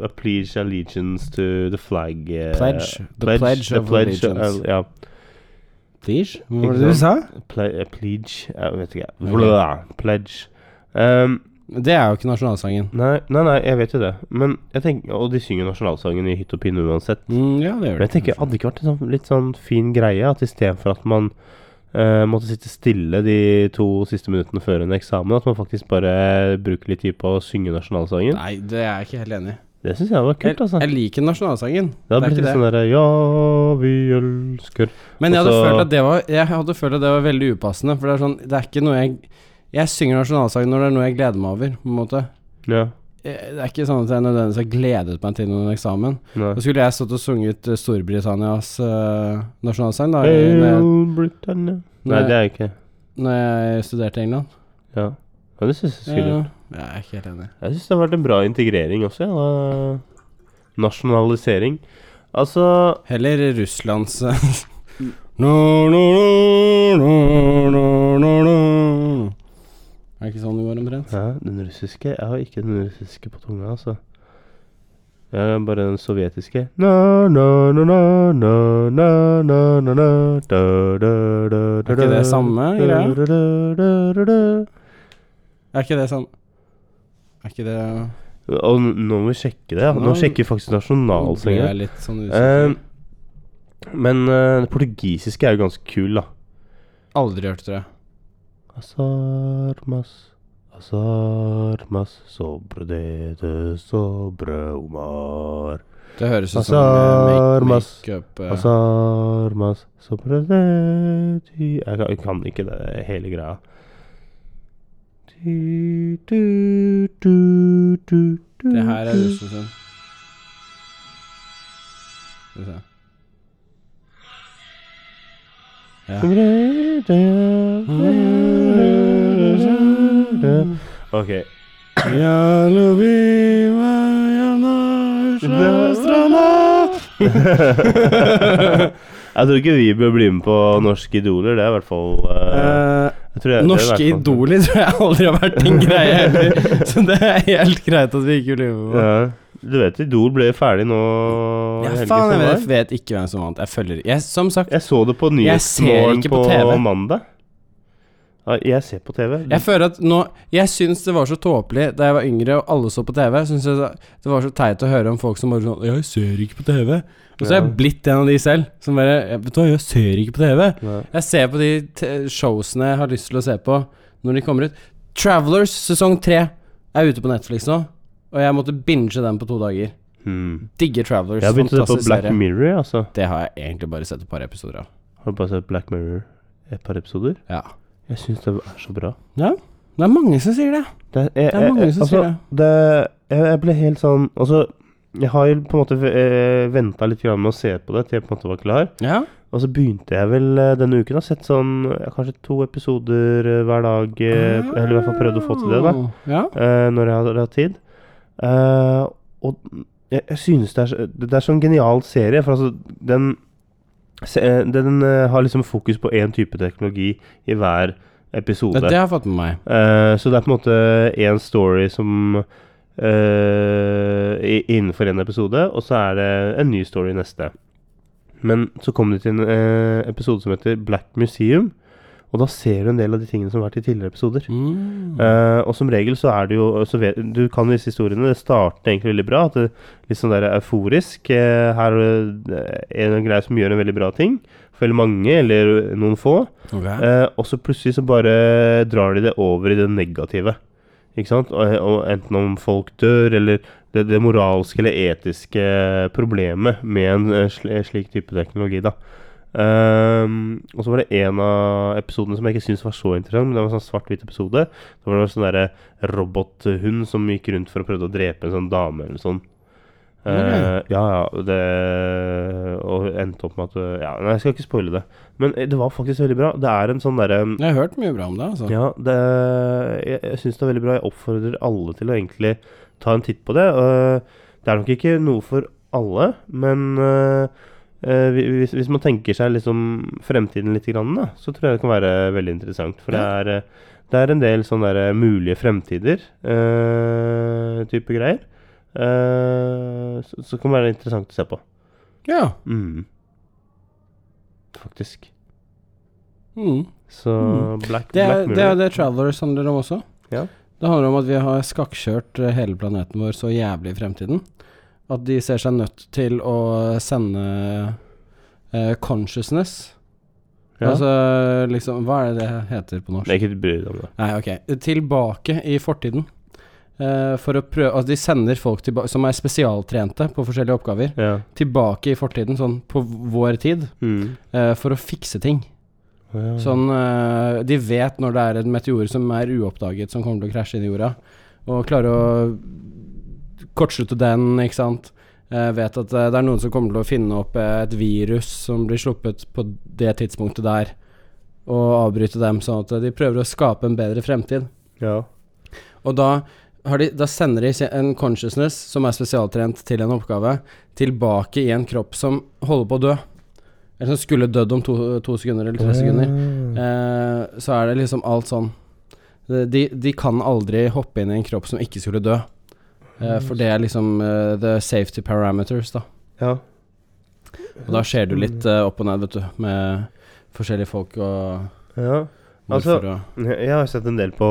uh, Pledge allegiance to the flag eh, Pledge. The pledge of allegiance. eh, ja. Please? Hva Ikke var det du sa? Ple eh, pledge Jeg vet ikke. Ok. Blah, pledge. Um, Det er jo ikke nasjonalsangen. nei, nei, nei, jeg vet jo det. Men jeg tenker Og de synger nasjonalsangen i hytt og pine uansett. Mm, ja, det gjør Men det. jeg tenker, hadde det ikke vært en sånn, litt sånn fin greie at istedenfor at man eh, måtte sitte stille de to siste minuttene før en eksamen, at man faktisk bare bruker litt tid på å synge nasjonalsangen? Nei, det er jeg ikke helt enig i. Det syns jeg var kult, altså. Jeg liker nasjonalsangen. Det hadde det er blitt ikke litt sånn derre Ja, vi elsker Men jeg hadde, Og så- følt at det var, jeg hadde følt at det var veldig upassende. For det er sånn Det er ikke noe jeg Jeg synger nasjonalsangen når det er noe jeg gleder meg over, på en måte. Ja. Jeg- Det er ikke sånn at jeg nødvendigvis har gledet meg til noen eksamen. Nei. Da skulle jeg stått og sunget eh, Storbritannias eh, nasjonalsang da, i- når, jeg, Hail Britannia Nei, når, det jeg, er jeg ikke. når jeg studerte i England. Ja. Men det syns Ja, jeg skulle jeg er ikke helt enig. Jeg syns det har vært en bra integrering også, ja. da. Nasjonalisering. Altså Heller Russlands no, no, no, no, no, no, no. Er det ikke sånn det går omtrent? ja, Den russiske Jeg har ikke den russiske på tunga, altså. Jeg har bare den sovjetiske na, na, na, na, na, na, na, na, na, da, da, da, da, Er ikke det da, samme da, greia? da, da, da, da, da. Er ikke det samme Er ikke det Og n- nå må vi sjekke det. ja. Nå Nå- sjekker vi faktisk ble nasjonalsangen. jeg litt sånn usikker. Eh, men eh, det portugisiske er jo ganske kul, da. Aldri hørt, tror jeg. Asarmas Asarmas sobre dete sobre omar Det høres ut som eh, Azar, make- mas- makeup eh. Asarmas sobre dete Jeg kan, jeg kan ikke det hele greia. Det Det her er liksom- russen sin. Skal vi se. Ja. Eh, Ok. jeg tror ikke vi bør bli med på Norske Idoler. Det er i hvert fall eh, Eh, jeg tror jeg- det er i hvert norske fall- idoler tror jeg aldri har vært en greie heller, så det er helt greit at vi ikke blir med på. Ja. Du vet Idol ble ferdig nå i Ja, helgen faen, som jeg vet, var. vet ikke hvem som vant. Jeg følger jeg, Som sagt, Jeg så det på Jeg ser Nyhetsmorgen ikke på, på TV. mandag. Ja, jeg ser på TV. Jeg føler at nå Jeg syns det var så tåpelig da jeg var yngre og alle så på TV. Syns jeg det var så teit å høre om folk som bare sånn 'Jeg ser ikke på TV'. Og så er jeg Ja. blitt en av de selv som bare «Jeg- 'Vet du hva, jeg ser ikke på TV'. Ja. Jeg ser på de t showsene jeg har lyst til å se på når de kommer ut. 'Travelers' sesong tre er ute på Netflix nå, og jeg måtte binge den på to dager. Hmm. Digger 'Travelers'. Jeg har begynt å se på fantastisk Black serie. Mirror. Altså. Det har jeg egentlig bare sett et par episoder av. Har du bare sett Black Mirror et par episoder? Ja. Jeg syns det er så bra. Det er mange som sier det. Det er, jeg, Det er mange som altså, sier det. det jeg, jeg ble helt sånn Altså, jeg har jo på en måte eh, venta litt grann med å se på det til jeg på en måte var klar. Ja. Og så begynte jeg vel eh, denne uken. Har sett sånn eh, kanskje to episoder eh, hver dag. eh, Ah. Eller i hvert fall prøvd å få til det, da. Ja. eh, når jeg har hatt tid. Eh, og jeg, jeg synes det er, så- det er sånn genial serie, for altså den se- eh, den eh, har liksom fokus på én type teknologi i hver episode. Ja, Det har jeg fått med meg. Eh, så det er på en måte én story som eh, i- Innenfor én episode, og så er det en ny story i neste. Men så kom det til en eh, episode som heter Black Museum, og da ser du en del av de tingene som har vært i tidligere episoder. Mm. Eh, og som regel så er det jo så vet, Du kan disse historiene. Det starter egentlig veldig bra. At det Litt sånn der euforisk. eh, her eh, er det en greie som gjør en veldig bra ting. For veldig mange, eller noen få. Eh, og så plutselig så bare drar de det over i det negative. Ikke sant? Og, og enten om folk dør, eller det, det moralske eller etiske problemet med en eh, sl slik type teknologi, da. Ehm, og så var det en av episodene som jeg ikke syntes var så interessant, men det var en sånn svart-hvit episode. Det var en sånn derre robothund som gikk rundt for å prøve å drepe en sånn dame eller sånn. Eh, ja, ja. Det, og endte opp med at eh, Ja, nei, jeg skal ikke spoile det. Men eh, det var faktisk veldig bra. Det er en sånn derre Jeg har hørt mye bra om det, altså. ja, det, jeg, jeg syns det er veldig bra. Jeg oppfordrer alle til å egentlig ta en titt på det. Øh, det er nok ikke noe for alle, men øh, øh, hvi- hvis, hvis man tenker seg liksom fremtiden litt, grann, da, så tror jeg det kan være veldig interessant. For Ja. det, er, øh, det er en del sånne der mulige fremtider øh, type greier. øh, så, så kan være interessant å se på. Ja. Mm. Faktisk. Mm. Så Mm. Black, Det, Black er, det Mirror. er det Travelers handler om også. Ja. Det handler om at vi har skakkjørt eh, hele planeten vår så jævlig i fremtiden at de ser seg nødt til å sende eh, consciousness. Ja. Altså liksom Hva er det det heter på norsk? Jeg er ikke bryr meg om det. Nei, ok. Tilbake i fortiden. eh, for å prøve Altså, de sender folk tilba som er spesialtrente på forskjellige oppgaver, Ja. tilbake i fortiden, sånn på vår tid, Mm. eh, for å fikse ting. Ja. Sånn, eh, de vet når det er en meteor som er uoppdaget, som kommer til å krasje inn i jorda, og klarer å kortslutte den, ikke sant. Eh, vet at eh, det er noen som kommer til å finne opp eh, et virus som blir sluppet på det tidspunktet der, og avbryte dem, sånn at eh, de prøver å skape en bedre fremtid. ja. Og da, har de, da sender de se- en consciousness, som er spesialtrent til en oppgave, tilbake i en kropp som holder på å dø. Eller som skulle dødd om to, to sekunder eller tre sekunder. Mm. Eh, så er det liksom alt sånn de, de kan aldri hoppe inn i en kropp som ikke skulle dø. Mm. Eh, for det er liksom eh, the safety parameters, da. Ja. Og da skjer det jo litt eh, opp og ned, vet du, med forskjellige folk og ja. Altså, eh, hvorfor og Jeg har sett en del på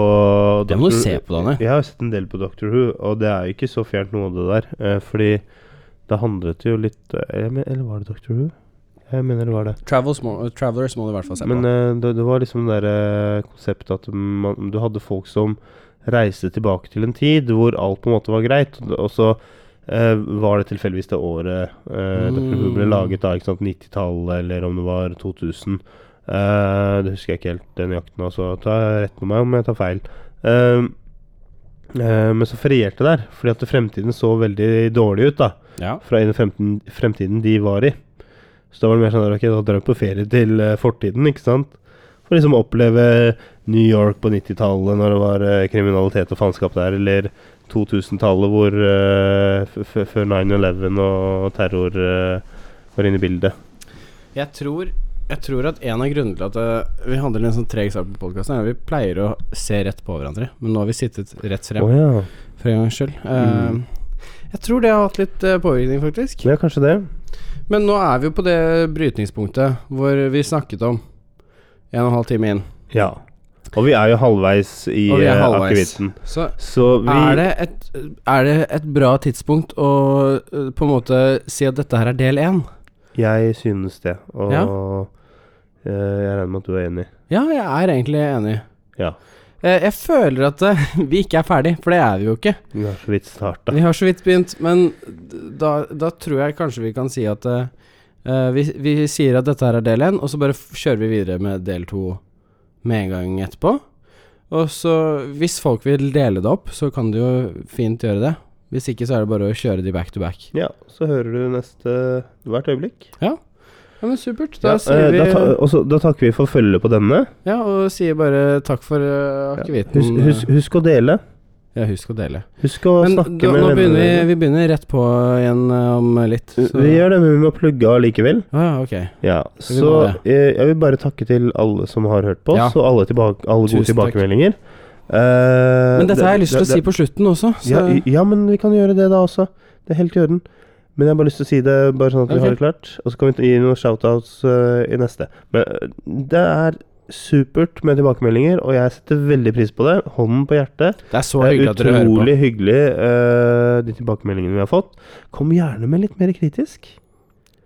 Det må du Doctor- se på, Danne. Jeg har sett en del på Doctor Who, og det er jo ikke så fjernt noe av det der. eh, Fordi det handlet jo litt eh, jeg men- Eller var det Doctor Who? Jeg mener det var det. Travels må, Travelers må du i hvert fall se Men på. eh, det, det var liksom det der, eh, konseptet at man, du hadde folk som reiste tilbake til en tid hvor alt på en måte var greit, og- og så eh, var det tilfeldigvis det året eh, Dr. Who ble Mm. laget, da, ikke sant, 90-tallet eller om det var 2000. Eh, det husker jeg ikke helt den jakten, altså. Ta rett med meg om jeg tar feil. Eh, eh, men så ferierte der, fordi at fremtiden så veldig dårlig ut, da Ja. fra i den fremtiden, fremtiden de var i. Så da var det mer sånn der, ok, da drar vi på ferie til eh, fortiden, ikke sant? For liksom å oppleve New York på 90-tallet når det var eh, kriminalitet og faenskap der, eller 2000-tallet hvor eh, f- f- før 9-11 og terror eh, var inne i bildet. Jeg tror, jeg tror at en av grunnene til at eh, vi handler en sånn treg sak på podkasten, er at vi pleier å se rett på hverandre. Men nå har vi sittet rett Å frem, ja. for en gangs skyld. Eh, Mm. Jeg tror det har hatt litt eh, påvirkning, faktisk. ja, kanskje det. Men nå er vi jo på det brytningspunktet hvor vi snakket om en og en halv time inn. Ja. Og vi er jo halvveis i Og vi er eh, halvveis. akevitten. Så Så vi er det, et, er det et bra tidspunkt å eh, på en måte si at dette her er del én? Jeg synes det. Og Ja. eh, jeg regner med at du er enig. Ja, jeg er egentlig enig. Ja. Eh, Jeg føler at eh, vi ikke er ferdig, for det er vi jo ikke. Vi har så vidt starta. Vi har så vidt begynt, men d- da, da tror jeg kanskje vi kan si at eh, eh, vi, vi sier at dette her er del én, og så bare f kjører vi videre med del to med en gang etterpå. Og så, hvis folk vil dele det opp, så kan du jo fint gjøre det. Hvis ikke, så er det bare å kjøre de back to back. Ja, så hører du neste hvert øyeblikk. Ja, men supert. Da Ja, sier eh, vi da, ta, også, da takker vi for følget på denne. Ja, og sier bare takk for uh, akevitten. Husk, husk, husk å dele. Ja, husk å dele. Husk å Men da, snakke med nå begynner vi, vennene dine. vi begynner rett på igjen eh, om litt. Vi, gjør det, men vi må plugge av likevel. Å ja, ok. Ja, Vi så må eh, jeg vil bare takke til alle som har hørt på oss, Ja. og alle, tilbake, alle gode Tusen takk. tilbakemeldinger. Eh, Men dette det- har jeg lyst til å det- si på slutten også. Så. Ja, i- ja, men vi kan gjøre det da også. Det er helt i orden. Men jeg har bare lyst til å si det, bare sånn at vi Ok. har det klart. Og så kan vi gi noen shoutouts øh, i neste. Men øh, det er supert med tilbakemeldinger, og jeg setter veldig pris på det. Hånden på hjertet. Det er så det hyggelig er at dere hører på. utrolig hyggelig, øh, de tilbakemeldingene vi har fått. Kom gjerne med litt mer kritisk.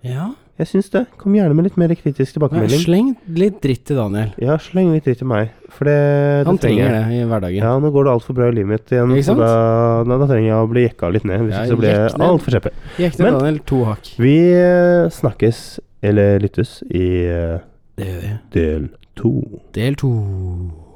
Ja, Jeg syns det. Kom gjerne med litt mer kritisk men tilbakemelding. Sleng litt dritt til Daniel. Ja, sleng litt dritt til meg, for det, det Han jeg. trenger det i hverdagen. Ja, nå går det altfor bra i livet mitt igjen, Ikke så sant? da, da, da trenger jeg å bli jekka litt ned. Hvis Ja, ikke så blir jeg jekk ned. altfor kjeppe. Gikk ned Men- Daniel to hakk. Vi eh, snakkes, eller lyttes, i eh, Det gjør vi. del to. Del to.